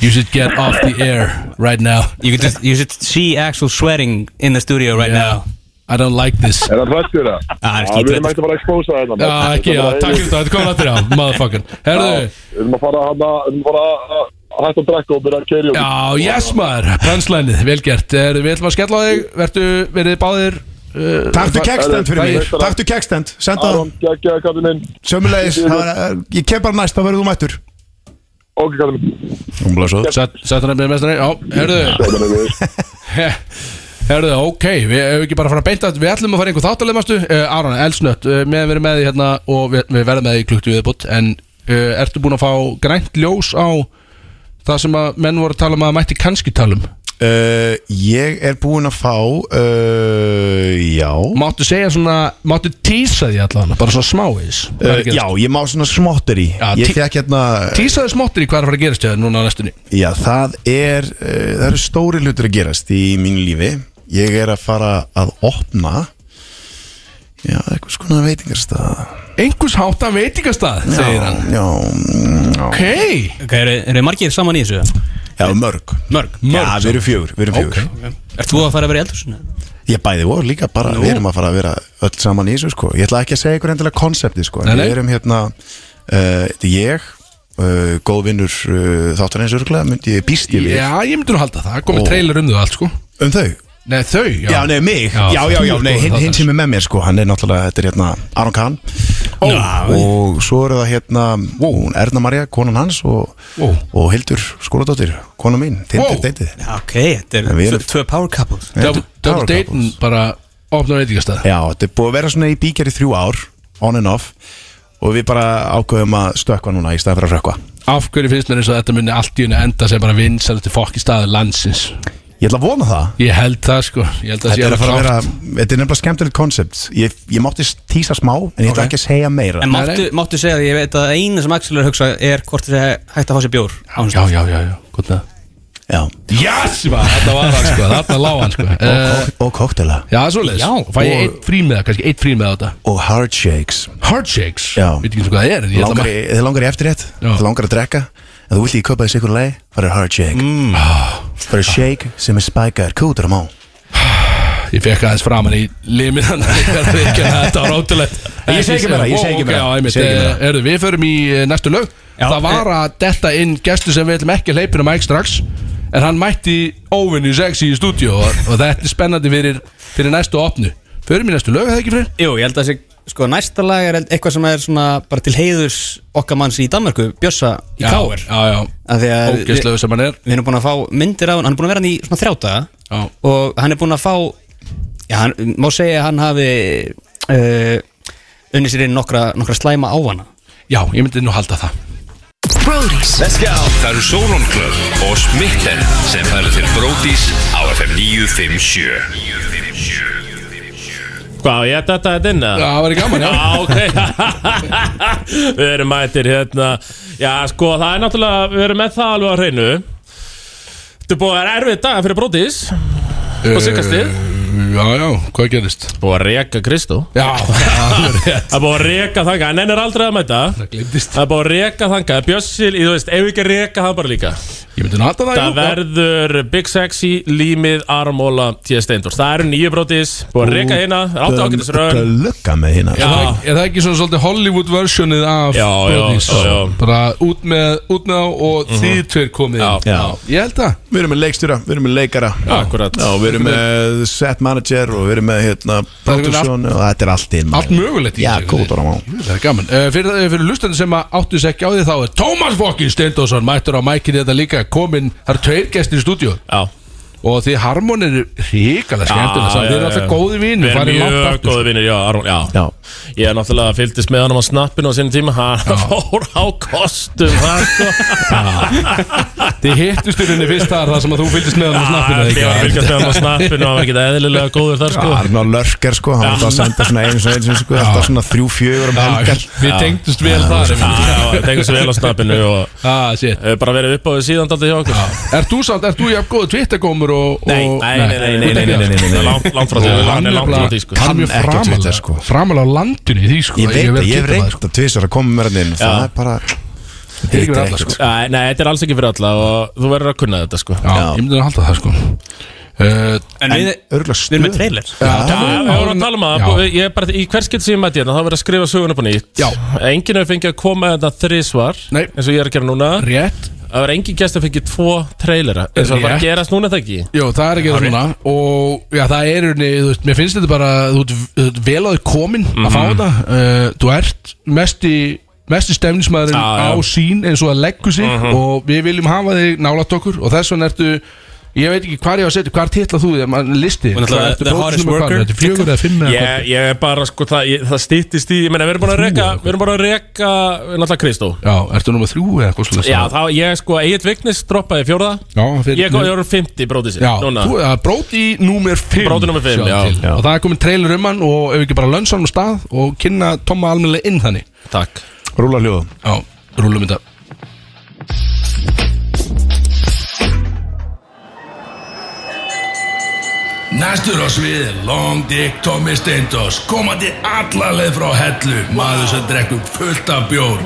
S2: You should get off the air right now
S10: You could just, you should see Axel sweating in the studio right now
S2: I don't like this
S12: Er það hrættir það?
S10: Ah,
S12: Já, við erum ekkert að bara að expósa þetta
S2: Já, ekki, já, takk fyrir það, þetta kom aftur á Motherfucking,
S10: Oh.
S2: herðu
S12: Við erum að fara að Við erum að fara að- að hætta að drekka og byrja að kerja
S2: Já, yes maður, brennslænið, vel gert er, Við ætlum að skella á þig, verðu, verið báðir uh,
S4: Taktu kekstand fyrir mig.
S2: gæir.
S4: Taktu kekstand. Senda
S12: Aron, geggja, kallir minn
S4: Sömmulegis,
S12: Ég-
S4: eh, ég kem bara næst, þá verður þú mættur
S12: Ok, kallir minn
S2: Sætt hann nefnir mestari, já, herðu Herðu, ok, við hefum ekki bara að fara að beinta Við ætlum að fara í einhver þáttaleg mástu uh, Aron, elsnött, uh, meðan við erum með því hérna Og við, við verðum með því klukkt í viðbútt En uh, ertu búin að fá grænt ljós á Það sem að menn voru að tala um að mætti kannski talum
S4: uh, Ég er búinn að fá uh, Já
S2: Máttu segja svona, máttu tísa því allan Bara svona smávegis Hvað er
S4: uh,
S2: að gerast?
S4: Já, ég má svona smottir í
S2: Já,
S4: Ég
S2: tí-
S4: fekk hérna
S2: Tísaðu smottir í hvað er að fara að gerast hjá þér núna á næstunni
S4: Já, það er uh, Það eru stóri hlutur að gerast í mínu lífi Ég er að fara að opna Já, einhvers konar veitingarstað
S2: Einhvers hátta veitingastað, segir hann
S4: Já, mm, já
S2: Ok
S10: Ok, eru eru margir saman í þessu?
S4: Já, mörg
S2: Mörg,
S4: Já, við erum fjögur, við erum fjögur
S10: Ert þú að fara að vera í eldhúsinu?
S4: Ég bæði og líka bara,
S10: Nú.
S4: við erum að fara að vera öll saman í þessu sko Ég ætla ekki að segja ykkur endilega konsepti sko En
S10: Nei, nei.
S4: við erum hérna, uh, þetta er ég, uh, góð vinnur uh, þáttar eins örgulega Myndi ég býst ég við
S2: Já, ég myndi nú halda það, komið
S4: Ó.
S2: trailer um þau allt sko
S4: Um þau?
S2: Nei, þau, já
S4: Já, nei, mig, já, já, já,
S2: þú ert
S4: nei,
S2: góður
S4: hinn,
S2: þáttar.
S4: hinn sem er með mér sko, hann er náttúrulega, þetta er hérna Aron Kahn Ó, Og svo eru það hérna, hún Erna Maria, konan hans og,
S2: Ó.
S4: og Hildur Skóladóttir, konan mín, tindir,
S2: Ó.
S4: deitið
S10: Já, ok, þetta
S4: En við
S10: er
S4: erum-
S10: tvö- tvö power couples
S2: Double double datein bara opnar veitingastað
S4: Já, þetta er búið að vera svona í bíkjar í þrjú ár On and off Og við bara ákveðum að stökkva núna í staðan fyrir að rökkva
S2: Af hverju finnst mér eins og þetta muni allt í unni enda sem bara vinsælusti fokki staði landsins
S4: Ég ætla að vona það
S2: Ég held það sko Ég held það sé
S4: Þetta er að
S2: alveg
S4: fara að vera
S2: klárt.
S4: Þetta er nefnilega skemmtilegt koncept ég, ég mátti tísa smá En ég ætla
S10: Ok.
S4: ekki að segja meira
S10: En máttu, máttu segja að ég veit að eina sem Axel er að hugsa er hvort þið hægt að fá sér bjór
S2: Já, já, já, já, gott það
S4: Já
S2: Yes, maður, þetta var hann sko, þarna lág hann sko Eh,
S4: Og, og koktela
S2: Já, það er svoleiðis
S4: Já,
S2: Fæ ég
S4: og-
S2: eitt frímiða, kannski eitt frímiða á þetta
S4: Og hard shakes
S2: Hard shakes
S4: Já
S2: Veit ekki eins og hvað það er en ég ætla
S4: Langar í- Þið langar í eftirrétt Þið langar að drekka en þú vilt ekki kaupa þessi ykkur leið farið hard shake mm. farið shake sem er spækar kútur á mó
S2: Ah, Ég fekk aðeins framan í limin hann Þetta var ótrúlegt
S4: Ég segi ekki meira, ég segi ekki meira. Ég segi ekki meira. eh.
S2: Erðu, við förum í eh, næstu lög Það var að detta inn gestur sem við ætlum ekki að hleypina mæk strax En hann mætti óvinni sexy í stúdíu og, og þetta er spennandi fyrir, fyrir næstu opnu Förum í næstu lög, er það ekki fyrir?
S10: Jú, ég held að þessi, sko, næsta lag er held- eitthvað sem er svona bara til heiðurs okkar manns í Danmarku, Bjössa í
S2: Já,
S10: Káir
S2: Já, já, Ógeðslegur sem hann er
S10: Við erum búin að fá myndir af hann, hann er búin að vera hann í svona þrjáta
S2: já.
S10: Og hann er búin að fá, já, hann, má segja að hann hafi uh, unni sér inn nokkra, nokkra slæma á hana
S2: Já, ég myndi nú halda það
S11: Brodís Let's go Það eru Solon Club og Smitten sem færa til Brodís á FM 957
S15: Hvað, á ég að detta þetta inn að?
S2: Já, það væri gaman, já.
S15: Já, ok Við erum mætir hérna Já, sko, það er náttúrulega, við erum með það alveg á hreinu Þetta er búið að vera erfið daga fyrir brótis Og
S2: Eh,
S15: sikastið
S2: Já, já, hvað gerist?
S15: Búið að reka Kristó
S2: Já, það
S15: er búið að reka þanga, en henn er aldrei að mæta Það
S2: glimtist
S15: Það er búið að reka þanga, Bjössil, í- þú veist, ef við ekki reka það bara líka
S2: Ég myndi nata það,
S15: Það
S2: já.
S15: verður Big Sexy, Límið, Armóla, T.S. Steindors Það eru nýju brótis, búið að reka hérna, rátt ákvæmtis rögn
S4: Lugga með hérna
S2: Er það, er það ekki svona svolítið Hollywood versionið af
S15: Já, já,
S2: Broadleys?
S15: já, já. Mhm.
S2: Bara út með, út með á og mm -hmm. þið tveir komið já,
S4: Já.
S2: Ég held það
S4: Við erum með leikstjóra, við erum með leikara
S15: Akkurat
S4: Já, við erum með set manager og við erum með hérna production og þetta er allt inn
S2: Allt mögulegt í
S4: Já,
S2: þessu.
S4: kútur á mó
S2: Það er gaman uh, Fyrir, eh, fyrir lustandi sem að áttu þess ekki á því þá er Tómas Fokkin Steindósson mættur á mækinni þetta líka kominn Það eru tveir gestir í stúdíu
S15: Já
S2: Og því harmon er ríkala skemmtilega saman. Þið eru alltaf góði vinir
S15: Við
S2: farið
S15: erum
S2: langt
S15: mjög
S2: aftur.
S15: góði vinnir, já, Aron, já. já Ég er náttúrulega fylgdist með hann á snappinu á sinni tíma Hann fór á kostum það, sko.
S2: Þið hittust í rauninni fyrst þar þar sem að þú fylgist með hann á
S15: Já,
S2: snappinu
S15: Ég var að fylgjast með hann á snappinu og hann var ekkert eðlilega góður þar sko
S4: Arnar Lörker sko, hann var alltaf að senda svona einu svona einu svona sko, alltaf svona þrjú fjögur um helgar
S2: Við tengdust vel þar
S15: Já, já, við tengdumst vel á snappinu og
S2: ah,
S15: bara verið upp á því síðan daldið hjá okkur
S2: Er þú samt, er þú jafn góð Twittergómur og
S15: Nei,
S2: og-
S15: nei, nei, nei, nei, nei, nei, nei, nei, nei. Langt- langt frá því,
S2: Og
S15: hann er langt frá því, sko.
S2: nefnilega- Hann er mjög
S15: Kann ekki á Twitter,
S2: framalega, sko Framalega á landinu í því, sko
S4: Ég veit
S2: verð
S4: það,
S2: að
S4: ég
S2: geta það,
S4: hef
S2: sko.
S4: reynd að tvisar að koma mér hann inn
S15: Já.
S4: Það er bara
S2: Þetta er ekki fyrir alla, sko.
S15: Nei, nei, þetta er alls ekki fyrir alla og þú verður að kunna þetta sko
S2: Já, ég myndi að halda það, sko Uh,
S10: En við-
S4: örgulega
S10: við erum með trailer.
S15: Já, já, við vorum að tala um það bú- Ég er bara, í hvers getur sem ég mætti hérna Það verður að skrifa sögun upp á nýtt já. Enginn hefur fengið að koma þetta þrísvar Nei. eins og ég er að gera núna
S2: Rétt
S15: Það verður engin gæst að fengið tvo trailera eins og það var
S2: Rétt.
S15: að gerast núna er það ekki
S2: Jó, það er ekki það svona Og já, það er unni, þú veist, mér finnst þetta bara Þú ert- þú ert vel á því komin
S15: Mhm.
S2: að fá þetta uh, Þú ert mesti mesti stefnismæðurinn
S15: Já, já.
S2: á sín eins og að leggu sig
S15: Mhm.
S2: og við viljum hafa þig nálat okkur og þess vegna ertu ég veit ekki hvar ég á að setja, hvar titla þú þig mann listi,
S15: Og náttúrulega
S2: Hvað ertu
S15: The
S2: bóknum
S15: Hardest
S2: og hvað,
S15: Worker.
S2: ertu fjögur eða fimm eða hvað?
S15: Ég, ég er bara sko það, ég, það stýttist í ég meina, Við erum bara að reka Við erum bara að reka Náttúrulega Kristó
S2: Já, ertu nummer þrjú eða hvað slúðist
S15: Já þá ég sko Egil Vignis droppaði í fjórða
S2: Já, fyrir-
S15: Ég góði árum 50 brótið sér
S2: Já, þú, það er bróti númer 5
S15: Bróti númer fimm, já. Já.
S2: Og það er komin trailer um hann og ef ekki bara lönsa hann á stað og kynna Tomma almennilega inn þannig
S15: Takk
S4: Rúla hljóðum
S2: Já, rúlum þetta
S11: Næstur á sviði, Long Dick Tommy Steindos komandi allarleið frá hellu maður sem drekkum fullt af bjór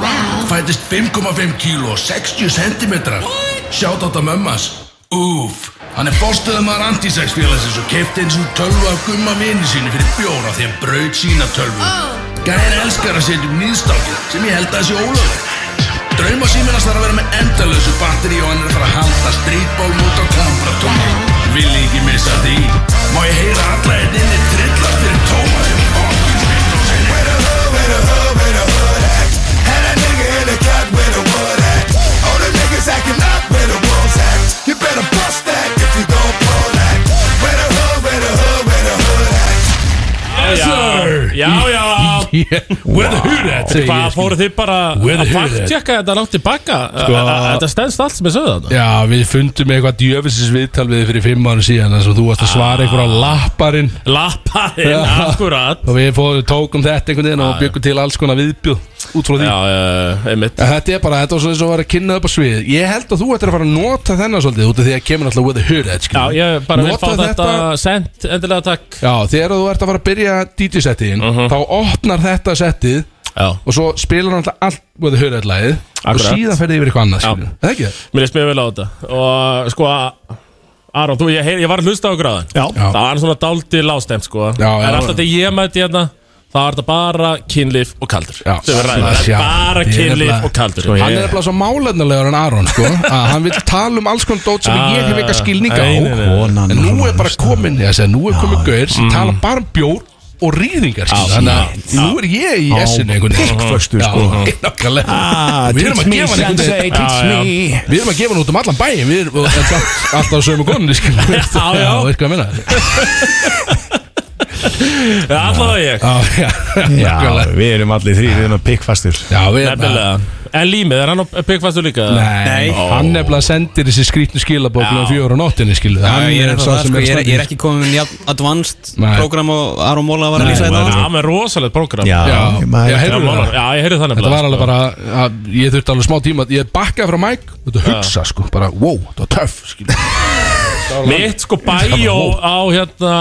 S11: fætist 5,5 kíló 60 sentimetrar sjátt á mömmas Úf, hann er fórstöðumar antisex félagsins og kefti eins og tölvu af gumma vini sínu fyrir bjóra því hann braut sína tölvu. Gæðir elskar að setja um nýðstákið sem ég held að sé ólöflegt. Drauma síminast þarf að vera með endalösu batteri og hann er að fara að halda streetball út á kampratóni. Vil ekki missa því. Má ég heyra alla hérna inni trillast fyrir tómaði og okkur sveit og sinni. Where the hood, where the hood, where the hood at? Had a nigga in the cut where the wood at? All the niggas acting up where the wolves at? You better bust that if you don't pull that. Where the hood, where the hood, where the hood at?
S15: Yes, sir. Já, já
S11: Where the hood at? segi
S15: Hvað
S11: ég, sko.
S15: fóru þið bara
S2: Where the
S15: að
S2: hood at?
S15: fakttjekka þetta langt tilbaka
S2: Sko-
S15: Þetta stendst allt sem ég sögðu þarna
S2: Já, við fundum eitthvað djöfisins viðtal við þig fyrir fimm ára síðan þar sem þú varst að svara einhverja lapparinn
S15: Lapparinn,
S2: Já.
S15: akkurat
S2: og við fóðum, tókum þetta einhvern veginn og byggum til alls konar viðbjóð út frá því
S15: Já, já, einmitt
S2: En Þetta er bara, þetta var svona eins og var að kynna upp á svið Ég held að þú ættir að fara að nota þennan svolítið út af því að kemur alltaf with the hood edge
S15: Já, ég bara vil fá
S2: Nota
S15: þetta sent Endilega takk
S2: Já, þegar þú ert að fara að byrja DJ-settiðin Þá opnar þetta settið
S15: Mhm. Já.
S2: Og svo spilar hann alltaf allt With the hood edge lagið
S15: Akkurat.
S2: síðan ferði yfir eitthvað annað,
S15: Já.
S2: skilur Það ekki það?
S15: Mér leist mjög vel á þetta Og sko Aron, þú, ég, heyr, ég var að hlusta á gráðan
S4: Já.
S15: Það var svona dálítið lástemt sko
S2: Já, já.
S15: En alltaf þegar ég mæti hérna Það var þetta bara kynlif og kaldur
S2: Já.
S15: Sem við ræðum.
S2: Það
S15: Það
S2: sjá.
S15: er
S2: Ég
S15: Bara
S2: er
S15: kynlif
S2: nefnilega-
S15: og kaldur
S2: Sko, Hann er nefnilega svo málefnilegur en Aron sko, að hann vil tala um alls konar dót sem
S15: Já,
S2: ég hef eitthvað
S15: já.
S2: skilning á
S15: Nei, nei, nei.
S2: en nú er bara komin ég segi, nú er komin gaur sem tala bara um bjór og rýðingar
S11: Ah,
S2: sko,
S4: Já,
S2: þannig að
S4: já.
S2: nú er ég í
S4: Á,
S2: essinu einhvern veginn.
S4: dikkföstu,
S2: Já,
S4: sko.
S2: nákvæmlega.
S4: Ah,
S2: Og við erum
S4: teach
S2: að
S4: me,
S2: gefa hann einhvern
S4: sensei,
S2: veginn-
S4: teach
S2: Já, já.
S4: me.
S2: við erum að gefa hann út um allan bæin við erum og- en samt alltaf sömu konunni skilur við.
S15: Já, já.
S2: Já, veist hvað ég meina?
S15: Já, allavega ég
S2: Já, já,
S4: Já, við erum allir þrý, við erum að pikkfastur
S2: Já, við erum að
S15: Nefnilega En límið, er hann á byggfastu líka?
S2: Nei, hann nefnilega sendir þessi skrýtnu skilabók um fjóra á nóttinni skilur
S10: Já, ég er,
S2: sá
S10: það,
S2: sem
S10: sko, ég, er,
S2: staddur.
S10: ég er ekki komin með jafn advanced
S2: Nei.
S10: program og Aron Móla var að
S15: Nei,
S10: lýsa þetta
S15: maður-
S10: áðan.
S15: Já, með rosalegt program
S10: Já,
S2: Já,
S10: maður-
S2: já, heyrðu
S15: Já,
S2: það
S15: já, ég heyrði það
S2: Þetta
S15: nefnilega,
S2: var alveg
S15: sko.
S2: bara, að, ég þurfti alveg smá tíma Ég bakkaði frá Mike, þetta hugsa sko Bara, wow, þetta var töff skilur.
S15: Mitt sko bæjó á hérna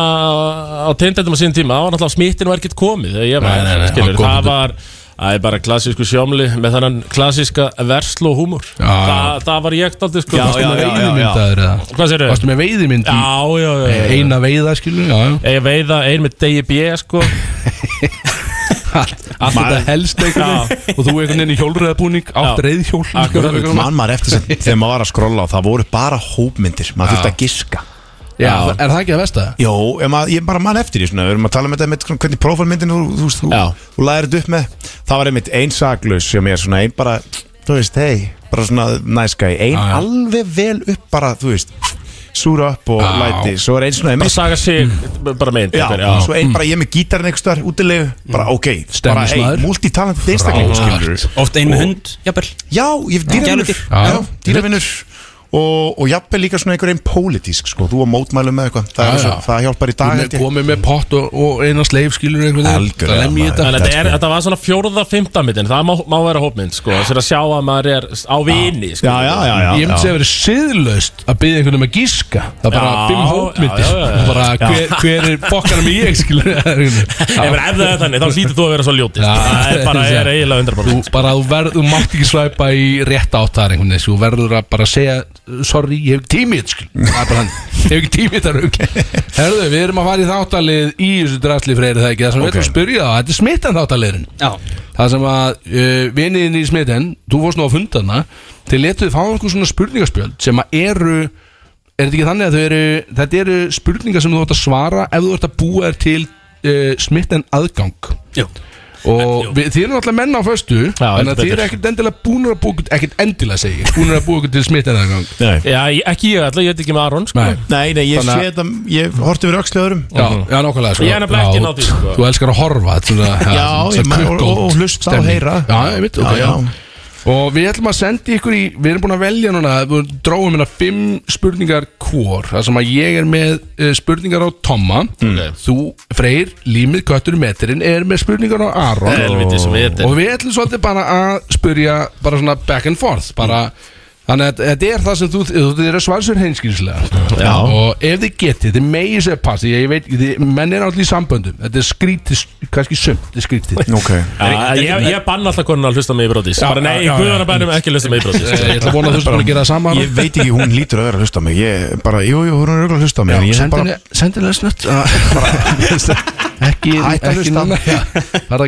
S15: á tindendum á sín tíma, það var náttúrulega smittin var ekkert komið þegar ég var,
S2: Nei, nei, nei,
S15: skilur,
S2: hann kom
S15: það
S2: út.
S15: var Það er bara klassísku sjómli með þannan klassíska verslu og húmor það, það var ég aldrei sko
S2: Varstu með veiðimyndaður eða?
S15: Hvað sérðu?
S2: Varstu með veiðimynd í
S15: Já, já, já, já.
S2: Eina veiða, skilur, já, já
S15: Ég veiða ein með DIB sko
S2: Allt þetta helst einhvern veginn Og þú einhvern veginn í hjólröðabúning Átt
S4: Já.
S2: reyðhjól sko.
S4: Akkurat, mann maður eftir sem þegar maður var að skrolla og það voru bara hópmyndir, maður
S2: Já.
S4: þurfti að giska
S2: Já, er það ekki að versta?
S4: Jó, ég, maður, ég bara mann eftir því svona, við erum að tala um þetta með hvernig prófálmyndin þú, þú, veist, þú, þú læðir þetta upp með það var einmitt ein saklaus sem ég svona ein bara, þú veist, hei, bara svona næskæ, ein
S15: Já, já.
S4: alveg vel upp bara, þú veist, súra upp og læti, svo er ein svona
S15: Bara
S4: einmitt
S15: saga sig, bara mynd
S4: Já,
S15: einhver,
S4: svo einn bara ég með gítarinn einhvers staðar útilegu bara ok, bara hey,
S15: Stemmismaður.
S4: multitalent einstakling skilur
S10: Oft ein með hund, jafnvel
S4: Já, ég
S10: Já.
S4: dýravinnur
S10: Gæludýr.
S4: Já,
S10: Já.
S4: dýravinnur Og, og jafnvel líka svona einhver einn pólitísk sko, þú að mótmælu með eitthvað það, er
S2: Já,
S4: svo,
S2: já.
S4: það hjálpar í dag held ég.
S2: Komið með pott og, og eina sleif, skilur einhvern veginn Það lemmi ég
S15: En þetta, er,
S2: þetta
S15: þetta var svona fjórða, fymta myndin Það má, má vera hópmynd, sko Sér að sjá að maður er á vini sko.
S2: Ég myndi segja að verið siðlaust að byggja einhvern um að gíska Það er bara
S15: Já,
S2: fimm
S15: já,
S2: hópmyndir
S15: já, já.
S2: Og bara
S15: Já.
S2: hver, hver er bokkanum í ég skilur
S15: Ef það er það þannig, þá hlýtur þú að vera svo ljótist Það er bara, er eiginlega undrarbara
S2: Þú bara, þú verður, þú mátt ekki svæpa í rétt áttar einhvern veginn, þú verður að bara segja sorry, ég hef ekki tímið, skil Það er bara hann, ég hef ekki tímið þar auk Herðu, við erum að fara í þáttalið í þessu drastli freyri það ekki, það sem við
S4: Ok.
S2: ætlum að spyrja þá, þetta er smittan þáttaliðurinn
S10: Já
S2: Það sem að uh, viniðin í smittan, þú fórst nú á fundana þeir letuðu fá einhver svona spurningaspjöld sem að eru er þetta ekki þannig að þau eru, þetta eru spurningar sem þú ætti að svara ef þú ert að búa þér til uh, smittan aðgang
S10: Jú.
S2: og við, þið eru náttúrulega menna á föstu þannig að
S15: heldur
S2: þið eru
S15: betur.
S2: ekkert endilega búnir að búa ykkur- ekkert endilega segi, ég, búnir að búa ykkur til smittan aðgang
S15: Já, ég- ekki ég alltaf, ég veit ekki með Aron, sko
S2: Nei.
S4: Nei, nei, ég
S2: Þannig að-
S4: sé þetta ég horti verið öxlu öðrum
S2: Já, já, nákvæmlega sko.
S15: Ég er nefnilega
S2: Já,
S15: ekki náð því, sko.
S2: Þú elskar að horfa þetta er svona,
S4: Já,
S2: svona
S4: ég meina, og-
S2: kukkótt
S4: og- og hlusta og
S2: stemning.
S4: heyra.
S2: Já, ég veit, ok,
S4: Já,
S2: já,
S4: já.
S2: Og við ætlum að senda ykkur í Við erum búin að velja núna Við dróum hérna fimm spurningar hvor Það sem að ég er með eh, spurningar á Tomma Þú, Freyr, Límið, Köttur, Metrin Er með spurningar á Aron
S15: Helviti sem við þetta
S2: Og við ætlum svolítið bara að spurja Bara svona back and forth Bara Þannig að þetta er það sem þú, þú þið eru svarsur hinskýrslega
S4: Já.
S2: Og ef þið getið, þið megið sér passi Ég veit, þið, menn er allir í samböndum Þetta er skrítið, kannski sumt, þetta er skrítið
S4: Ok
S15: Já, Ég, ég banna alltaf konuna að hlusta mig í brotis Bara nei, guðan að bænum ekki að hlusta mig í brotis
S2: Ég ætla að vona að þú skoðum að gera það sama
S4: Ég veit ekki, hún lítur að vera að hlusta á mig Ég bara, jú, jú, hún er örugglega að hlusta á mig en ég er bara,
S2: Sendilega snutt Ekki,
S4: Hætt að
S2: ekki
S4: hlusta.
S2: núna Bara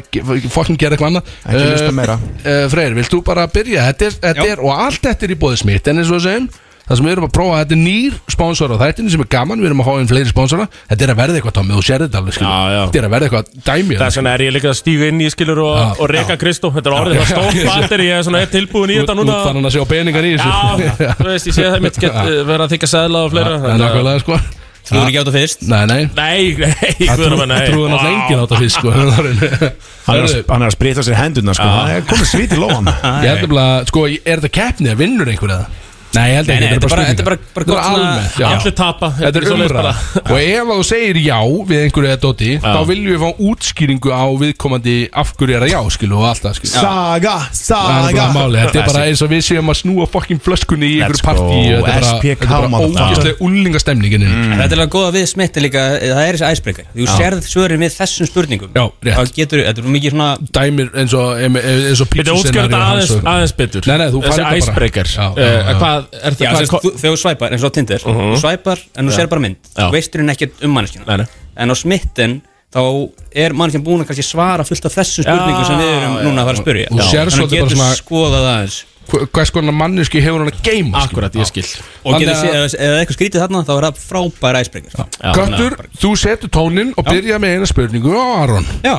S2: fokkin gera eitthvað annað
S4: Ekki hlusta
S2: Eh,
S4: meira.
S2: eh, Freyr, vilt þú bara byrja? Þetta er, þetta er, og allt þetta er í bóði smitt En eins og við segjum, það sem við erum að prófa Þetta er nýr sponsor á þættinu sem er gaman Við erum að háa inn fleiri sponsora Þetta er að verða eitthvað, Tommi, þú sér þetta alveg skilur.
S15: Já, já.
S2: Þetta er að verða eitthvað dæmi
S15: Þess vegna er ég líka að stíga inn í skilur og,
S2: Já,
S15: og reka Kristó Þetta er orðið
S2: Já,
S15: það
S2: já,
S15: stór
S2: já.
S15: batteri Ég er svona tilbúin í þetta
S2: Þú
S15: núna
S2: ert fann að sjá peningar í þessu
S15: Já, þú veist, ég sé það mitt get, eh, vera að þykja sæðla og fleira
S2: Það er nákvæmlega sko
S10: Þú er ekki átt að fyrst
S2: Nei, nei
S15: Nei, nei,
S2: Það
S15: guðan að
S2: trú-
S15: bænum
S2: það trúði náttúrulega enginn á þetta fyrst sko
S4: hann, er að,
S2: Hörðu,
S4: hann er að sprita sér hendurna sko. Það er komið svít í lóan
S2: Ég held nefnilega, sko, er þetta keppni að vinnur einhver eða? Nei, ég held
S10: Nei,
S2: ekki,
S10: nei, þetta er bara- þetta er bara- bara
S2: Þetta er
S10: gott svona-
S2: almennt, já.
S15: Allir tapa, þetta
S2: Þetta
S15: er
S2: er
S15: svoleiðis
S2: umræða
S15: bara.
S2: Og ef þú segir já við einhverju eða doti Þá viljum við fá útskýringu á viðkomandi Af hverju er það já, skilu, og allt það, skilu
S4: Saga,
S2: Það er
S4: saga
S2: bara málið, þetta er bara eins og við séum að snúa fokkin flöskunni í
S4: Let's
S2: einhverju partí
S4: go,
S2: Þetta er bara-
S4: SPK
S2: þetta er bara hérna.
S4: motherfucker.
S2: ógæslega úlingastemningin
S10: En þetta er alveg góða við smitt er líka, eh, það er þessi æsbreykar Þú
S2: Já.
S10: sérð svörin við þessum spurningum
S2: Já, rétt
S10: Það getur, þetta er mikið svona
S2: Dæmir eins og, eins og
S10: Þetta útskýrðu þetta aðeins-
S15: aðeins betur
S2: Nei, nei, þú
S10: Þessi
S2: færð þetta bara.
S10: icebreaker. Eh,
S2: Já, já, já.
S10: Já, sem sagt, þú- Þegar þú svæpar, eins og á Tinder Þú svæpar en þú
S2: Já.
S10: sér bara mynd
S2: Já.
S10: Þú veistur henni ekkert um manneskjana En á smitten þá er manneskjan búin að kannski svara fullt af þessum spurningum sem við erum núna að fara að spyrja
S2: Þú sér
S10: Þannig að
S2: svolítið bara
S10: getur
S2: svona
S10: skoðað aðeins
S2: Hvers konar manneski hefur hann að geima Akkurat, ég skil
S10: Og getur séð, ef ef eitthvað skrítið þarna þá er það frábær æsbreykar
S2: Köttur, þú setur tóninn og byrja með eina spurningu á Aron
S10: Já,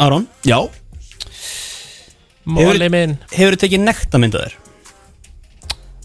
S10: Aron
S2: Já
S10: Móli minn Hefur þið tekið nekta myndaðir?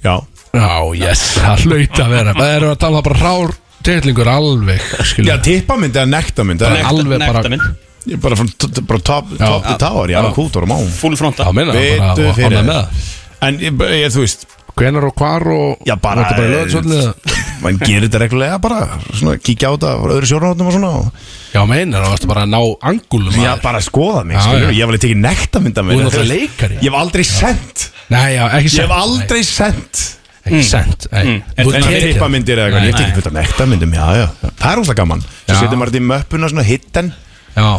S4: Já
S2: Já, yes, það hlaut að vera Það erum við að tala bara rár titlingur alveg skilur.
S4: Já, tippamynd eða nektamynd
S2: Bara Nekta- alveg bara- nektamynd.
S4: Ég er bara frá t- t- bara top
S2: Já.
S4: top to tower, já,
S2: Já.
S4: kútur og má
S10: Full fronta
S2: Já, meina það bara,
S4: Vittu
S2: og
S4: fyrir
S2: ánægð með
S4: það En ég, ég, þú veist
S2: Hvenar og hvar og
S4: Já, bara
S2: Var þetta bara í Laugardalshöllinni eða?
S4: Man gerir þetta reglulega bara Svona, kíkja á þetta frá öðru sjórnáttum og svona
S2: Já, meina, þá varstu bara að ná angulum
S4: Já, bara að skoða mig,
S2: Já,
S4: skilur
S2: já.
S4: Ég hef alveg tekið nektamynd af
S2: Þú
S4: mér
S2: er náttúrulega
S4: Þú veist,
S2: leikari.
S4: Ég hef aldrei sendt
S2: Nei, já, ekki
S4: Ég
S2: sent
S4: hef aldrei sendt
S2: Ekki sent, nei.
S4: Mm.
S2: Þú
S4: En
S2: ert
S4: það
S2: ekki-
S4: tippa myndir eða eitthvað,
S2: Nei.
S4: ég tekið fullt af nektamyndum, já, já Það er óslega gaman Svo
S10: Já.
S4: setjum maður þetta í möppuna, svona hidden
S2: Já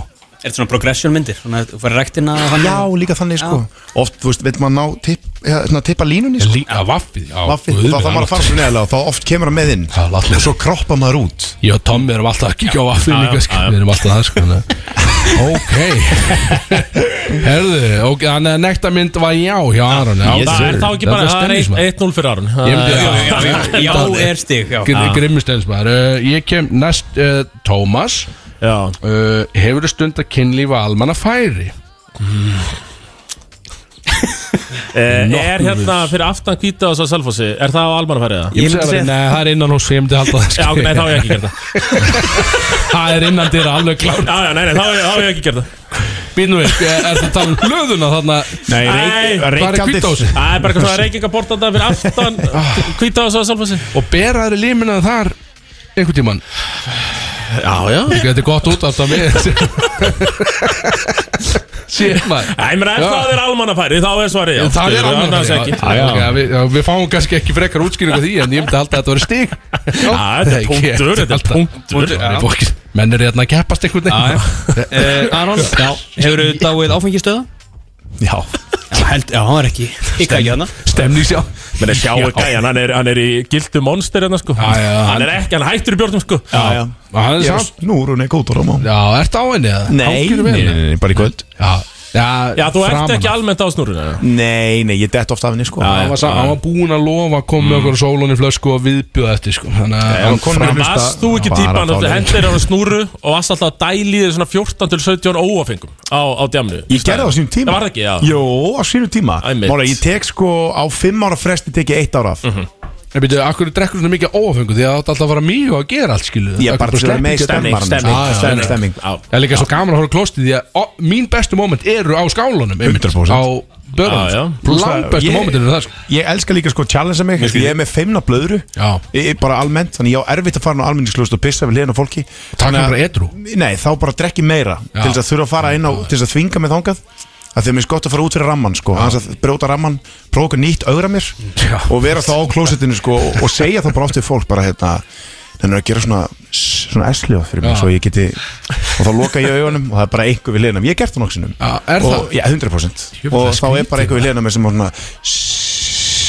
S10: Er þetta svona progression myndir? Svona þú farið rektina og hann
S4: Já, líka þannig sko Oft, þú veist, vil maður ná tipp, ja, svona, tippa línunni sko.
S2: Líka vaffið, já
S4: Vaffið,
S2: guð
S4: og þá
S2: minn
S4: þarf maður að fara
S2: almáttugur.
S4: svo neðalega og þá oft kemur hann með inn
S2: Já, látlega.
S4: Og svo kroppa maður út
S2: Ég og Tommi erum alltaf að kíkja á vaffið
S4: Já, já,
S2: líka sko.
S4: já, já.
S2: Við erum alltaf það sko þannig að- Ok Herðu, ok, þannig að nekta mynd var já hjá Aron já,
S15: Það er þá ekki bara, það er
S2: stemningsmaður.
S15: 1-0 fyrir Aron
S2: Ég myndi-
S15: Það er-
S2: já, já, já, já,
S10: er stig, já.
S2: Gr-
S15: Já.
S2: Grimmistensmaður uh, Ég kem næst uh, Tómas
S4: uh,
S2: Hefur þú stund að kynlífa almanna færi?
S15: Eh, Er
S2: Nokkuð
S15: hérna
S2: viss.
S15: fyrir aftan hvita og svo selfossi Er það á almannafærið?
S2: Ég myndi segja Nei, það er innan hús, ég myndi halda það
S15: Já, ok, nei, þá hef ég ekki gert
S2: það Það er innan dyra alveg klár
S15: Já, já, nei, nei, þá hef ég- þá hef ég ekki gert það
S2: Býnum við, er þetta tala um hlöðuna þarna
S4: Nei,
S2: Hvað er kvítdósi?
S15: Það er bara eitthvað svona reykingaportanda fyrir aftan Hvita og svo selfossi
S2: Og beraður límina þar einhvern tíman
S15: Já, já
S2: Þetta er gott út af það mér Sér maður
S15: Æ, menn, ef
S2: Já.
S15: það er almannafærið, þá er svarið já
S2: Það er
S15: Skilur,
S2: annan
S15: annars ekki.
S2: okay, við, já, við fáum kannski ekki frekar útskýringu á því En ég myndi alltaf að þetta var stig Já,
S15: þetta er punktur, þetta er punktur.
S2: punktur já. Fólk- Menn er hérna að keppast einhvern veginn
S10: Eh, Aron, já, hefur þú dáið áfengistöða?
S4: Já
S10: Já, held, já, hann var ekki Hikka ekki hana
S2: Stemning sjá
S15: Menn, er sjáu
S10: Já.
S15: gæjan, hann er, hann er í gildu monster hérna, sko
S2: já,
S15: Hann
S2: hann-
S15: er ekki, hann hættur í bjórnum, sko
S4: Já, já
S2: Hann er
S4: Ég er
S2: samt
S4: snúr og neik út og ráma
S2: Já, ertu á henni eða?
S4: Nei,
S2: Hangirðu
S4: nei,
S2: með
S4: nei,
S2: henni?
S4: nei, bara í kvöld
S2: Já, já,
S15: Já, þú ert
S2: framan
S15: ekki
S2: af.
S15: almennt á snúruna
S4: Nei, nei, ég dett oft af henni sko
S2: Hann var, sa- hann var búinn að lofa að
S15: Mm.
S2: koma með okkur sólunni flösku og viðbjóða eftir sko Þannig að hann kom
S15: Þannig varst þú ekki típan Þú hendir á snúru og varst alltaf að dæli þig svona 14-17 óafengum á, á djamnu
S4: Ég gerði það á sínum tíma
S15: Það var það ekki, já
S4: Jó, á sínum tíma
S15: Einmitt.
S4: Mála, ég tek sko á fimm ára fresti tek ég eitt ára af
S2: Mhm. Nei, býtu, akkur drekkur svona mikið óafengu Því að það átt alltaf að fara mjög að gera allt skilu
S4: Ég er bara til að með stemmar
S2: sko.
S4: Stemming, stemming
S2: Það er líka svo gaman að horfa á klostið Því að ó, mín bestu moment eru á skálunum einmitt,
S4: 100%.
S2: Á börunum Langt bestu momentin eru það sko.
S4: Ég elska líka sko að challengea mig
S2: Mér skil-
S4: Ég er með feimna blöðru
S2: Já.
S4: Ég er bara almennt Þannig ég á erfitt að fara á almenningslust og pissa við liðan á fólki Þannig að-
S2: bara edrú?
S4: Nei, þá bara drekki meira
S2: Já.
S4: Til þess að þurfa að fara inn á Til þess að þvinga mig þangað að því að mér er gott að fara út fyrir ramman sko, hans að brjóta ramman, prófa okkur nýtt augra mér og vera þá á klósettinu sko, og- og segja þá bara oft við fólk bara hérna þannig að gera svona, svona esljóð fyrir mig
S2: Já.
S4: svo ég geti, og þá loka ég augunum og það er bara einhver við liðanum, ég hef gert það nokkusinum
S2: er
S4: og,
S2: það?
S4: Já, 100%
S2: Jöfnlega
S4: og þá er
S2: skrítið,
S4: bara einhver við liðanum sem er svona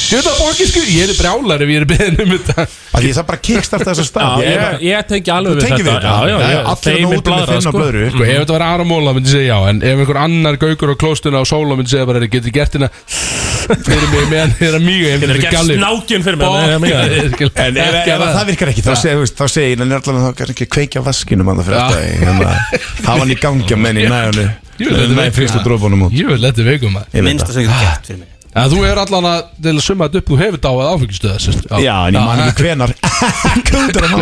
S2: Þetta bókið sko Ég er brjálar ef ég er beðin um þetta
S4: að því það bara kickstarta þess að stað
S15: Já, ég, ég tengi alveg
S4: Þú
S15: við
S4: tengir
S15: þetta
S4: við þetta?
S15: Já, já, já,
S4: Já, já, allir þarna úti með
S15: blaðra,
S4: finna blöðru.
S2: Sko, ef þetta var Aron Móla myndi ég segja já En ef einhver annar gaukur á klóstuna á sóla myndi segja bara Getur gert hérna Fyrir mig meðan þeirra mjög
S15: Getur gert snákinn fyrir mig, meðan þið er mjög.
S4: En ef, ef að það virkar ekki, þá segir veist, þá segir ég en allan að þá kannski ekki kveikja á vaskinum að það
S2: Já.
S4: fyrir þetta í- hérna, hafa hann í gangi á menni í næjónu
S2: Jú, þetta er
S4: Næ
S2: veikum.
S4: fyrstu drópunum út
S2: Jú, þetta er veikum
S4: Ég veit Minnsta það. sem
S10: þú getur gert fyrir mig
S2: En þú er allan að Til að summa þetta upp Þú hefur dáið áfengistöða sérst.
S4: Já, en ég man ekki hvenar Kútur að má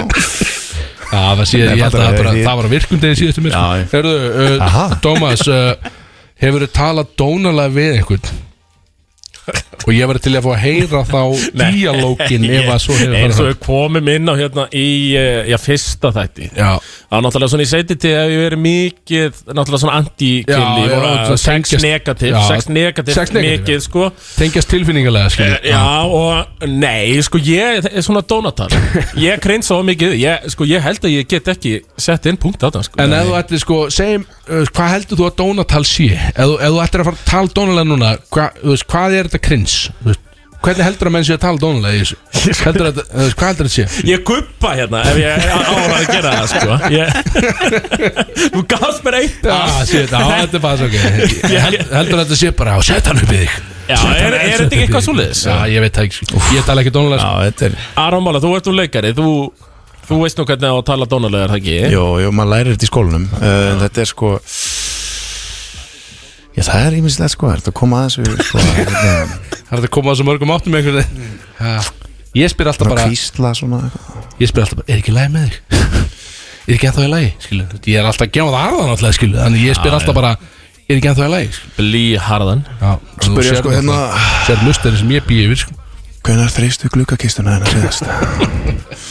S2: Já, það sé,
S4: Nei,
S2: ég held að
S4: fattar
S2: það
S4: það,
S2: bara,
S4: ég-
S2: það var að virkundegi síðustu mér
S4: Já, já.
S2: Herðu, uh,
S4: Aha.
S2: Dómas uh, Hefur þið talað dónalega við einhvern? Og ég verði til að fá að heyra þá díalógin ef að svo hefur
S15: eins og við
S2: farið
S15: komum inn á hérna í eh, já, fyrsta þætti
S2: Já.
S15: það er náttúrulega svona í seti til að við verið mikið náttúrulega svona
S2: Já, já,
S15: anti-killi
S2: svona
S15: sex
S2: tengjast-
S15: negativ
S2: já,
S15: sex negativ
S2: sex negativ,
S15: mikið sko
S2: Tengjast tilfinningalega skilur
S15: Já og nei sko ég það er svona donatar ég kreins svo mikið ég, sko ég held að ég get ekki sett inn punkt á það sko
S2: En ef þú ættir sko, segjum, uh, hvað heldur þú að Dónatal sé? Ef þú- ef þú ættir að fara að tala Dónalega núna, hva, þú veist, hvað er þetta krins? Þú veist, Hvernig heldur að menn sé að tala Dónalega í þessu? Heldur að, þú veist, hvað heldur þetta sé?
S15: Ég guppa hérna ef ég ára að gera það sko ég, Þú gafst mér eitt
S2: Ah, shit, á, þetta er bara svo ok Ég held, heldur að þetta sé bara á, set hann upp í þig
S15: Já,
S2: Set
S15: er-
S2: hann-
S15: er
S2: set
S15: þetta
S2: hann upp
S15: ekki
S2: í
S15: eitthvað
S2: þig.
S15: svoleiðis?
S2: Já, ég veit það ekki, sko. ég tala ekki Dónalega
S15: Já, þetta er Aron Mála, þú ert úr leikari Þú, þú veist nú hvernig á að tala dónalega, er það ekki?
S4: Eh? Jó, jó, maður lærir þetta í skólanum uh, en Þetta er sko Já, það er íminslega sko Það er að koma aðeins við sko, hérna,
S2: Það er þetta að koma á þessu mörgum áttum einhvern veginn Já. Ég spyr alltaf
S4: Bara
S2: bara
S4: kvísla svona
S2: Ég spyr alltaf bara, er ekki læg með þig? Er ekki ennþá í lagi? Skilu, ég er alltaf að gefa það aðan alltaf skilu Þannig ég spyr
S15: Já,
S2: alltaf
S15: já.
S2: bara, er ekki ennþá í lagi? Skilu.
S15: Blí harðan
S2: Já,
S4: Spyr ég sko, hérna-
S2: Sér lustarinn sem ég býi yfir sko.
S4: Hvenær þreistu glukkakistuna hennar síðast?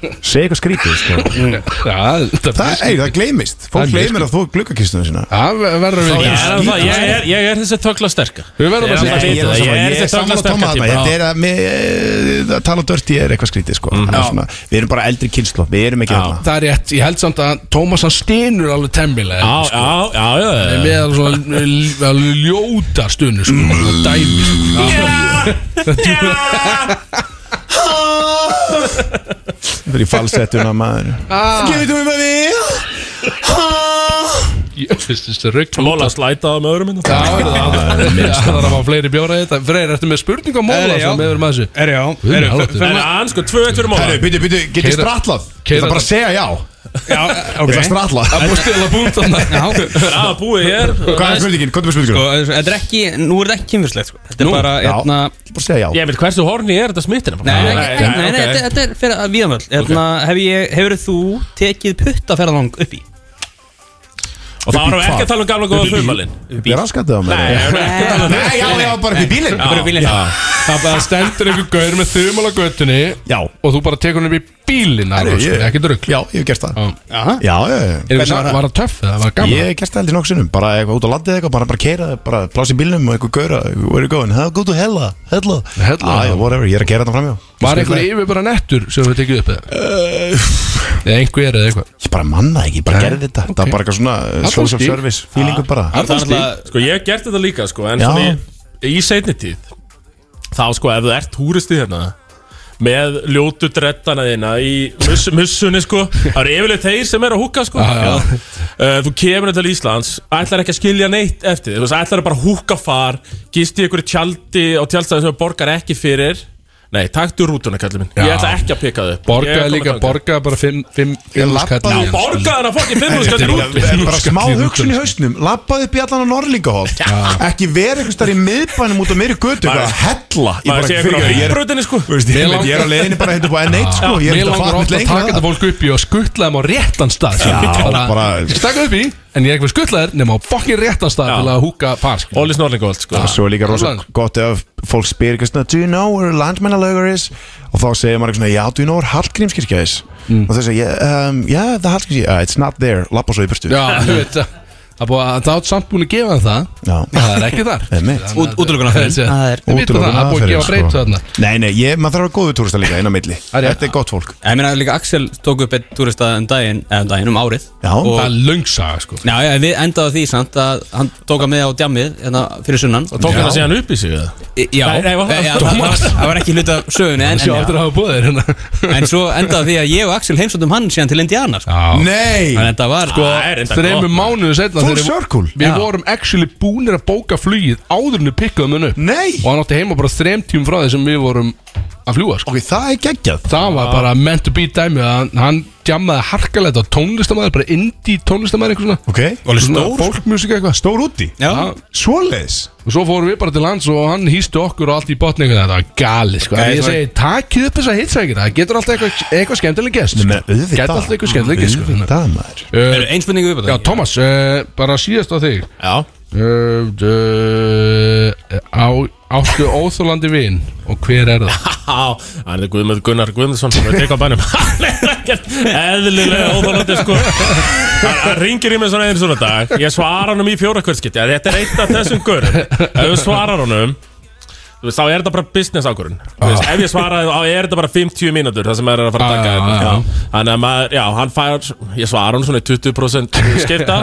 S4: Segð eitthvað skrítið sko
S2: Já, það,
S4: það, ey, það gleymist
S2: Það
S4: Fólk
S2: er
S4: gleymir að þú glukkakistuna sína
S2: Það verður
S15: Ég
S4: ekki
S15: er, það, ég, er, ég er þessi tökla sterka
S2: Við
S4: Ég
S2: verðum
S4: er
S2: að
S4: alltaf-
S2: segja
S4: ég er
S15: Ég
S4: alltaf-
S15: er
S4: ég er
S15: þessi
S4: sammála
S15: tökla
S4: Tóma
S15: sterka
S4: þarna. Þetta er að með- að tala dörti er eitthvað skrítið sko
S15: Mhm.
S4: Það er svona- Við erum bara eldri kynslo Við erum ekki þarna
S2: Það er rétt, ég held samt að Tómas hann stynur alveg temmilega
S15: Já,
S2: sko.
S15: já, já, já, já.
S2: Með alveg svona l- alveg ljóta stunur sko, og dæmi sko.
S4: Það er í falsettuna maður
S2: Give
S4: it to me baby
S2: Ég finnst þessi rögg
S15: Móla slætaði með öðrum
S2: Já, það er að fá fleiri bjóra í þetta Freyr, ertu með spurningu á móla
S4: Herri, já.
S2: sem við erum að þessu?
S4: Er já
S15: En hann sko, tvö eitt fyrir móla
S4: Herru, byrju, byrju, getur
S2: Keyra-
S4: stratlað Ég
S2: keyra-
S4: ætla bara að segja já Já, Ég ætla að stratla
S2: Það búið stila búnt þannig
S15: Já, búið hér
S4: Hvað er spurningin? Hvað er spurningin?
S10: Sko, þetta er ekki, nú er þetta ekki kynfyrslegt sko. Þetta er bara, hérna
S4: Bara segja já
S15: Ég vil hversu horni er þetta smittina
S10: Nei, nei, nei, nei, nei, þetta- þetta er fyrir að viðamöll Hérna, hefur ég, hefur þú tekið puttaferðalang upp í?
S15: Og þá erum við ekki að tala um gamla góða frumalinn
S4: Upp í raskatið á mér
S15: Nei, við erum ekki að tala um
S4: Nei, já, já, bara upp í bílinn.
S15: Já,
S4: Bara upp í bílinn.
S15: já.
S2: Það bara stendur einhver gaur með þumul á göttunni Já Og þú bara tekur hann upp í bílinn
S4: Herru,
S2: Aron, sko,
S4: ég-
S2: Ekki drugg
S4: Já, ég hef gert það
S2: Já
S4: Já, já, já
S2: Er það var það töff eða var það gaman?
S4: Ég hef gert það heldur nokkuð sinnum, bara eitthvað út á landið eitthvað, bara, bara keira, bara plási bílnum og eitthvað gauðra, where you going, huh, go to hella, hella,
S2: Hella.
S4: ah, yeah, whatever, ég er að keira þetta framjá.
S2: Var einhver yfir bara nettur sem við tekið upp eða?
S4: Uh,
S2: Eða einhver eða eitthvað
S4: Ég bara manna ekki, ég bara gerði þetta, það var bara eitthvað svona
S2: Það
S4: uh,
S2: er
S4: social
S2: stíl.
S4: service, feelingu bara.
S15: Það er náttúrulega- Sko ég hef gert þetta líka sko En
S4: Já.
S15: svona í, í seinni tíð Þá sko ef þú ert húristi hérna Með ljótu drettana þína Í mus, mussunni sko Það eru yfirleitt þeir sem eru að húka sko
S2: já.
S15: Uh, Þú kemur til Íslands Ætlar ekki að skilja neitt eftir þig, Þú veist ætlar bara að húka far Gist í einhverju tjaldi og tjaldstæði sem þú borgar ekki fyrir Nei, taktu rútuna kallið minn Ég
S2: Já.
S15: ætla ekki að pika þau
S2: Borgaði líka, borgaði bara fimm- fimm
S15: Já,
S2: fimm-
S15: borgaði hann að fokkin
S4: Þetta er
S15: 500
S4: bara-
S15: rútu
S4: þetta er bara smá hugsun í hausnum Lappaði upp í allan á Norlingaholt Ekki verið einhvers þar í miðbænum út á meiri götu Bara að hella Ég
S15: Maður
S4: bara
S15: sé eitthvað á
S4: fyrirgefðu, ég er-
S15: hringbrautinni, sko.
S4: Þú veist, ég
S2: Mér
S4: veit, ég er á
S2: langar-
S4: leiðinni bara hérna upp á N1 sko Ég
S2: Mér
S4: er ekkert að
S2: langar
S4: fara
S2: ofta að
S4: mitt lengra
S2: taka þetta fólk upp í og skutla þeim á réttan stað
S4: Já,
S2: bara
S4: bara-
S2: Stakka upp í, en ég er ekki að skutla þeir nema á fokkin réttan stað til að húka far sko.
S15: Óli Snorlingold sko
S4: Og svo er líka rosa gott ef fólk spyr ekki svona Do you know where Landmannalaugur is? Og þá segir maður eitthvað svona Já, do you know where Hallgrímskirkja is?
S2: Mm.
S4: Og þau segir "Yeah, um, Yeah, the Hallgrímskirkja uh, It's not there Lappa svo í burtu
S2: Já, þú veit það Það er búið að það átt samt búin að gefa þeim það
S4: Já.
S2: Það er ekki þar
S4: Einmitt. Sko.
S2: Út- útilokunarferðin. Það er- Við vitum það, það er búið að gefa breytu þarna.
S4: Nei, nei, ég, maður þarf að vera góðu túrista líka inn á milli Þetta er gott fólk
S10: Ég meina líka Axel tók upp einn túristað um daginn, eða um daginn, um árið
S4: Já,
S2: Það er löngsaga sko
S10: Já, já, við endaði á því samt að hann tók hann með á djamið hérna fyrir sunnan Og
S15: Tók hann það síðan upp í sig eða?
S10: Já,
S15: Nei, nei, var það-
S10: Eh, já, það var- það var ekki hluta af sögunni en,
S2: Sjá eftir
S10: en,
S2: að hafa búið þeir hérna
S10: já. en svo endaði því að ég og Axel heimsóttum hann síðan til Indiana sko.
S4: Nei
S10: En þetta var
S2: Sko, þreymur mánuðu setna
S4: Full
S2: þegar við-
S4: circle.
S2: Við
S10: Já.
S2: vorum actually búnir að bóka flugið áður en við pikkaðum hennu upp
S4: Nei
S2: Og hann átti heima bara þreym tímum frá því sem við vorum að fljúa sko.
S4: Ok, það er geggjað
S2: Það var bara meant to be dæmi að hann- Hann jammaði harkalegt á tónlistamæður Bara indie tónlistamæður eitthvað svona
S4: Ok
S2: Svona
S4: sko.
S2: Fólkmusika eitthvað
S4: Stór úti
S10: Já.
S4: Svoleiðis
S2: Og svo fórum við bara til lands og hann hýstu okkur og allt í botni eitthvað Það var gali sko
S4: Nei,
S2: Ég
S4: það var-
S2: segi, takið upp þessa hitsækina Það getur alltaf eitthvað eitthvað skemmtileg gest
S4: Nei,
S2: sko.
S4: menn, auðvitað.
S2: Gæti alltaf eitthvað skemmtileg gest sko.
S4: Auðvitað, maður
S2: uh,
S10: Ein spurning við upp
S2: Já, Thomas, uh, bara síðast á þig
S15: Já
S2: uh, uh, Á Áttu óþólandi vin og hver er það?
S15: Já, hann er Guðmund Gunnar Guðmundsson sem er að teka á bænum Hann er ekkert eðlilega óþálandi sko Hann hann ringir í mig svona einu svona dag Ég svara honum í fjóra kvöldskitti Þetta er eitt af þessum görum Ef þú svarar honum Þú veist, þá er þetta bara business ákvörun veist, Ef ég svaraði, þá er þetta bara 50 mínútur Það sem maður er að fara að
S2: já,
S15: taka
S2: já.
S15: hérna, já. Þannig að maður, já, hann fær Ég svara honum svona í 20% skipta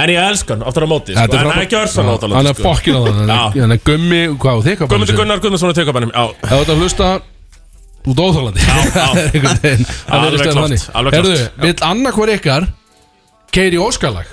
S15: En ég elska hann, oftar á móti
S2: Þetta
S15: sko. En
S2: frábært.
S15: hann er ekki örsan
S2: Já, Hann er fokkin á það
S15: sko. Já.
S2: Hann er gummi, hvað á þig?
S15: Guðmundur Gunnar Guðmundsson er teka á bænum Já,
S2: Ef þú ert að hlusta út óþólandi Það er einhvern veginn Það
S15: Alveg
S2: er stöðan
S15: klárt,
S2: þannig.
S15: alveg klárt.
S2: Herðu,
S15: Já.
S2: vill annarkvar ykkar Keiri Óskalag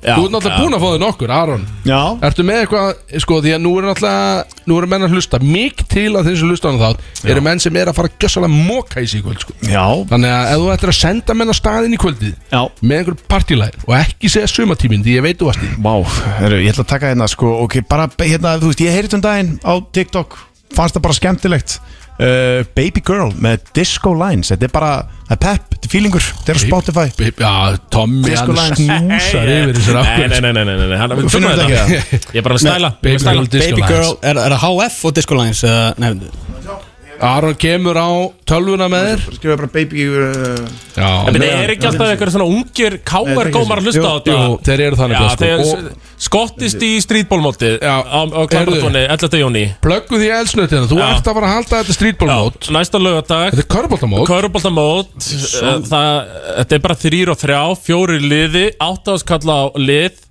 S15: Já,
S2: Þú ert náttúrulega
S15: já.
S2: búin að fá þig nokkur, Aron
S4: Já
S2: Ertu með eitthvað, sko, því að nú eru náttúrulega Nú eru menn að hlusta mikið til að þeir sem hlusta á hana þátt Eru menn sem er að fara að gjössalega móka í sig í kvöld, sko
S4: Já
S2: Þannig að ef þú ættir að senda menn á staðin í kvöldið
S4: Já
S2: Með einhver partílægir og ekki segja sumatíminn Því ég veit þú varst í
S4: Vá, heru, ég ætla að taka hérna sko ok, bara be- hérna, þú veist, ég heyrði um daginn á TikTok, fannst það bara skemmtilegt uh, Baby Girl með Disco Lines, þetta er bara það er pep, þetta er feelingur, þetta er á Spotify
S2: baby, Já, Tommy,
S4: Disco
S2: hann
S4: Lines
S2: snúsar yfir þessar
S15: Nei,
S2: ákvörð
S15: nei, nei, nei, nei, nei, hann-
S4: Þú
S15: við
S4: finnur
S15: tökum
S4: þetta
S15: þetta.
S4: ekki, eða?
S15: Ég er bara að stæla
S2: Baby
S15: Ég er bara að
S2: Girl,
S15: stæla.
S10: Baby Girl, er er það HF og Disco Lines? eða- Nei,
S2: Aron kemur á tölvuna með þér
S4: Skrifa bara baby uh,
S2: Já,
S15: En það er ekki alltaf eitthvað svona ungir
S4: Nei,
S15: káar
S4: þetta er
S15: gómar að
S4: ekki
S15: hlusta á
S4: svo.
S15: þetta
S2: Jú, þeir eru þannig
S15: Já,
S2: sko.
S15: þeir
S2: Og-
S15: skottist í strítbólmóti á á Klambratúni 11. júni
S2: Plöggu því elsnötina, þú
S15: Já.
S2: ert að fara að halda þetta streetballmót
S15: Næsta lögadag
S2: Þetta er körbóltamót
S15: Köruboltamót eh, það- Þetta er bara þrýr og þrjá, fjóri liði Áttaðskalla á lið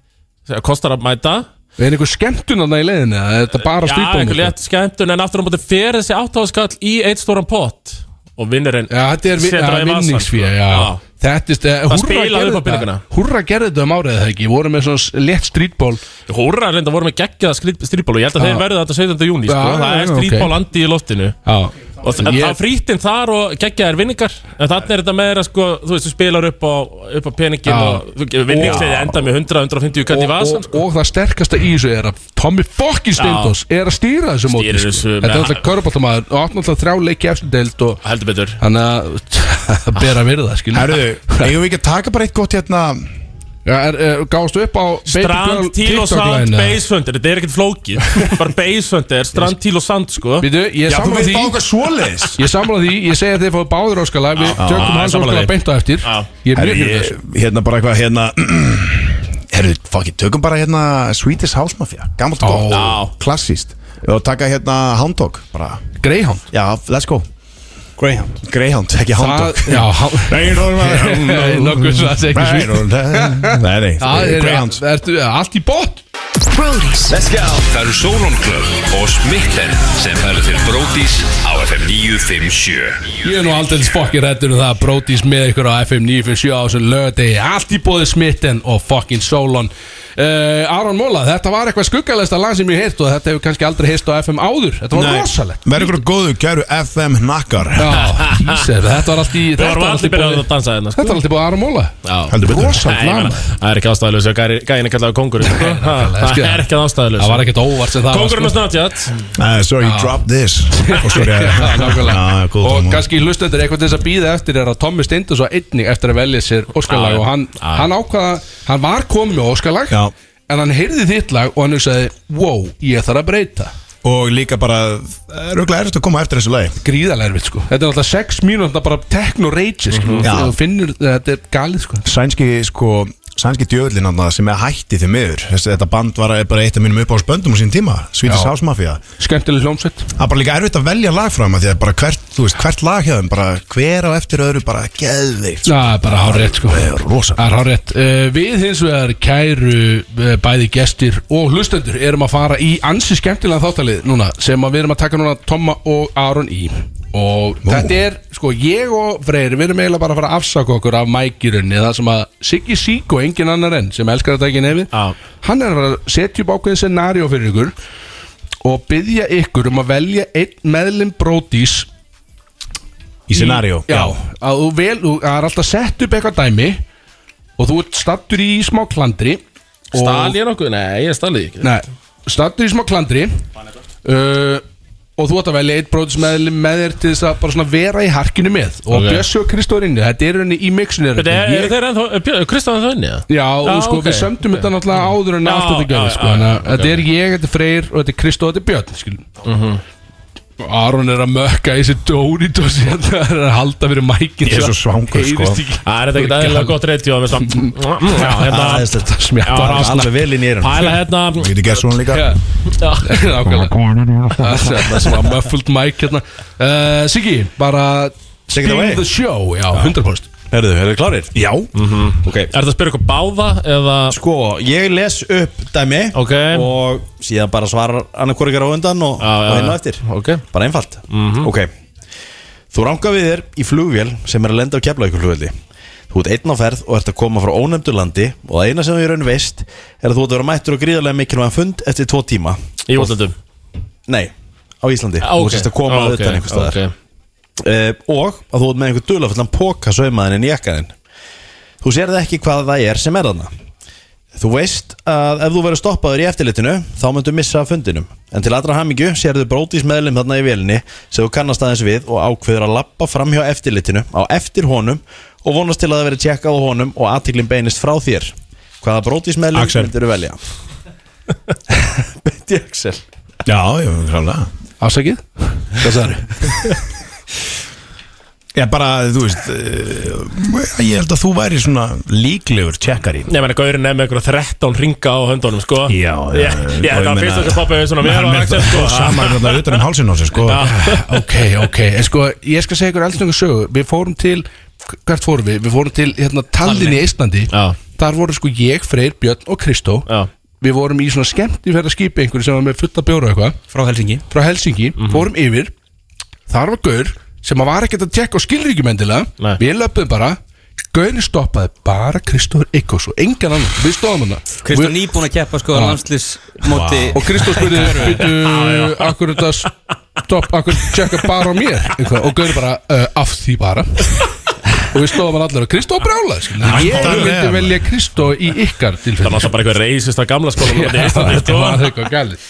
S15: það Kostar að mæta
S2: Er einhver skemmtun þarna í leiðinni? eða Er þetta bara
S15: Já,
S2: streetballmót?
S15: einhver létt skemmtun En aftur á móti fer þessi áttaðskall í eitt stóran pott Og vinnurinn
S2: Já, þetta er vi-
S15: setur það
S2: ja,
S15: í vasann,
S2: vinningsfé
S15: sko.
S2: já. Þetta er eh,
S15: Það
S2: Húrra
S15: spilaði upp á
S2: gerði þetta
S15: peningana.
S2: Húrra gerði þetta um árið eða ekki Voru með svona s- létt streetball
S15: Hóra reynda voru með geggjaða strítból og ég held að
S2: Já.
S15: þeir verðu þetta 17. júni sko.
S2: Já,
S15: það
S2: já,
S15: er
S2: já,
S15: strítból
S2: ok.
S15: andi í loftinu
S2: Já
S15: og það,
S2: Ég-
S15: það frýttinn þar og geggjaðar vinningar en þannig er þetta meira sko, þú veist, þú spilar upp á, upp á peningin
S2: Já.
S15: og vinningsleiði
S2: Og-
S15: enda með 100-150 katt í
S2: og,
S15: sko. vasan
S2: og, og það sterkasta í þessu er að Tommy fucking Stendos er að stýra þessu móti
S15: Stýrir
S2: sko.
S15: þessu
S2: Þetta er
S15: með-
S2: alltaf körbóltamæður og átt náttúrulega þrjá leiki efstirdeild og
S15: heldur betur
S2: Þannig að það ber að virða skilur.
S4: Herru, eigum við ekki að taka bara eitt gott hérna
S2: Já, er, er, Gáðstu upp á Baby Girl
S15: Strand, Tíl
S2: TikTok
S15: og Sand,
S2: line, eða?
S15: Basehunter Þetta er ekkert flókið Bara Basehunter, Strand, Tíl og Sand sko
S2: Býtu, ég er sammála því Ég sammála því, ég segi að þið fáið báður áskala Við
S4: Já,
S2: tökum
S4: já,
S2: hans
S4: sammála
S2: áskala
S4: því.
S2: beint á eftir Ég er
S4: Herru,
S2: mjög fyrir
S4: ég-
S2: þessu
S4: hérna bara eitthvað hérna Herru, fucking, tökum bara hérna Swedish House Mafia, gammalt gott
S15: Já.
S4: Klassíst, og taka hérna Hound Dog bara
S2: Greyhound
S4: Já, let's go
S10: Greyhound
S4: Greyhound, ekki Hound
S2: Það-
S4: Dog
S2: já, há- Nei, nokkuð svo að segja ekki
S4: Greyhound, Nei, nei,
S2: Það er
S4: Greyhound
S2: ertu- Allt í bótt
S16: Let's go Það eru Solon Club og Smitten sem færðu til Brótis á FM 957
S2: Ég er nú aldrei fokkin rættur um það að brótis með ykkur á FM 957 á þessum lögadegi Allt í bóði smitten og fokkin sólon uh, Aron Móla, þetta var eitthvað skuggalegsta lag sem ég heirt og þetta hefur kannski aldrei heist á FM áður Þetta var
S4: Nei.
S2: rosalegt
S4: Verður ykkur góðu, kæru FM nakkar
S2: Já, Ísir, þetta var allt í
S15: Við
S2: Þetta
S15: vorum
S2: var allt
S15: allir
S2: í
S15: byrjað að
S2: bóði
S15: dansa hérna sko
S2: Þetta var allt í bóði Aron Móla
S4: Heldur betur.
S2: Rosalegt
S15: Nei, ég
S2: lag
S15: meina,
S2: maður.
S15: Það er ekki ástæðilegs að gæri- gæinn er kallaður kongur sko. Ha, Það
S2: skilja.
S15: er ekki ástæðilegs
S2: Það var ekkert óvart sem það var,
S15: Kongurinn
S2: sko.
S15: og Snapchat
S4: Uh, sorry, you dropped this Og sorry,
S2: Já,
S4: eh,
S2: nákvæmlega.
S4: já, góð
S2: og
S4: tónmál.
S2: kannski hlustendur eitthvað til þess að býða eftir er að Tommi Steindos var einnig eftir að velja sér
S15: Já,
S2: Óskarlag
S15: já.
S2: og hann,
S15: Já.
S2: hann ákvaða hann var komið með Óskarlag en hann heyrði þitt lag og hann hugsaði wow, ég þarf að breyta
S4: Og líka bara, rauglega erfitt að koma eftir þessu lagi
S2: gríðarlega erfitt sko þetta er náttúrulega 6 mínútur bara techno rage mm
S4: Mhm. Já.
S2: -hmm. finnur þetta er galið sko
S4: Sænski, sko, sænski djöðlinn þarna sem er hætti því miður Þessi, Þetta band var bara eitt af mínum uppáhaldsböndum á sín tíma Svítis
S2: Já.
S4: Hásmafía
S2: skemmtileg hljómsveit
S4: Það er bara líka erfitt að velja lag frá maður Því að bara hvert, þú veist, hvert lag hjá þeim bara Hver á eftir öðru bara geðveikt sko.
S2: Já, bara hárétt sko Það er hárétt uh, Við hins vegar kæru uh, bæði gestir og hlustendur erum að fara í ansi skemmtilega þáttalið núna sem að við erum að taka núna Tomma og Aron í og þetta er, sko, ég og Freyr við erum eiginlega bara að fara að afsaka okkur af mækirunni það sem að Siggi Sík og engin annar enn sem elskar þetta ekki nefið ah. hann er að setja upp ákveðin scenario fyrir ykkur og byggja ykkur um að velja einn meðlum brótís
S4: Í scenario
S2: Já, að þú vel, þú það er alltaf sett upp eitthvað dæmi og þú ert stattur í smá klandri og-
S15: Stal ég nokkuð? Nei, ég stal því ekki
S2: Nei, stattur í smá klandri uh, og þú átt að velja eitt bróðismeðli með þér til þess að bara svona vera í harkinu með og
S15: Ok.
S2: okay. Bjössi og Kristóður inni, þetta er henni í mixinu
S15: Bíddu, er- eru þeir ennþá, Kristján ennþá inni? eða?
S2: Já, og sko,
S15: ok.
S2: við sömdum þetta náttúrulega áður en
S15: Já,
S2: allt þetta
S15: já,
S2: gerði, sko
S15: já,
S2: Þannig
S15: ok.
S2: að þetta er ég, þetta er Freyr og þetta er Kristó og þetta er Björn, skilum
S15: Mhm.
S2: Og Aron er að mökka í þessi Doritos hérna, er að halda fyrir mækinn
S15: Ég er svo
S2: svangur,
S15: sko. Það er þetta ekki aðeinslega gott reytjó Það
S2: Mm, Hm, hérna.
S15: er
S2: Æðislegt, það smjattar alveg vel inn í eyrun.
S15: Pæla hérna
S2: Ég geti gert svona líka. Nákvæmlega Það er það sem var muffled mic hérna uh, Siggi, bara
S3: Take it away.
S2: the show, já, 100%
S3: Herðu, eru þið klárir? Já mm -hmm.
S15: Er þetta að spyrja ykkur báða eða
S3: Sko, ég les upp dæmi
S15: okay.
S3: Og síðan bara svarar annarkvöru ykkar á undan og, og hinn á
S15: Uh,
S3: eftir
S15: okay.
S3: Bara einfalt
S15: Mhm.
S3: Ok Þú rangar við þér í flugvél sem er að lenda á keflavíkur flugvelli Þú ert einn á ferð og ert að koma frá ónefndu landi Og það eina sem þú í raun veist Er að þú ert að vera mættur og gríðarlega mikilvægan fund eftir tvo tíma
S15: Í útlöndum?
S3: Nei, á Íslandi
S15: Ah, ok.
S3: Þú sérst að koma
S15: Ah, ok,
S3: að utan einhvers staðar
S15: ok.
S3: Eh, og að þú ert með einhver dulafullan póka saumaðin inn í jakkaðin þú sér það ekki hvað það er sem er þarna þú veist að ef þú verður stoppaður í eftirlitinu þá myndu missa af fundinum en til allra hamingju sér þau brótis meðlum þarna í vélinni sem þú kannast aðeins við og ákveður að lappa fram hjá eftirlitinu á eftir honum og vonast til að það verði tjekkað á honum og aðtiklinn beinist frá þér hvaða brótis meðlum
S4: Axel.
S3: myndur velja Beinti Axel
S4: Já, já, klálega
S2: Afsakið?
S3: Hvað sagður?
S4: Já, bara, þú veist eh, Ég held að þú væri svona líklegur tjekkari
S15: Nei, menn, gaurin er með einhverja 13 ringa á höndunum, sko
S4: Já, já,
S15: já Já, það var fyrst þess að poppa við svona mér og Axel, sko
S4: Saman hérna utan um hálsinn á sig, sko
S2: Ok, ok, en sko, ég skal segja ykkur alls lengur sögu Við fórum til, hvert fórum við? Við fórum til, hérna, Tallinn í Íslandi
S15: Já.
S2: Þar voru sko ég, Freyr, Björn og Kristó
S15: Já.
S2: Við vorum í svona skemmt í ferða skipi einhverju sem var með fulla bjóra og eitthvað
S10: Frá Helsingi
S2: Frá Helsingi,
S15: Mhm.
S2: fórum yfir Þar var Gaur sem að var ekkert að tekka á skilríkjum endilega
S15: Nei.
S2: Við löpum bara Gaurin stoppaði bara Kristóður Eikos og engan annan, við stóðum hana
S10: Kristó nýbúin að keppa sko
S2: Já.
S10: landslis móti
S2: Ah. Og Kristó spurði
S10: Körfu.
S2: Býtu, akkur þetta Stopp, akkur tjekka bara á mér eitthvað, Og Gauri bara, uh, af því bara Og við stóðum hann allir og Kristó brjála Ég
S15: Væntanlega.
S2: myndi velja Kristó í ykkar tilfelli
S15: Það var alltaf bara einhver reisist að gamla skóla
S2: Já,
S15: sko.
S2: þetta var eitthvað gæli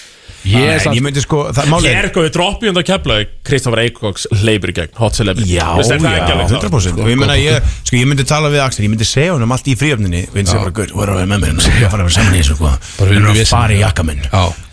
S2: Ég er samt-
S4: sko,
S15: Ég er eitthvað við droppi undan kefla Kristoffer Eikóks leipur í gegn Hot Celebrity
S4: Já,
S15: Þú veist, þetta er
S4: já,
S15: ekki alveg klárt.
S4: 100% Og ég meina, ég, sko, ég myndi tala við Axel Ég myndi segja honum allt í fríöfninni Við myndi segja bara, gaur, þú verður að vera með mér hérna, Við erum að fara að vera saman í þessu, sko
S2: Bara við
S4: Við
S2: erum
S4: erum að
S2: vesen.
S4: fara í jakka minn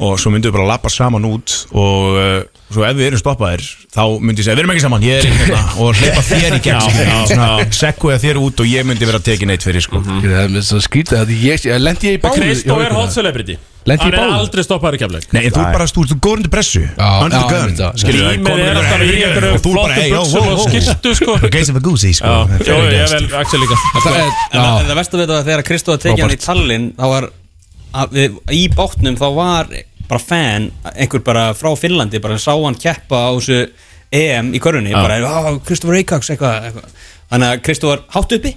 S4: Og svo myndum við bara lappa saman út Og uh, svo ef við erum stoppaðir Þá myndi ég segja, við erum ekki saman, ég er ekki hérna Og hleypa þér í
S15: Já,
S4: gegn
S15: já,
S4: skilur, Svona,
S15: já.
S4: Segguða þér út og ég myndi vera tekin eitt fyrir, sko
S2: Það er með svo skrítið að ég Lendi ég í báðu
S15: Kristó er Hot Celebrity
S4: Lenti í
S15: Hann er
S4: báðu?
S15: aldrei stoppaður í kefla
S4: Nei, en þú er bara, þú ert góður undir pressu Under the
S2: já,
S4: gun,
S2: einmitt, já.
S4: skilur
S15: Límið er alltaf í einhverju
S4: Og þú er bara,
S15: flottu
S4: hey, ó,
S15: buxum
S4: ó,
S15: og
S4: ó
S15: skyrtu, sko
S4: Gaze of a goosey, sko
S15: Jó, ég er vel Axel líka
S10: En það- en það verst að vita að þegar Kristó að tekið hann í tallinn þá var að, við, í bátnum þá var bara fan einhver bara frá Finnlandi bara sá hann keppa á þessu EM í körunni
S15: Já.
S10: bara Kristofur Eikaks eitthvað eitthvað. þannig að Kristó var hátt uppi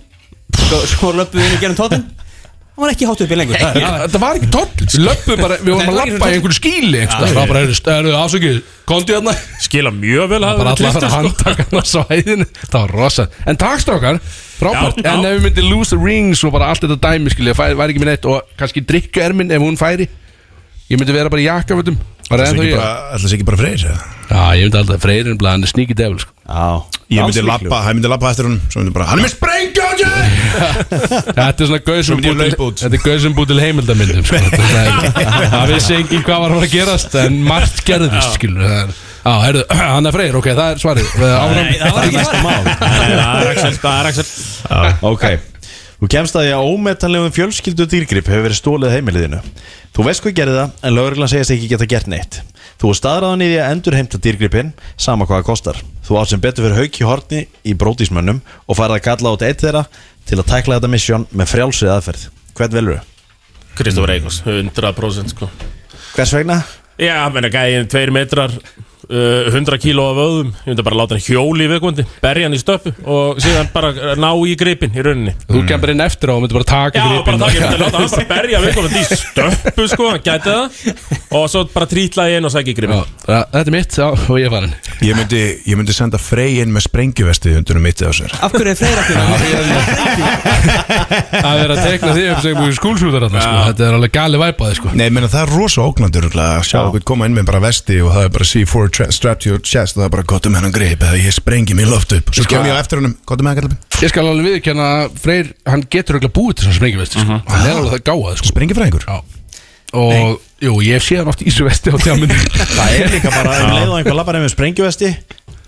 S10: svo, svo löpum við inn í gerum tóttin hann var ekki hátt uppi lengur það er-
S2: Þetta var ekki tóll Við löpum bara, við vorum að lappa í einhverju skíli einhvers staðar. Sko, Það var bara, heyrðu, stærðu afsökið Kondi hérna
S15: Skila mjög vel
S2: Það var alltaf að fara að
S15: sko.
S2: handtaka hann á svæðinu Það var rosa En takstrákar, frábært
S15: Já, já.
S2: En ef við myndi lose the rings og bara allt þetta dæmi skilja Það væri ekki minn eitt og kannski drikka erminn ef hún færi Ég myndi vera bara í jakkafötum Bara
S4: Það
S2: ennþá
S4: er
S2: ég
S4: ekki bara freyr, eða?
S2: Já, ég myndi alltaf freyrin blá, hann er sneaky devil sko.
S4: Ég myndi lappa, hann myndi lappa eftir hún Svo myndi bara, hann er með sprengjóðju
S2: Þetta er svona gauð
S4: Svo
S2: sem
S4: myndi ég
S2: búið
S4: laupa
S2: til- Þetta er gauð sem búið til heimildamindum sko. Þetta er svona- Það vissi enginn hvað var að fara að gerast En margt gerðist skilur það er- Já, heyrðu, hann er freyr, ok, það er svarið Áfram.
S10: Nei, það var ekki svarið.
S15: Það er Axel, það er Axel
S3: Ok Þú kemst að því að ómetanlegum fjölskyldu dýrgrip hefur verið stólið heimiliðinu Þú veist hvað gerði það, en lögreglan segist ekki geta gert neitt Þú er staðræðan í því að endur heimta dýrgripin, sama hvað það kostar Þú átt sem betur fyrir hauk í horni í brótismönnum og farið að galla át eitt þeirra til að tækla þetta misjón með frjálsrið aðferð Hvern velur þau?
S15: Kristofur Eikos, 100% sko
S3: Hvers vegna?
S15: Já, menna gæðin, tveir metrar uh, 100 kíló af öðum Ég myndi bara láta hann hjóli í viðkomandi Berja hann í stöppu og síðan bara uh, ná í gripin í rauninni
S2: Þú kemur inn eftir á og myndi bara taka
S15: Já, bara
S2: gripinn.
S15: takk, ég myndi láta hann bara berja viðkomandi í stöppu sko, hann gæti það og svo bara trítla ég inn og sækja í gripin
S2: Það- Þetta er mitt já, og ég er farin
S4: Ég myndi, ég myndi senda Frey inn með sprengjuvestið undir um mittið á sér
S10: Af hverju er fleira ekki
S2: að vera að tekna því upp sem skúlsúðar þarna, sko. þetta er alveg gali væpaði sko.
S4: Nei, menna það er rosa ógnandur að sjá okkur koma inn með bara vesti og það er bara C4 tra- strapped to your chest og það er bara gott um hennan grip eða ég sprengi mér loft upp Svo kem ég á eftir honum, gott um hennan grip
S2: Ég skal alveg viðkjanna Freyr, hann getur auðvitað búið til þess að sprengi sko.
S4: Mhm.
S2: Hann er alveg það gáðað sko.
S4: Springifræðingur?
S2: Já Og, jú, ég hef séð hann oft í þessu vesti á tjámyndi
S3: Það er líka bara um leið og einhver lappar nefnir sprengjuvesti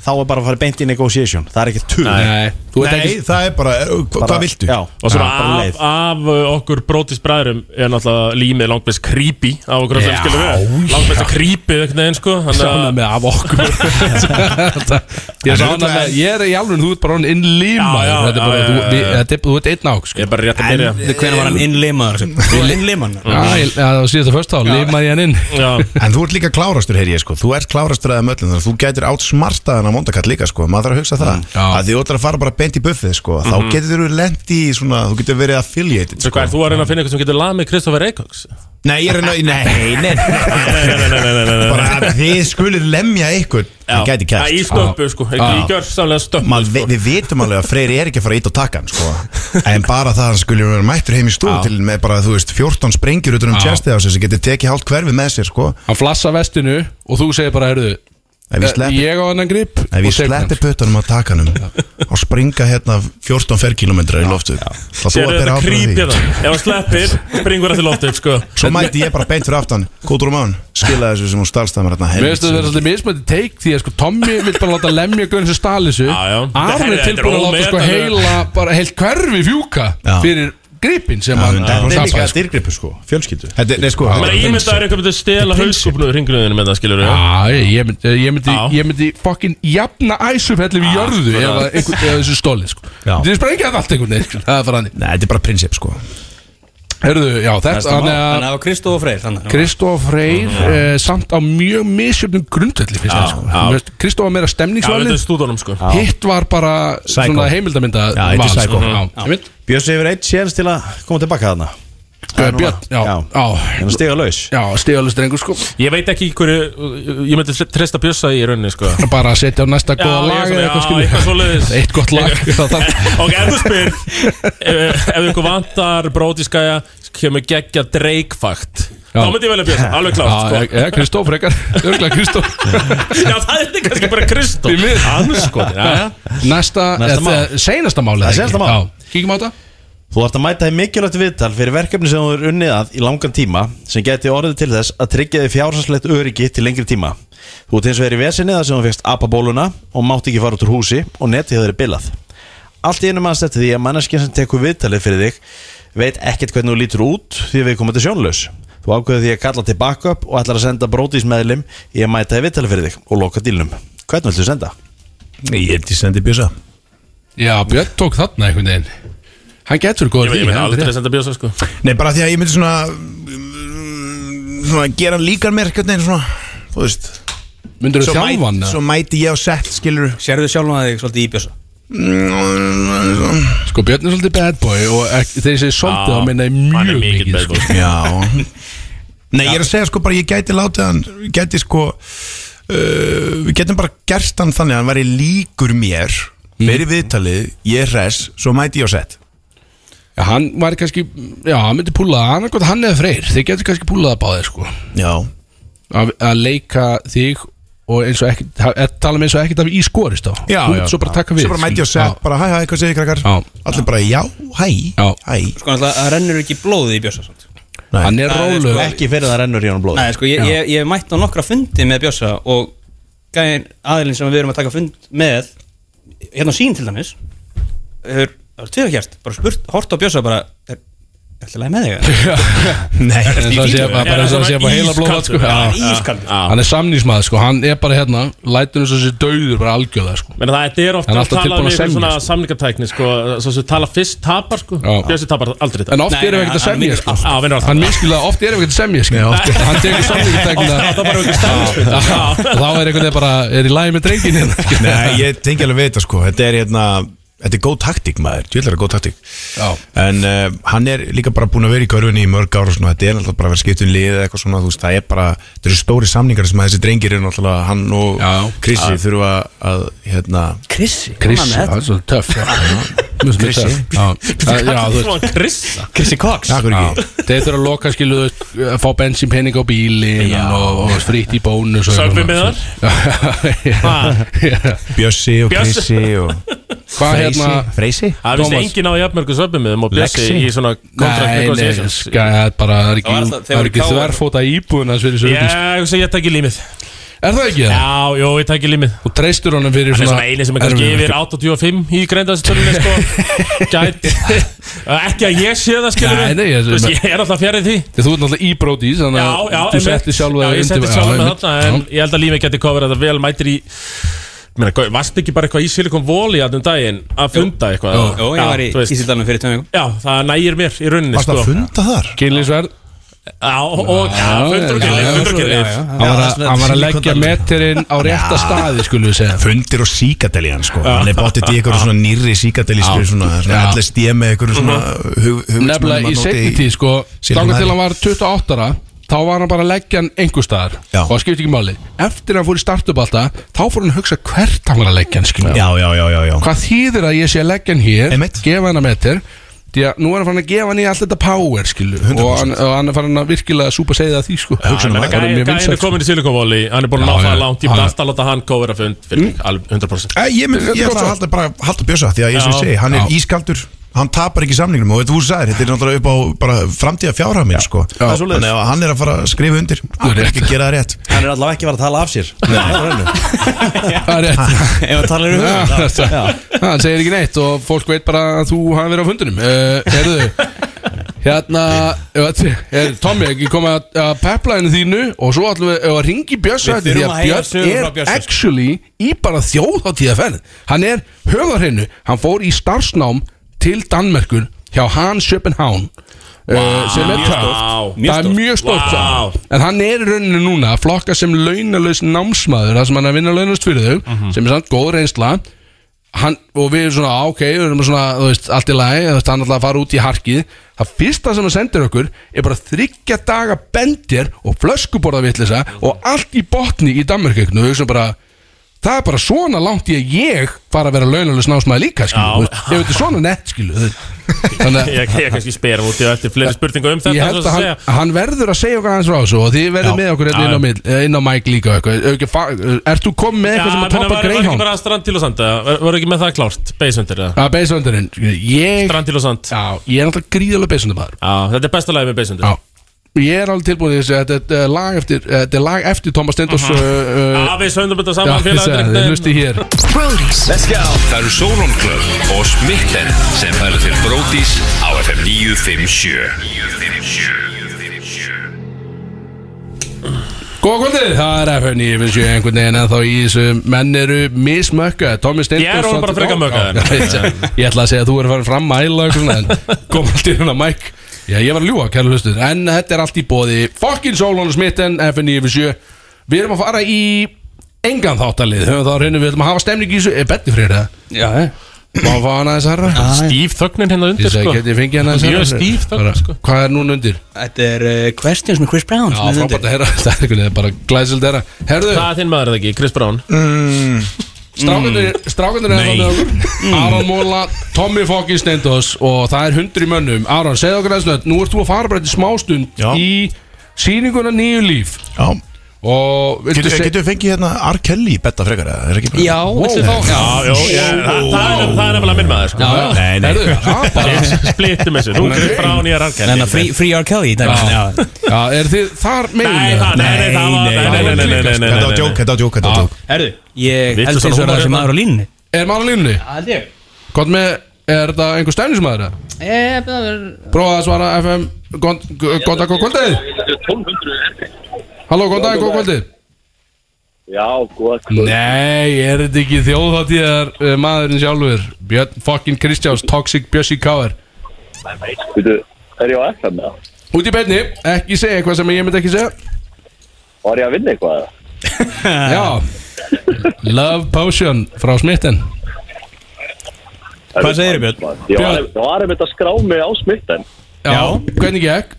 S3: Þá er bara að fara beint í negotiation Það er ekki tull
S2: Nei,
S4: Nei, það er bara, hvað viltu?
S3: Já,
S15: Og svona
S3: Já, bara
S15: af, af uh, okkur brótisbræðurum er náttúrulega límið langmest creepy af okkur
S2: Já,
S15: öllum skilum við Langmest
S2: já.
S15: creepy einhvern veginn sko þannig að-
S2: Sána með af okkur Ég er sána með Ég er í alveg, þú ert bara hann innlýmaður
S15: Já, já,
S2: Þetta er bara,
S15: já,
S2: þú-
S15: já,
S2: við-
S15: já.
S2: þetta er- þú ert einn sko. ák Ég
S15: er bara rétt að byrja
S10: Hvernig var hann innlimaður? Innliman?
S2: Já, ég- það var síðast að först á, limaði ég hann inn
S4: En þú ert líka klárastur, heyr ég sko Þú ert klárastur aðeim öllum þannig að þú gætir átt smartaðan á mondakall líka sko Maður þarf að hugsa það
S15: Mm.
S4: Að því þú ætlar að fara bara beint í buffið sko
S15: Mhm.
S4: Þá getur þú lent í svona, þú getur verið affiliated
S15: Svo
S4: sko
S15: hvað, er þú að reyna að finna eitthvað sem getur lað með Kristoffer Eikóks?
S4: Nei, ég er að, nei, nei, nei,
S15: nei, nei, nei, nei, nei.
S4: Bara að þið skulir lemja ykkur Það gæti kæft
S15: Í stömpu, sko. Í gjörsamlega stömpu,
S4: sko. Við vitum alveg að Freyri er ekki að fara ít og taka hann sko. En bara það að hann skulir vera mættur heim í stúð
S2: Já.
S4: Til með bara, þú veist, 14 sprengjur Utan um
S2: Já.
S4: tjastið á sig sem getur tekið hálft hverfi með sér sko.
S2: Hann flassa vestinu og þú segir bara, heyrðu
S4: Ef ég
S2: eh,
S4: sleppi-
S2: Ég á hann grip
S4: Ef
S2: og
S4: ég
S2: tek hann.
S15: sko.
S4: sletti puttunum á takanum Og springa hérna 14 ferkilometra í loftu Þá þú
S15: Sér
S4: að bera
S15: þetta hérna?
S4: ábyrgð á
S15: creepy
S4: því
S15: það Ef hann sleppir, springur það til loftið, sko
S4: Svo mæti ég bara beint fyrir aftan Kótur um án, skila þessu sem hún stalstamar
S2: Mér finnst að það er svolítið mismöndi teik því að sko Tommy vil bara láta lemja gönn sem stali þessu Aron er
S15: Þetta er-
S2: tilbúin að
S15: þetta er
S2: láta sko
S15: ómetanlegur.
S2: heila bara heilt hverfi fjúka
S4: Já.
S2: fyrir gripin sem hann
S4: Þetta er líka
S2: tapaði, sko.
S4: styrgripu sko, fjölskyldu Þetta er, nei sko
S15: Mér
S4: þetta er-
S15: ímyndaður eitthvað myndi stela haugskúpnu ringluðinu með það, skilur við
S2: Já, ég- ég myndi, ég myndi, ég myndi fucking jafna æsufelli við jörðu ef,
S15: bara-
S2: að einhver, ef þessu stóli sko. Þetta er sprengið að allt einhvern veginn sko. Það er bara hann
S4: Nei, þetta er bara prinsip sko
S2: Herðu, já, þetta
S10: Þannig
S2: Þannig að
S10: að Kristóf og Freyr þannig að-
S2: Kristof Freyr eh, samt á mjög misjöfnum grundvelli finnst
S15: Já,
S2: það sko.
S15: já.
S2: Þú veist, Kristof var meira
S15: Já,
S2: stemningsvalið
S15: þetta er stúdónum, sko.
S2: Hitt var bara
S3: Psycho.
S2: svona heimildaminda
S3: Já, þetta er
S2: sko.
S3: sækó
S2: Já,
S15: Mhm.
S2: einmitt.
S3: Björns hefur eitt séns til að koma tilbaka þarna Það er núna.
S2: Björn, já, já.
S3: En stiga laus
S2: Já, stigalust drengur sko
S15: Ég veit ekki hverju, ég myndi treysta bjössa í rauninni, sko
S2: Bara að setja á næsta
S15: Já,
S2: góða
S15: ég
S2: lag
S15: svona,
S2: eða
S15: já,
S2: skilur.
S15: eitthvað svoleiðis.
S2: Eitt gott lag það þarf-
S15: Ok, ef þú spyr Ef ef ykkur vantar brótiskæja kemur geggja dreikfakt
S2: Já.
S15: Þá myndi ég velja Björn, alveg
S2: Já,
S15: klárt
S2: eða- Eða Kristóf frekar, örgulega Kristóf
S15: sko. Já, það er kannski bara Kristó
S2: Því miður.
S15: Anskotin, já, já
S2: sko. Næsta,
S3: Næsta
S2: eða
S3: mál.
S2: seinasta máli
S3: Það er senasta mál.
S2: Kíkjum á þetta
S3: Þú ert að mæta í mikilvægt viðtal fyrir verkefni sem þú er unnið að í langan tíma sem geti orðið til þess að tryggja þig fjársanslegt öryggi til lengri tíma. Þú ert eins og er í vesinni þar sem þú fegst apabóluna og mátt ekki fara út úr húsi og netið hefur verið bilað. Allt í einu mannst eftir því að manneskinn sem tekur viðtalið fyrir þig veit ekkert hvernig þú lítur út því að við komum til sjónlaus. Þú ákveður því að kalla til backup og ætlar að senda brótismeðlim í að mæta í viðtalið fyrir þig og loka dílnum. Hvernig viltu senda?
S4: Ég held ég sendi bjösa
S2: Já, Björn tók þarna einhvern veginn Hann getur góður
S15: Ég ég
S2: því,
S15: myndi
S2: hann
S15: aldrei
S2: er
S15: senda bjössa, sko
S4: Nei, bara því að ég myndi svona mm, Svona gera hann líkar mér Hvernig er svona, þú veist
S2: Myndirðu
S4: Svo
S2: þjálfa
S4: mæt-
S2: hann, eða?
S4: Svo mæti ég á sett, skilur
S10: Sérðu sjálfum að þig svolítið í bjössa?
S2: Mm, rétt. Sko Björn er svolítið bad boy og ek- þegar ég segi svolítið
S15: Já,
S2: þá minna ég mjög mikið sko.
S4: Já Nei, ég er að segja sko bara, ég gæti látið hann ég Gæti sko uh, Við getum bara gerst hann þannig að hann væri líkur mér
S2: Mm.
S4: Verið viðtalið, ég er res Svo mæti ég á sett
S2: Já, hann var kannski, já, hann myndi púla það annarkot hann eða freyr, þeir getur kannski púlað það báðir sko
S4: Já
S2: að, að leika þig og eins og ekki, að tala með eins og ekkert af í skorist á
S4: Já,
S2: Þú
S4: já.
S2: myndi svo bara taka við
S4: Svo bara mæti ég á
S2: Já.
S4: sett, bara hæ hæ, hvað segir krakkar
S2: Já.
S4: Allir bara, já, hæ, hæ
S10: Sko náttúrulega, það rennur ekki blóðið í bjössa samt.
S2: Hann er
S10: Það er
S2: rólegur.
S10: sko-
S3: Ekki fyrir það rennur í honum blóð.
S10: Nei, sko, ég,
S3: Já.
S10: ég, ég hef mætt á nokkra fundi með Bjössa og gæðin aðilinn sem við erum að taka fund með hérna á sín til dæmis hefur, það er tveira kjært, bara spurt, hort á Bjössa bara, er ætlaði með þig?
S4: Nei,
S2: En það sé bara- bara eins og það sé bara heila blóða sko. Já. Hann er samnýsmaður sko, hann er bara hérna Lætur hans að sé döður bara algjörlega sko
S15: Menna það, þetta er ofta
S2: Hann er
S15: að
S2: alltaf
S15: tala
S2: tilbúinn
S15: um
S2: að
S15: einhver
S2: semja,
S15: svona samlingartækni sko, svo sem tala fyrst tapar sko
S2: Já.
S15: Bjössi tapar aldrei
S2: En oft erum við ekkert að semja sko
S15: Já, vinnur alltaf
S2: Hann miskilega, oft erum við ekkert að semja sko
S15: oft-
S2: Hann tekur samlingartækina
S15: Oft er þetta bara einhver stemningsfund.
S2: Þá er einhvern veginn bara, er í lagi með drengin hérna
S4: Nei, ég tengi alveg við þetta sko Þetta er hérna Þetta er góð taktík maður, ég ætla að góð taktík Já. En uh, hann er líka bara búin að vera í körfunni í mörg ára og svona, þetta er náttúrulega bara að vera skiptun lið eða eitthvað svona, þú veist, það er bara þetta eru stóri samningar sem að þessi drengir er náttúrulega hann og Krissi
S2: Já.
S4: þurfa að hérna
S10: Krissi?
S2: Krissi, það er svolítið töff já. Mjög svolítið
S4: Krissi?
S2: töff, já.
S4: Hvað
S2: Já,
S4: kallar
S2: þú
S4: þú
S2: veist-
S4: hann Krissa? Krissi Cox? Já, hverju ekki?
S2: Já, Þeir þurfa að loka skilu þú veist, að fá bensin pening á bílin og, og fritt í bónus og
S15: Sögum við með
S2: eitthvað. Já.
S4: Bjössi og
S15: Bjössi.
S4: Krissi og
S2: Hvað hérna
S4: Freysi?
S15: Það er vist enginn á jafnmörgum söpum með þeim og bjössi
S2: Lexi?
S15: í svona
S2: Nei,
S15: kontraktu
S2: nei, ska- það er bara það er
S15: Það var
S2: ekki,
S15: alltaf- þeir
S2: það er
S15: voru
S2: ekki
S15: káar.
S2: þverfóta íbúðuna sem þessu
S15: Já,
S2: auðvitað
S15: ég hugsa, ég takk í límið
S2: Er það ekki það?
S15: Já, jú, ég takk í límið
S2: Þú treystur honum fyrir
S15: Hann
S2: svona
S15: er svona eini sem er kannski
S2: erfiðum
S15: yfir
S2: verkefnum.
S15: 85 í greindaðstölinni sko Gæt Ekki að ég sé það skilur
S2: Nei, nei, ég-
S15: Þú veist, ég er alltaf fjarið því
S2: Þegar Þú ert náttúrulega í brótis Þannig
S15: Já,
S2: að
S15: já,
S2: þú
S15: einmitt.
S2: setti sjálfa
S15: Já,
S2: þig
S15: ég
S2: undir-
S15: setti
S2: já,
S15: sjálfa mig
S2: einmitt.
S15: þarna En ég held að límið geti kofir að það vel mætir í Mér meina, varst ekki bara eitthvað í Silicon Valley aðnum daginn að funda eitthvað
S10: Jú, jú, ég var í
S15: þú veist.
S10: Ísildalum fyrir tveim vikum.
S15: Já, það nægir mér í rauninni sko.
S2: Sko.
S10: Varstu að
S4: funda þar?
S2: Kynlífsverð
S15: Já, og já, fundur og kynlíf, fundur og kynlíf
S2: Hann var að- hann var að leggja metirinn á rétta staði skulum við segja
S4: Fundir og síkadeli hann sko Hann er báttið í eitthvað svona nýrri síkadeli skilur svona, svona
S2: Já. Mhm.
S4: LSD með eitthvað svona
S15: Mhm.
S4: hug, hug,
S2: Nefnilega í setni tíð sko Þangar til hann var 28 ára Þá var hann bara að leggja hann einhver staðar Og það skipti ekki máli Eftir að hann fór í startup alltaf Þá fór hann að hugsa hvert hann var að leggja hann skilum
S4: Já, já, já, já, já.
S2: Hvað þýðir að ég sé að leggja hann hér Gefa hann að metir Því að nú er hann farin að gefa hann í allt þetta power skilu Og hann, og hann er farin að virkilega súpa segja það því sko
S15: Hugsunum að
S2: Hann er mjög
S15: gæðin
S2: vinsæll,
S15: um er
S2: sko.
S15: komin í Silicon Valley Hann er búin
S2: Já,
S15: að ná
S2: já, Hmm?
S15: það langt Ég
S2: já.
S15: byrði alltaf að láta hann kofir að fund fyrir mig, alveg 100%
S4: Æ, Ég, mynd, ég ætla að halda, bara, halda bjösa því að ég sem
S15: Já.
S4: ég segi, hann er
S15: Já.
S4: ískaldur hann tapar ekki samningnum og þetta þú sagðir, þetta er náttúrulega upp á bara framtíða fjárhæð minn sko
S3: Það er svoleiðis.
S4: þannig að hann er að fara að skrifa undir hann er ekki að gera það rétt
S3: Hann er allavega ekki að fara að tala af sér
S2: Það er rétt
S10: Ef að tala um
S2: Já,
S10: hugann,
S2: það- Já, Hann segir ekki neitt og fólk veit bara að þú hafi verið á fundunum uh, Herðu Hérna ef að- er, Tommy, ekki koma að, að peplæðinu þínu og svo ætlum við ef að ringi Björns
S10: Við
S2: að þetta því að
S10: þurfum að heyra sögur frá
S2: Björn er
S10: Bjössa, sko.
S2: actually í bara þjóðháttíðaferð Hann er höfðarhreinu Hann fór í starfsnám til Danmerkur hjá Hans Schopenhán
S15: Vá,
S2: Eh, sem er
S15: mjög stórt.
S2: töff
S15: Mjög
S2: það er
S15: stórt.
S2: mjög stórt
S15: Vá.
S2: wow. En hann er í rauninu núna að flokka sem launalaus námsmaður Það sem hann er að vinna launalaust fyrir þau
S15: Mhm.
S2: Sem er samt góð reynsla hann, Og við erum svona, á, ok, við erum svona, þú veist, allt í lagi Þú veist, hann ætlaði að fara út í harkið Það fyrsta sem hann sendir okkur Er bara þryggja daga bendir Og flöskuborða vitlisa Og allt í botni í Danmarkeknu Og við erum bara Það er bara svona langt í að ég fara að vera launalaus námsmaður líka, skilu, þú veist, ef þetta er svona nett, skilu, þú veist. þannig að-
S15: Ég ég kannski spyrum út í að eftir fleiri spurningu um þetta
S2: Ég held að
S15: svo sem
S2: hann,
S15: segja.
S2: hann verður að segja okkar hans frá þessu og þið verður
S15: Já.
S2: með okkur hérna
S15: Já,
S2: inn á,
S15: já.
S2: mill- eh, inn á Mike líka og eitthvað. Ef ekki fa- eh, Ert þú komið með
S15: Já,
S2: eitthvað sem að
S15: menna,
S2: toppa
S15: var var ekki
S2: Greyhound?
S15: bara strand til og sand eða? Var var ekki með það klárt, beisundir eða?
S2: Að beisvöndurinn Ég
S15: Strand til og sand
S2: Já, ég er náttúrulega gríðalega beisvöndumæður
S15: Já, þetta er besta lagi með beisundir
S2: Já Ég er alveg tilbúin í þessu Þetta er, eh, lag eftir, eh, þetta er lag eftir Thomas Stendos uh
S15: Já,
S2: -huh.
S15: við söndum þetta saman félagarnir.
S2: Þið hlusti hér
S16: Brody's Let's go Það eru Solon Club og Smitten sem færa til Brody's á FM 957
S2: Góða kvöldið, það er FN í fyrir sjö einhvern veginn en þá í þessu menn eru mismökka Tommy Stendos
S15: Ég er orðinn bara frekar mökkaður.
S2: Ég ætla að segja að þú er farin fram að æla og eitthvað svona, en kom allt í hérna Mike Já, ég var að ljúa, kæra hlustur En þetta er allt í bóði Fokkin Solon og Smitten, FN í fyrir sjö Við erum að fara í engan þáttalið Höfum þá reynum við ætlum að hafa stemning í þessu Er Benni fyrir þetta? Já, Má fá hana þess aðra?
S15: Stíf þögnin hérna
S2: Ah, Ég
S15: undir
S2: segi,
S15: sko
S2: get ég fengið hana þess
S15: Mjög stíf þögnin sko
S2: Hvað er núna undir?
S10: Þetta er uh, Questions með Chris Brown
S2: Já, frábært að herra Það er einhvern veginn bara glæsild herra Herðu Mm.
S15: Það er þinn maður er það ekki, Chris Brown
S4: Mm.
S15: Mm.
S2: Strákundir er þannig okkur hérna Aron Móla, Tommy Fokki Steindos Og það er hundri mönnum Aron, segð okkur aðeins nödd Nú ert þú að fara bara til smástund Já. Í sýninguna nýju líf
S4: Já
S2: Og viltu
S4: Getur
S2: seg-
S4: getur við fengið hérna R. Kelly betta frekar eða? Er ekki bara-
S10: Já, viltu fá- Já,
S15: já, já, það- það er- það er nefnilega minn maður sko
S4: Já, já. Nei, nei.
S2: Herðu,
S15: Splittum þessu, nú er Chris Brown í að rannkæði
S10: Þannig að free, free R. Kelly í dag
S2: Já. Já, er þið þar megin?
S15: Nei, það- nei, nei, það var- nei, nei, nei, nei, nei, nei, nei,
S4: Þetta var
S15: nei,
S4: djók,
S15: nei.
S4: þetta var djók, þetta var djók
S10: Herðu, ég
S4: Viltu
S10: held
S4: svona
S10: þess að
S4: húmor
S10: það
S4: hérna?
S10: sem maður á línni
S2: Er maður á línunni?
S10: Held ég
S2: Hvort með, er þetta einhver stænismæður?
S10: Eh,
S2: Prófa að svara FM Góðan dag, góð kvöldið Halló, góðan dag, góð kvöldið
S17: Já, góð
S2: Nei, er þetta ekki þjóðháttíðar uh, maðurinn sjálfur Björn fucking Kristjáns, Toxic Bjössi Káar
S17: Veitu, er ég á FM eða?
S2: Út í beinni, ekki segja eitthvað sem ég myndi ekki segja
S17: Var ég að vinna eitthvað eða?
S2: Já Love Potion frá smitten
S10: Hvað segirðu, Björn?
S17: Ég var- ég var um þetta að skrá mig á smitten
S2: Já, hvernig gekk?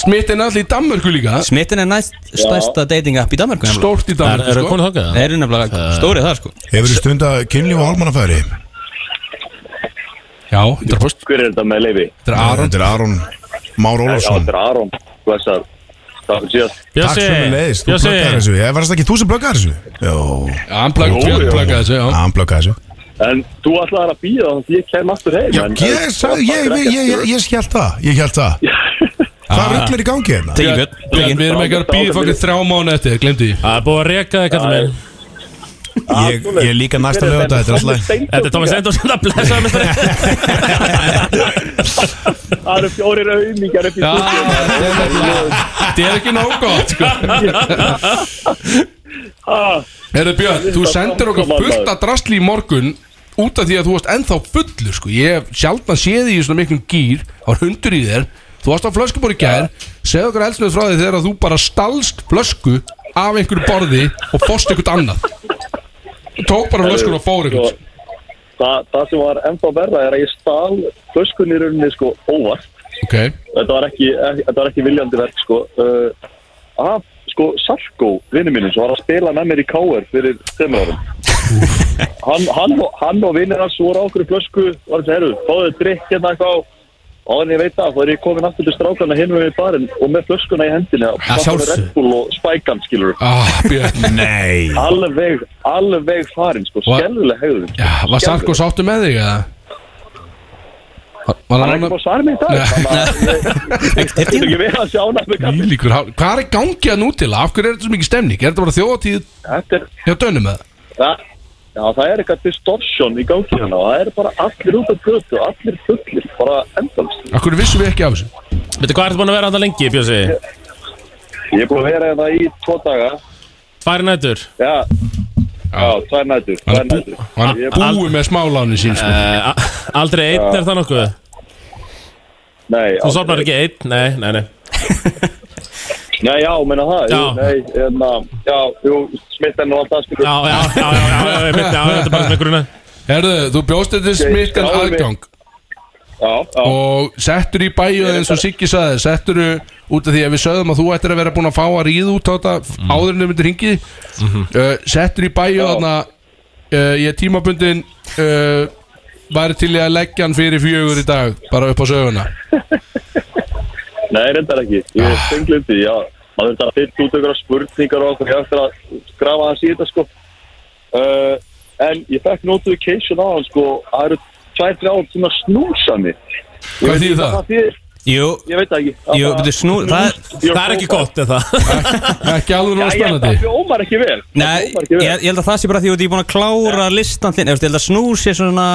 S2: Smittin er allir í Danmörku líka
S10: Smittin er næst stærsta dating app í Danmarku
S2: Stórt í Danmörku, Er- eru sko. konur þangað, eða?
S10: Það eru nefnilega stórið það sko
S4: Hefur þú stund að kynlíf og almannafæri?
S2: Já, 100%
S17: Hver er þetta með leifi?
S2: Þetta er Aron
S4: Þetta er Aron Már Ólafsson
S17: Þetta er Aron Blessar Takk fyrir síðast
S4: Takk sem við leiðist, þú plöggar þessu Ég varst ekki þú sem plöggar þessu Jó Já,
S2: hann
S17: plugg- Björn pluggaði
S2: þessu, já
S4: Hann plöggar þessu
S17: En þú ætlaði að býða þannig að ég kem aftur heim
S4: Já,
S17: en-
S4: ég sagði, ég, ég, ég,
S17: sko.
S4: ég, ég skjælt það Ég skjælt það Hvað ruggl er í gangi hérna?
S2: Björn, Björn, við erum ekki að býða fokkin þrjá mánu eftir, glemdi því Það er búið að reka þig, kallar minn
S4: Ég, ég líka næsta
S2: Hver er
S4: lögða, þetta er alltaf
S15: Þetta er Thomas Steindór sem það blessaði með þetta
S17: Það eru fjórir auðmíkjar upp í
S2: Þetta er ekki nóg gott, sko Herðu Björn, þú sendir okkur fullt að drastli í morgun út af því að þú varst ennþá fullur sko. ég hef sjaldan séð því í svona miklum gýr þá er hundur í þér, þú varst á flöskubor í gær segðu okkur elsnöð frá því þegar að þú bara stalst flösku af einhverju borði og fórst einhvern annað Þú tók bara flöskun og fór einhvern
S17: Sko, Það, það sem var ennþá verra er að ég stal flöskunni í rauninni sko óvart
S2: ok,
S17: Þetta var ekki, ekki, þetta var ekki viljandi verk sko uh, Af sko Sarko, vinnu mínum, sem var að spila með mér í K.R. fyrir þeimur árum hann, hann, og- hann og vinnir hans voru á okkur flösku var þess að herru, fáðu drikk hérna eitthvað á og en ég veit það, þá er ég komin aftur til strákana hinn við barinn og með flöskuna í hendina og
S2: Að
S17: pakkaði
S2: sjálfsögðu.
S17: Red Bull og spækan skilur
S2: ah, Björn
S4: Nei
S17: alveg, alveg farin sko,
S2: Var-
S17: skelvileg hegðun
S2: Já, var Sarko sáttu með þig eða? Var- Var
S17: Hann er ekki búin að svara mig í dag Þetta er ekki við að sjá hann með kaffi
S2: Ílíkur, hvað er gangið að nútila? Af hverju er þetta svo mikið stemning? Er þetta bara þjóðatíð
S17: Þetta er
S2: hjá dönum með það?
S17: Það, já, það er eitthvað distortion í gangi hérna og það er bara allir út af götu, allir fullir, bara endalst.
S2: Akkur vissum við ekki af þessu
S15: Veitu hvað ertu búin að vera þetta lengi, Bjössi?
S17: Ég er búin að vera það í tvo daga,
S15: Tvær nætur
S17: já, já, tvær nættur, tvær nættur.
S2: Hann
S17: Ég er búinn-
S2: búið með smáláni sín sko.
S15: uh, Aldrei einn er það nokkuð
S17: Nei,
S15: Þú
S17: aldrei
S15: sopnar ekki einn, nei, nei, nei
S17: Nei, já, menna það, jú,
S15: Já.
S17: nei, en já, jú, smitt enn og allt það spilur.
S15: Já, já, já, já, já, já, já, já, þetta er bara svona gruna
S2: Herðu, þú bjóst þetta
S17: Ok,
S2: smittan
S17: skráðu mig.
S2: aðgang
S17: Já, já.
S2: Og settur í bæju eins og Siggi saði Settur út af því að við sögðum að þú ættir að vera búin að fá að ríða út á þetta
S15: Mhm.
S2: Áður en þau myndir hringið uh, Settur í bæju þarna uh, Ég tímabundin uh, Væri til í að leggja hann fyrir fjögur í dag Bara upp á söguna
S17: Nei, reyndar ekki, ég er stenglindi, já, maður þurft að fyrta út ykkur spurningar og okkur, ég ætti að grafa hans í þetta, sko. Uh, en ég fekk notification á hann, sko, það eru tvær, þrjár sem að snúsa mig. Ég
S2: Hvað
S17: veit
S2: þýðir
S17: ekki
S2: það?
S17: þýðir.
S10: Jú,
S17: Ég veit það ekki. Það
S10: jú,
S17: bara-
S10: betur snú Það, það er ekki gott
S15: eða
S2: Ekki alveg
S17: Já,
S2: nóg
S17: ég held að það
S2: spennandi
S17: fjómar ekki vel.
S10: Nei, ég, ég held að það sé bara því að þú ert búin að klára listan þinn eða, þú veist, Ég held að snús sé svona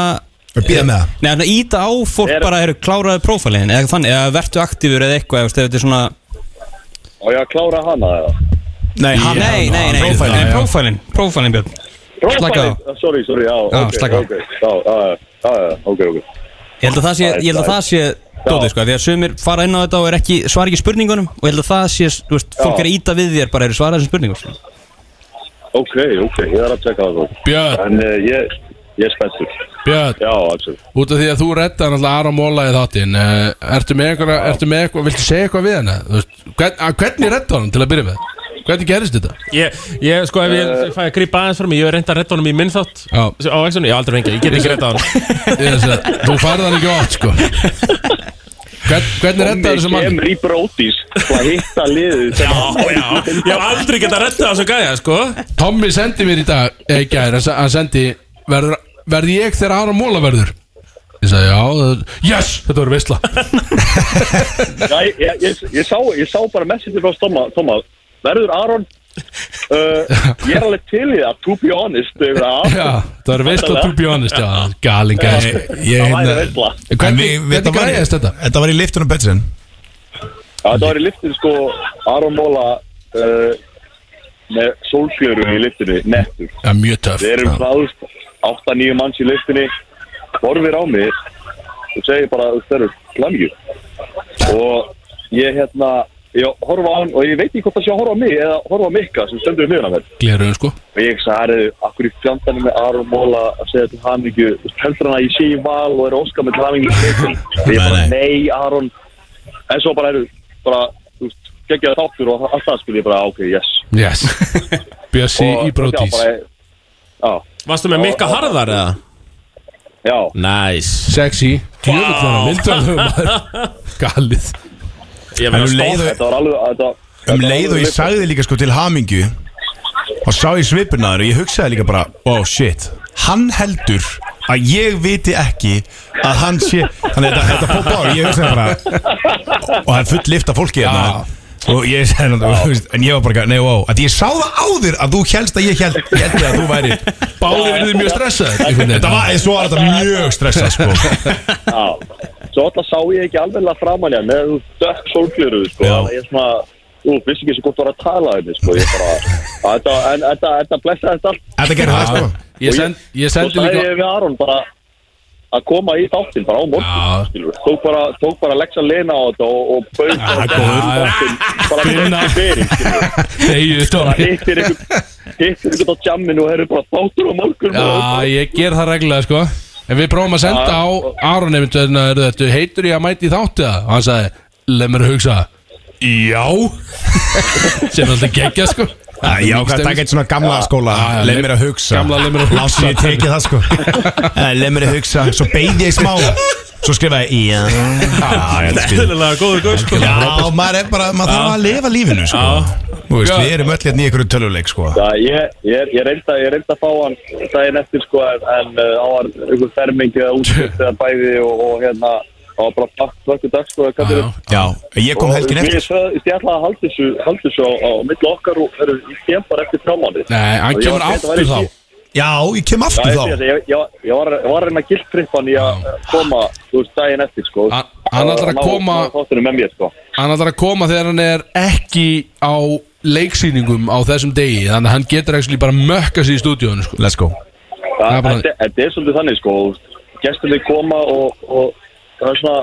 S4: Býða
S2: E
S4: með það
S10: Nei, svona íta á fólk bara eru kláraði prófælin eða þannig, eða vertu aktífur eða eitthvað eða, þú veist, ef þetta er svona
S17: Og ég að klára hana, eða.
S10: Nei, hann, nei, nei, nei,
S17: Prófælin.
S10: nei prófælin, prófælin Björn Slaka á.
S17: Prófælið, Ah, sorry, sorry, já,
S10: Já,
S17: ok,
S10: slaka á.
S17: ok, já, já, já, já, ok, ok.
S10: Ég held að það sé, ég held að það sé dótið sko, því að sumir fara inn á þetta og er ekki, svara ekki spurningunum og ég held að það sé, þú veist, fólk
S17: Já.
S10: er að íta við þér bara eru svara þessum spurningum sko.
S17: Ok, ok, ég er að tjekka það þá.
S2: Björn.
S17: En uh, ég, ég er spenntur.
S2: Björn
S17: Já, absolutt.
S2: Út af því að þú redda hann alltaf Aron Móla í þáttinn uh, Ertu með einhverja, ertu með eitthvað, viltu segja eitthvað við hana? Þú veist, hvern, að, hvernig redda hann til að byrja með? Hvernig gerist þetta?
S15: Ég, ég, sko, ef ég
S17: Eh.
S15: fæ að grípa aðeins frá mig Ég er reynd að redda honum í minn þátt
S2: Já.
S15: Á vexunni, ég hef aldrei fengið, ég get ekki redda honum
S2: Ég sé að Þú færði hann ekki átt, sko Hvern, Hvernig redda þessu mann?
S17: kemur í brótis og sko, að hitta liðið
S15: Já, já, ég hef aldrei getað að redda þessu gæja, sko
S2: Tommy sendi mér í dag, eða í gær, hann se- hann sendi Verður, verð ég þegar Aron Móla verður? Ég sagði, já, það, yes, þetta verður veistla
S17: Já, ég, ég, ég, ég, sá, ég sá bara message frá Thomas, Thomas verður Aron uh, ég er alveg til í það, to be honest yfir það.
S2: Já, það verður veistla to be honest, já, galin gæði
S4: Ég
S17: sko. það væri
S4: hérna-
S17: veitla
S4: En við-
S2: Hvernig,
S4: við-
S2: hvernig
S4: var í-
S2: gæðist þetta?
S4: Þetta var í liftunum Betsin
S17: það var í liftinu sko Aron Móla uh, með sólfjöru í liftinu nettur
S2: Já, mjög töff
S17: við erum
S2: Já.
S17: hláðust 8-9 manns í liftinu horfir á mig og segir bara þau eru klamju og ég hérna ég horfa á hann og ég veit ekki hvort það sé að horfa á mig eða horfa á Mikka sem stendur við hliðina á mér
S2: Gleruðum sko
S17: og ég sagði, akkur í fjandanum með Aron Móla að segja til hann ekki heldur hann að ég sé í val og er óskar með tafing og ég bara, nei Aron en svo bara eru bara, þú veist, geggjaði þáttur og allt það skil ég bara, "Ah, ok, yes
S2: Yes Bjössi
S17: Og-
S2: í brótis
S17: já, bara, já.
S15: Varstu með mikka harðar eða?
S17: Já
S15: Næs
S2: Sexy Djöfull var hann myndur að Galið
S15: Ég
S4: En um leið
S17: þetta var alveg þetta,
S4: Um leið og ég sagði líka sko til hamingju og sá ég svipurnaður og ég hugsaði líka bara oh shit, hann heldur að ég viti ekki að hann sé þannig að þetta, þetta fór bár, ég hugsaði bara og það er full lift af fólki hérna og ég sagði hann, þú veist, en ég var bara nei, wow, að ég sá það á þér að þú helst að ég held, ég held að þú væri
S2: Báðir eru þið mjög stressaðir, einhvern veginn.
S4: þetta var, svo var þetta mjög stressað sko
S17: já svo alltaf sá ég ekki alveg framan hann með þú dökk sólgleru sko,
S4: Já.
S17: að ég svona Ú, vissi ekki svo gott var að tala henni, sko, ég bara, að þetta, en þetta, þetta blessaði þetta allt.
S4: Þetta gerði það, sko.
S2: Ég send- ég sendi
S17: Svo sagði
S2: líka-
S17: ég við Aron bara að koma í þáttinn bara á morgun, skilur við. Tók bara, tók bara Lexa Lena á þetta og, og bauð bara
S2: góður.
S17: þáttinn, bara
S2: Finna.
S17: fyrir
S2: Þegiðu
S17: fyrir, skilur við. Bara
S2: stóri
S17: hittir ykkur, hittir ykkur á jamminu og herru bara þáttur á morgun.
S2: Já, ég ger það reglulega sko En við prófum að senda á Aron einmitt Þannig að þetta heitur ég að mæti í þáttu það Og hann sagði, leið mér að hugsa Já Sem er alltaf geggja sko
S4: Já, ég ákvað að taka eitt svona gamla skóla Leif mér að hugsa
S2: Gamla leið mér að hugsa
S4: Lási ég tekið það sko Eh, Leif mér að hugsa Svo beigði ég smá Svo skrifaði ég Já, já, þetta er spil.
S15: Eðlilega góður gaur sko
S4: Já, maður er bara Maður þarf
S15: Já.
S4: að lifa lífinu sko Þú veist, við erum öll hérna í einhverju töluleik sko
S17: Já, ég, ég, ég reynda ég reynda að fá hann daginn eftir sko en, en uh, á hann einhver fermingi eða útskipt eða bæði og, og hérna á bara bakt vökkur dag sko eða hvað fyrir
S4: Já, ég kom helgin eftir
S17: Ég ætla að halda þessu, halda þessu á, á milli okkar og heru, ég kem bara eftir trámanni
S2: Nei, hann kemur aftur þá
S4: Já, ég kem
S17: Já, ég,
S4: aftur þá
S17: segi það, ég, ég, ég var, ég var að reyna að gildtrippa hann í að eh, koma, þú veist, daginn eftir, sko.
S2: hann ætlar að
S17: Ná-
S2: koma-
S17: ná þáttunum með mér, sko.
S2: Hann ætlar að koma þegar hann er ekki á leiksýningum á þessum degi Þannig að hann getur ekki bara mökka sig í stúdíónu sko
S4: Let's go
S17: Það
S2: er bara-
S17: þetta- Þetta er svolítið þannig sko Gestinni koma og, og það er svona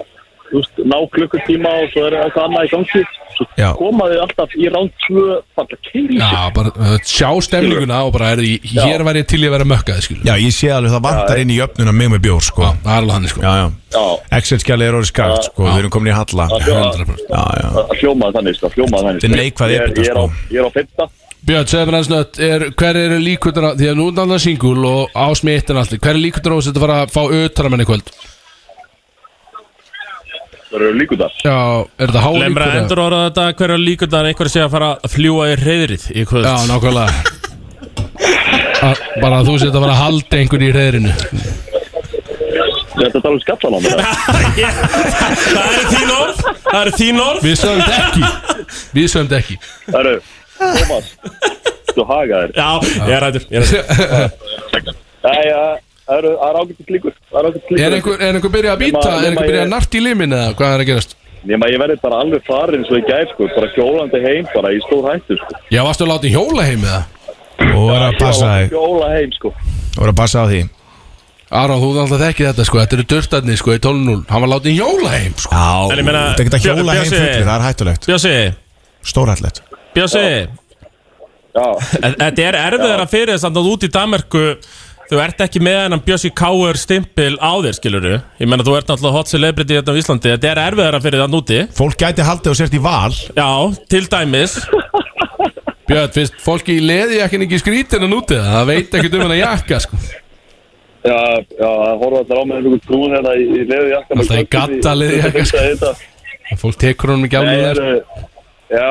S17: þú veist, ná klukkutíma og svo er eitthvað annað í gangi svo
S2: Já.
S17: koma þau alltaf í rán 2 bara kynni
S2: Já, bara uh, sjá stemninguna og bara er því Hér væri ég til í að vera mökkaði skilur
S4: Já, ég sé alveg það vantar inn í öfnuna mig með bjór sko Já,
S2: það er alveg hann sko
S4: Já, já Excel-skjalið er orðið skakt sko Við erum komin í halla
S17: Það hljómaði-
S4: Já, já
S17: það hljómaði þannig sko, hljómaði þannig
S4: Þetta er neikvæð
S17: Ég
S4: epita,
S17: ég er á,
S2: sko.
S17: ég er á fyrta
S2: Björn, segðu mér aðeins nött, er, hver eru líkundur því að nú er náttúrulega singul og á smittin allt, hver er líkundur á þess að þetta fara að fá auðtara menni kvöld?
S17: það eru líkundar
S2: Já, er þetta há
S15: Lemra endur
S2: líkundur?
S15: orða þetta hverja líkundar einhver sé að fara að fljúa í reyðrið í kvöld
S2: Já, nákvæmlega Að- Bara að þú sétt að fara að halda einhvern í reyðrinu
S17: Þetta tala um skallan á mér
S15: Það eru þín orð Það eru þín orð
S2: Við sögum þetta ekki Við sögum þetta ekki
S17: Það eru, Thomas Þú haga þér
S15: Já, ég er rættur Ég er rættur
S17: Nei, já, Það eru það eru ágætis líkur Það eru ágætis líkur
S2: Er einhver, er einhver byrjað að býta, er einhver byrjað að nart í limin eða hvað er að gerast?
S17: Nefna ég verði bara alveg farin svo ég gæð sko bara hjólandi heim bara í stór hættu sko
S2: Já, varstu að láta í hjóla heim eða?
S4: Og er að passa þig
S17: Hjóla heim sko
S4: Og er að passa á því
S2: Aron, þú þarf alltaf ekki þetta sko, þetta eru dörtarnir sko í 12.0 Hann var látið í hjóla heim sko
S4: Já,
S15: En ég meina,
S4: þetta geta
S15: Björn-
S4: hjóla heim
S15: Bjössi-
S4: fullir, það er hættulegt
S15: Bjössi
S4: Stórhættulegt
S15: Bjössi
S17: Já
S15: Þetta er erfiðara fyrir þess að þú út í Danmarku Þú ert ekki með hennan Bjössi Káur stimpil á þér skiluru Ég menna þú ert náttúrulega hot celebrity hérna á Íslandi Þetta er erfiðara fyrir þann úti
S4: Fólk gæti haldið og sért í val
S15: Já, til dæmis
S2: Björn, finnst fólki í leði ekki ekki skrítin að núti það, það veit ekkert um hann að jakka sko
S17: Já, já, það horfa allir á með einhverjum trún hérna í, í leðu jakka
S2: Alltaf í gadda leðurjakka, sko.
S17: jakka
S2: Fólk tekur honum ekki alveg þar
S17: Já,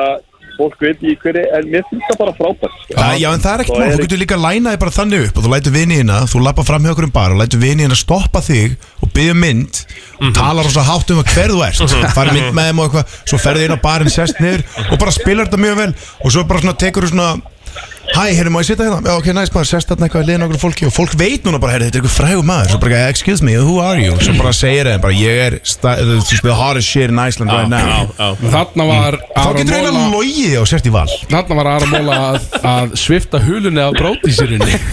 S17: fólk veit í hverju en mér finnst það bara frábært sko.
S4: Það, já, en það er ekkert
S17: Og
S4: mál, þú getur líka að læna þig bara þannig upp og þú lætur viniðina, þú lappa fram hjá okkur um bar og lætur viniðina stoppa þig og byggja mynd og talar rosa hátt um hver þú ert
S13: Mhm.
S4: farið mynd með þeim og eitthvað, svo ferði inn á barinn sest niður og bara spilar þetta mjög vel og svo bara svona tekur þú svona Hæ, hérna, má ég sitja hérna? Já, ok, næst maður, sest þarna eitthvað að liðna okkur fólki og fólk veit núna bara, herri, þetta er eitthvað frægur maður svo bara, eitthvað, excuse me, who are you? Svo bara segir þeim bara, ég er sta- the hottest shit in Iceland right now
S2: Þarna var
S4: Þá
S2: Aron
S4: getur eiginlega
S2: Móla-
S4: logið og sért í val
S2: Þarna var Aron Móla að, að svifta hulunni af brótísirinni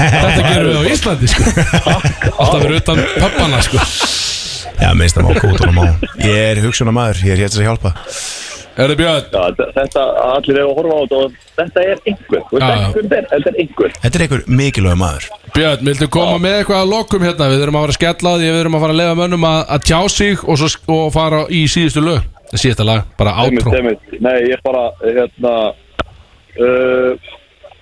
S2: Þetta gerum við á Íslandi sko Alltaf verið utan pöppana sko
S4: Já, minnst það má kóta honum á Ég er hugsunar maður, ég er hér til að hjálpa
S2: Er þið björn?
S17: Já, þe- þetta, allir eru að horfa á þetta og þetta er einhver, þú veist
S2: Já, já.
S17: ekki hvernig þetta er, þetta er einhver
S4: Þetta er einhver mikilvæg maður
S2: Björn, viltu koma með eitthvað að lokum hérna? Við erum að fara að skella á því, við erum að fara að lefa mönnum að, að tjá sig og, svo, og fara í síðustu lög Síðasta lag, bara átrú
S17: einmitt, einmitt. Nei, ég er bara, hérna uh,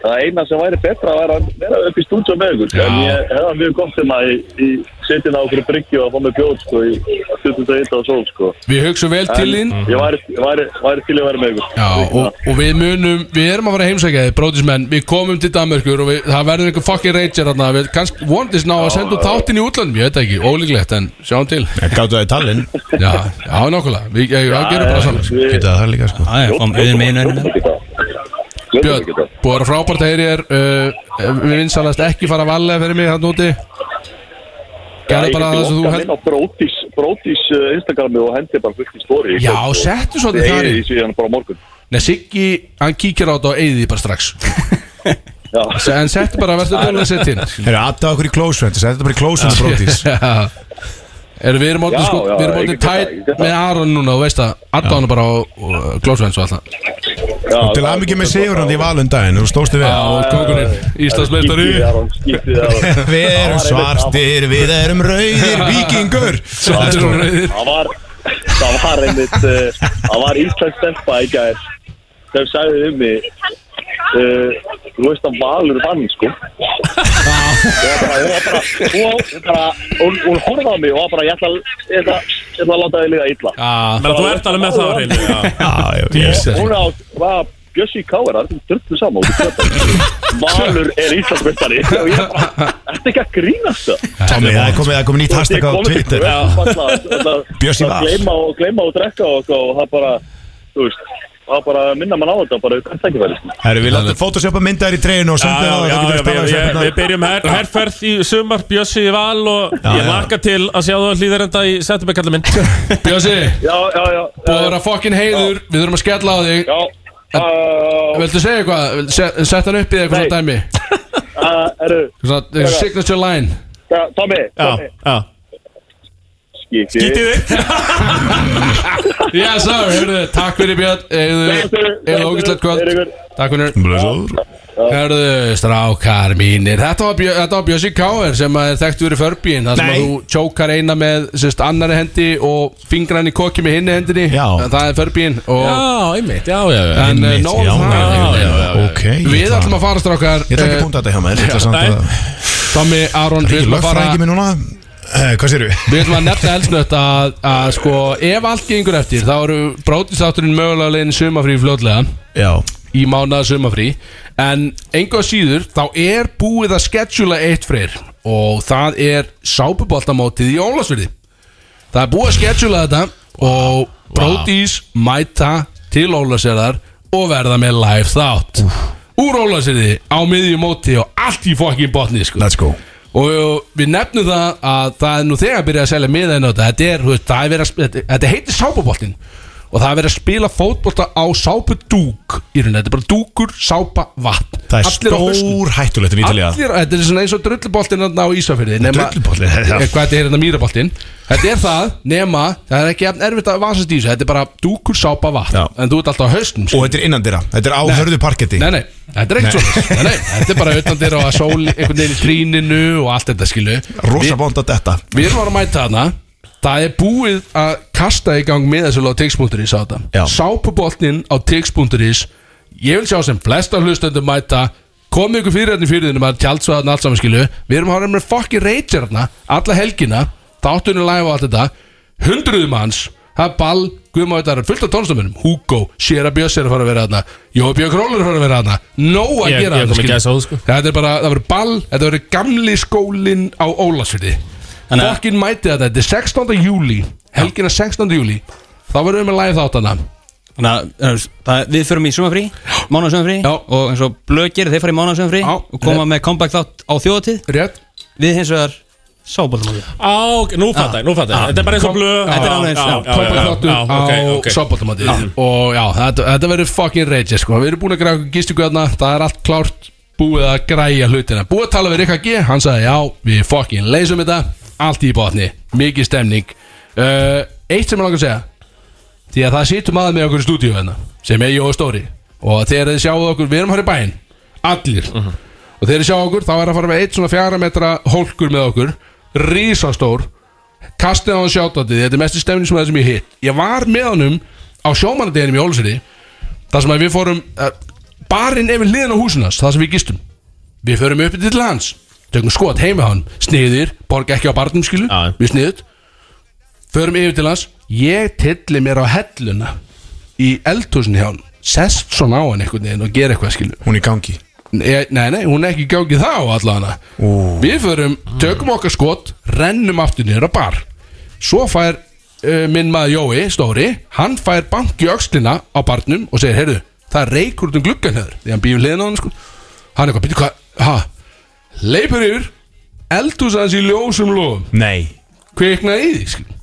S17: það eina sem væri betra væri að vera upp í stúdíu með ykkur, sko, en ég hefða mjög gott um að í, í setjina á okkur bryggju og að fá með bjóð, sko, í stundum það hitta og sól, sko
S2: Við hugsum vel til þín
S17: En Ég væri, ég væri, væri til að vera með ykkur
S2: Já, og, og við munum, við erum að fara að heimsækja þið, bróðismenn, við komum til Danmörkur og við, það verður einhver fucking rager hérna, við kannski vonðist ná að senda út þáttinn í útlandum, ég veit það ekki, ólíklegt, en sjáum til.
S4: Gáttu það í tallinn?
S2: Já, já, nákvæmlega, við, ég, það gerum bara saman. sko.
S4: Geta það líka sko
S10: Það er fáum auðin með einu enn
S2: Björn, búið að vera frábært að heyri þér, uh, við vinsalast ekki fara að valega fyrir mig hann úti, gerðu bara það sem þú held.
S17: inn á Brótis, Brótis uh, Instagrami og hendi bara fullt í stóri
S2: Já, settu svolítið þar
S17: í
S2: inn.
S17: Ég sé hann bara á morgun
S2: Nei, Siggi, hann kíkir á þetta og eigði því bara strax.
S17: Já.
S2: En settu bara, verður dölur að setja inn.
S4: Þeir eru aðtaf okkur í close friends Þetta er bara í close friends brótis
S2: Já. Erum við erum orðin
S4: Já,
S2: sko,
S4: já,
S2: við erum
S4: ég
S2: orðin
S4: get það, ég get
S2: tætt
S4: það.
S2: með Aron núna og veist að Adda hann bara á uh, glósvenns og alltaf
S4: Og til aðmyggja með sigur hann í valundaginn Þú stóðstu við
S2: Já, kókurinn, Íslandsmeistari. Skítið, Aron,
S17: skítið
S4: Við erum svartir, við erum rauðir Víkingur
S17: Svartir og rauðir. Það var, það var einmitt, uh, það var íslensk stelpa í gær sem sagði um mig, uh, þú veist að valur vann, sko. Ég var bara, ég var bara, hún- hún bara, hún, hún horfði á mig og var bara, ég ætla, að- ég ætla, ég ætla að láta þig liða illa.
S15: Menn þú ert alveg með það á hreinu
S4: Já,
S17: Jesus. Hún á, var Bjössi Káir, það er dörflu saman út í kjöta. Valur er íslenskmestari og ég bara, ertu ekki að grínast það?
S4: Tommy, það er komið, það er komið nýtt hashtag á Twitter Bjössi Val.
S17: Gleima og, gleyma og drekka og, eitthvað og það bara, þú veist, það bara minna mann á þetta, bara þetta sko. ekki verið.
S4: Herru, við láttum fótosjöpa myndaðir í treinu og
S15: Já, já,
S4: sendið á
S15: já,
S4: það
S15: já,
S4: getur
S15: við,
S4: við
S15: við,
S4: spilað hérna.
S15: við byrjum her, herrferð í sumar, Bjössi í val og ég
S4: já.
S15: laka til að sjá þú hlýðar enda í setjumekkallar minn
S2: Bjössi,
S17: Já, já, já
S2: búið að vera fokkin heiður, við þurfum að skella á þig
S17: Já
S2: Viltu segja eitthvað, Viltu se- sett hann upp í eitthvað svona dæmi
S17: Uh, eru,
S2: Svona eitthvað signature line
S17: ja, Tommy, Tommy, skítið.
S2: Já, sá, hörðu, takk fyrir Björn Eða eða ógæslegt kvöld Takk fyrir Hörðu, strákar mínir Þetta var, Björ, þetta var Björsi Káir sem að er þekkt fyrir förbíin Það sem að
S4: Nei.
S2: þú tjókar eina með sérst, annari hendi og fingran í kokki með hinni hendinni já. Það er förbíin og...
S15: Já, einmitt, já, já, já
S2: En eh, nóg um það
S4: Ok, ég
S2: Við
S4: ætla-
S2: ætlum að fara strákar
S4: Ég ætla ekki að búnda þetta hjá mér, ég ætla samt að-
S2: Tommy, Aron, við
S4: Ekki
S2: ætlum að fara
S4: lögfræðingi minn núna Eh, Hvað séru?
S2: Við ætlum að nefna elsnött að, að sko, ef allt gengur eftir þá eru brótistátturinn mögulega leginn sumafrí fljótlega
S4: Já.
S2: í mánaða sumafrí en enga síður þá er búið að skedjula eitt freyr og það er sápuboltamótið í Ólasverði Það er búið að skedjula þetta og brótis mæta til Ólasverðar og verða með live þátt Úr Ólasverði á miðjum móti og allt í fokkin botni sko.
S4: Let's go
S2: Og við nefnum það að það er nú þegar að byrja að selja miða inn á þetta Þetta, er, þú veist, það er verið að, sp- þetta- þetta heitir sápaboltinn Og það er verið að spila fótbolta á sápudúk Í rauninni, þetta er bara dúkur, sápa, vatn
S4: Það er
S2: Allir á hausnum.
S4: stór hættulegt um Ítalía
S2: Allir, þetta er svona eins og drulluboltinn þarna á Ísafyrði
S4: Drulluboltinn, já.
S2: Hvað þetta er hérna mýraboltinn Þetta er það, nema, það er ekki jafn erfitt að vasast í þessu Þetta er bara dúkur, sápa, vatn En þú ert alltaf á hausnum sko.
S4: Og þetta er innandira, þetta er á
S2: Nei.
S4: hörðu parketti
S2: Nei, nei, þetta er ekkert
S4: Nei.
S2: svona Nei, nei, þetta er bara utan þér á að sól einhvern veginn í tríninu og allt þetta skilu
S4: Rosa bónd að detta
S2: Við erum að mæta hana Það er búið að kasta í gang með þessu á tix.is á þetta Sápuboltnin á tix.is Ég vil sjá sem flesta hlustendur mæta Komið ykkur fyrir hérna í fyrir þínum að tjaldsvæðan allt saman skilu Við erum að hafa með fokki reytir hérna Alla helgina, þáttunni live og allt þetta Hundruðum hans Það er ball, Guðmá þetta er fullt af tónstamunum Hugo, Sjera Björns er að fara að vera þarna Jói Björn Królar er að fara að vera þarna Nó að
S15: Ég-
S2: gera
S15: ég kom í
S2: skilu.
S15: gæsahúð, sko.
S2: Þetta er bara, það verður ball Þetta verður gamli skólinn á Ólasfyrði Fokkin mæti þetta, þetta er 16. júli Helgina 16. júli Þá verðum við með live þáttana
S10: Þannig að það, við förum í sumafrí, mánasumafrí og eins og blökir, þeir fara í mánasumafrí og koma með comeback þátt á þjóðatíð
S2: Rétt.
S10: Við hins vegar sábóltamóti
S15: Á, ok, nú fatt ég, nú fatt ég Þetta er bara eins og blöð
S2: Þetta er alveg Kompakþáttur á sábóltamati Og já, þetta, þetta verður fucking rage sko. Við erum búin að græða gistingu þarna Það er allt klárt búið að græja hlutina Búið að tala við Rikka G Hann sagði já, við fucking leysum þetta Allt í botni, mikið stemning uh, Eitt sem ég langar að segja Því að það situr maður með okkur í stúdíu hérna Sem er Jói Stóri Og þegar þið sjáu okkur, við erum hér í bæinn Allir Og þegar þið sjáu okkur, þá er að fara með eitt svona fjara metra hólkur með okkur Rísastór Kastið á hann sjáttandi, þetta er mestu stemning sem það sem ég hitt Ég var með honum á sjómannadeginum í Óluseri þar sem að við fórum uh, Barinn yfir hliðin á húsinas, það sem við gistum Við förum upp til hans Tökum skot heim með hann, sniðir Borga ekki á barnum skilu, við sniðut Förum yfir til hans Ég tilli mér á helluna Í eldhúsin hjá hann Sest svona á hann einhvern veginn og gera eitthvað skilu
S4: Hún í gangi
S2: Nei, nei, hún er ekki í gangi þá allana Við förum, tökum okkar skot Rennum aftur niður á bar Svo fær uh, minn maður Jói Stóri, hann fær bank í öxlina Á barnum og segir, heyrðu Það reykur út um gluggan hefur Því hann býður hliðin á hann sko Hann eitthvað, býttu hvað, ha Leipur yfir, eldhús hans í ljósum lofum
S4: Nei
S2: Kviknaði í því, skil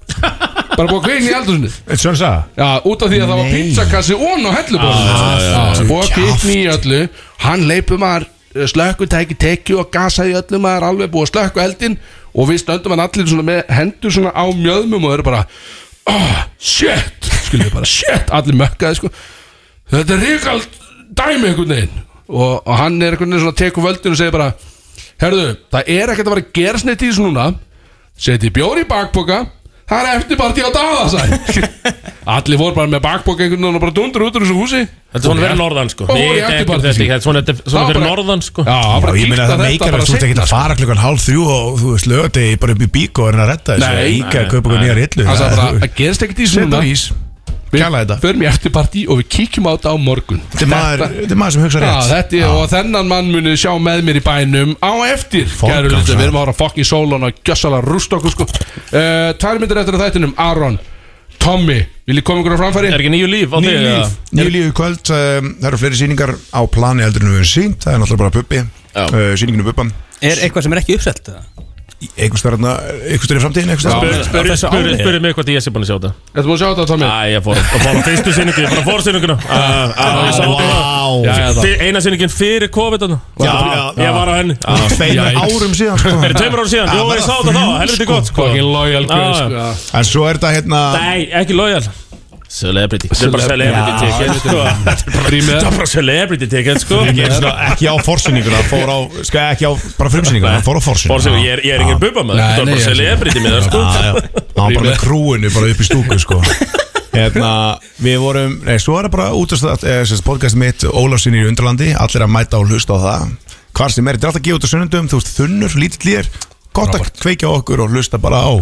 S2: Bara búið að kvikna í eldhúsinu
S4: Svona það?
S2: Já, út af því að það var
S4: Nei.
S2: pizzakassi ón á
S4: Ah, já, já, já.
S2: helluborðinu Búið að
S4: Kjaft.
S2: kvikna í öllu Hann leipur maður eh, slökkutæki tekju og gasaði í öllu maður alveg búið að slökku eldin og við stöndum hann allir svona með hendur svona á mjöðmum og eru bara oh, shit, skilur við bara shit allir mökkaði sko þetta er ríkald dæmi einhvern veginn og, og hann er einhvern veginn svona tekur völdin og segir bara herðu, það er ekkert að vera að gera snett í þessu núna seti bjóri í bakpoka það er eftirparti á dagasæ allir voru bara með bakpoka einhvern veginn og bara dundur út úr þessu húsi
S15: Þetta er svona fyrir norðan sko
S2: og
S15: Ég
S2: voru í
S15: veit ekki
S2: eftirparti
S15: þetta, þetta er svona- þetta er svona
S2: Það var
S15: fyrir
S2: bara-
S15: norðan sko
S2: Já,
S4: Já, ég meina að það meikar að þú ert ekki að
S2: sko.
S4: fara klukkan hálf þrjú og þú veist lögadegi bara upp í bík og er að redda þessu
S2: Nei.
S4: Íka að kaupa okkur nýjar hillu
S2: Hann sagði bara, það gerist ekkert í svona
S4: Sett á ís Kjala þetta
S2: förum í eftirparti og við kíkjum á þetta á morgun
S4: Þetta er maður- þetta er maður sem hugsar
S2: Já,
S4: rétt.
S2: þetta er, og þennan mann muni sjá með mér í bænum á eftir Kæru
S4: Forgangsmaður.
S2: hlustendur, Við erum að horfa fokkin sólan og gjössala rúst okkur sko uh, Tvær myndir eftir að þættinum, Aron Tommy, vil ég koma ykkur á framfæri?
S15: Er ekki nýju líf á
S4: Nýju
S15: þig,
S4: líf,
S15: eða?
S4: nýju líf í kvöld um, Það eru fleiri sýningar á plani heldur en við höfum sýnt Það er náttúrulega bara Bubbi, uh, sýninginu Bubban
S10: Er eitthvað sem er ekki uppsett? eða?
S4: Einhvers staðar þarna- einhvers staðar í framtíðin
S15: Spurðu spurðu- spurðu mig hvort ég sé búin að sjá þetta
S2: Þetta múið sjá þetta, Tommy?
S15: Æ, ég fór að fór á Ah, fyrstu sinningu, ég fór að fór sinninguna
S4: Vá.
S15: Ég sá þetta Eina sinningin fyrir COVID þarna.
S4: Já, já.
S15: Ég var á henni Ah,
S4: Já, tveimur
S15: Jæks.
S4: árum síðan, sko.
S15: Er tveimur árum síðan,
S4: Já,
S15: jú,
S4: bara
S15: ég sá þetta þá,
S4: þrjú,
S15: helviti
S4: sko.
S15: gott sko
S4: Fucking
S2: loyal
S15: Já,
S2: guð, sko.
S15: já.
S4: En svo er þetta hérna
S15: Nei, ekki loyal Celebrity Þetta er bara
S4: Celebrity.
S15: celebrity ticket sko. Þetta er bara- þetta er bara celebrity ticket sko
S4: Ég er svona ekki á forsýninguna fór á, sko, ekki á bara frumsýninguna, hann fór á forsýninguna
S15: Forsýningu, ég er- ég er engin bubba maður, þetta var bara celebrity með það, sko.
S4: Það var bara með krúinu bara upp í stúku sko Hérna, við vorum, nei, svo er það bara útastast, eh, sérst, podcast mitt Ólafsinni í Undralandi, allir að mæta og hlusta á það Hvar sem er, þetta er alltaf að gefa út á sunnundum, þú veist, þunnur, lítill ég er Gott að kveikja á okkur og hlusta bara á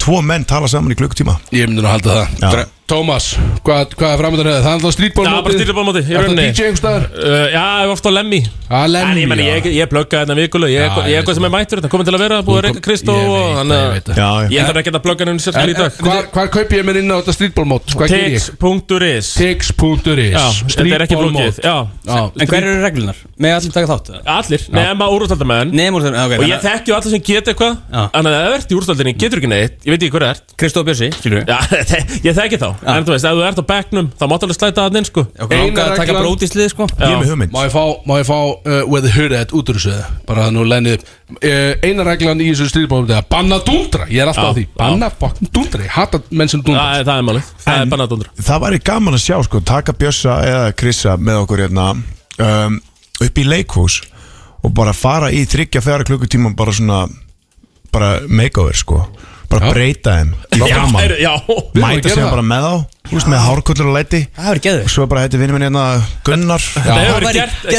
S4: Tvo menn tala saman í klukkutíma
S2: Ég myndi nú að halda það Dre- Tómas, hvað, hvað er framöndan hefði? Það er alltaf strítból
S15: Já, bara strítbólmóti
S2: Er það DJ einhvers staðar?
S15: Eh, Já, ég var ofta á Lemmi
S2: Já, Lemmy,
S15: En ég meni,
S2: já.
S15: ég, ég plugga þetta vikulega
S2: Já,
S15: Ég ég
S2: ég
S15: er eitthvað sem er mættur þetta Komin til að vera, búið að reyka Kristó
S2: Ég
S15: og
S2: veit
S15: hann,
S2: það, ég veit það. Já, já.
S15: Ég þarf ekki að plugga henni sérstaklega í dag
S2: Eh, Hvar, hvar kaup ég mér inn á þetta strítbólmót? sko, Hvað ger ég?
S15: Tix.is
S2: Tix.is
S15: Já, þetta er ekki flókið Já.
S10: En hverju eru reglunar? Með allir taka þátt?
S15: Allir, nema úrústaldamenn
S10: Nema
S15: Og
S10: úrústaldamenn,
S15: ég þekki allir sem geta eitthvað Þannig að ef þú ert í úrstaldinni, getur ekki neitt Ég veit ekki hver það ert
S10: Kristóf Björsi, skilur
S15: við Ég þekki þá, en þú veist, ef þú ert á bekknum Þá mátt alveg slæta það inn, sko
S10: okkur langar að taka brótislið, sko
S15: Ég er með
S4: hugmynd
S2: Má ég fá, má ég fá uh, where the hood at út úr þessu eða? Bara að nú lenni upp uh, Eina reglan í þessu stríðbólum er að banna dundra Ég er alltaf
S15: Já,
S2: á því Banna fokkin dundra Ég hata menn sem dundra
S15: Það er málið Það er bannað dundra
S4: Það væri gaman að sjá sko, taka Bjössa eða Krissa með okkur hérna um, upp í leikhús og bara fara í þryggja fjara klukkutíma bara svona bara makeover sko bara breyta þeim í
S15: Já,
S4: gaman.
S15: heyrðu, já. Við erum að
S4: mæta
S15: gera
S4: sem
S15: það.
S4: bara með þá þú veist með hárkullur og læti og svo bara hætti vinnum minn hérna Gunnar
S15: Það hefur verið gert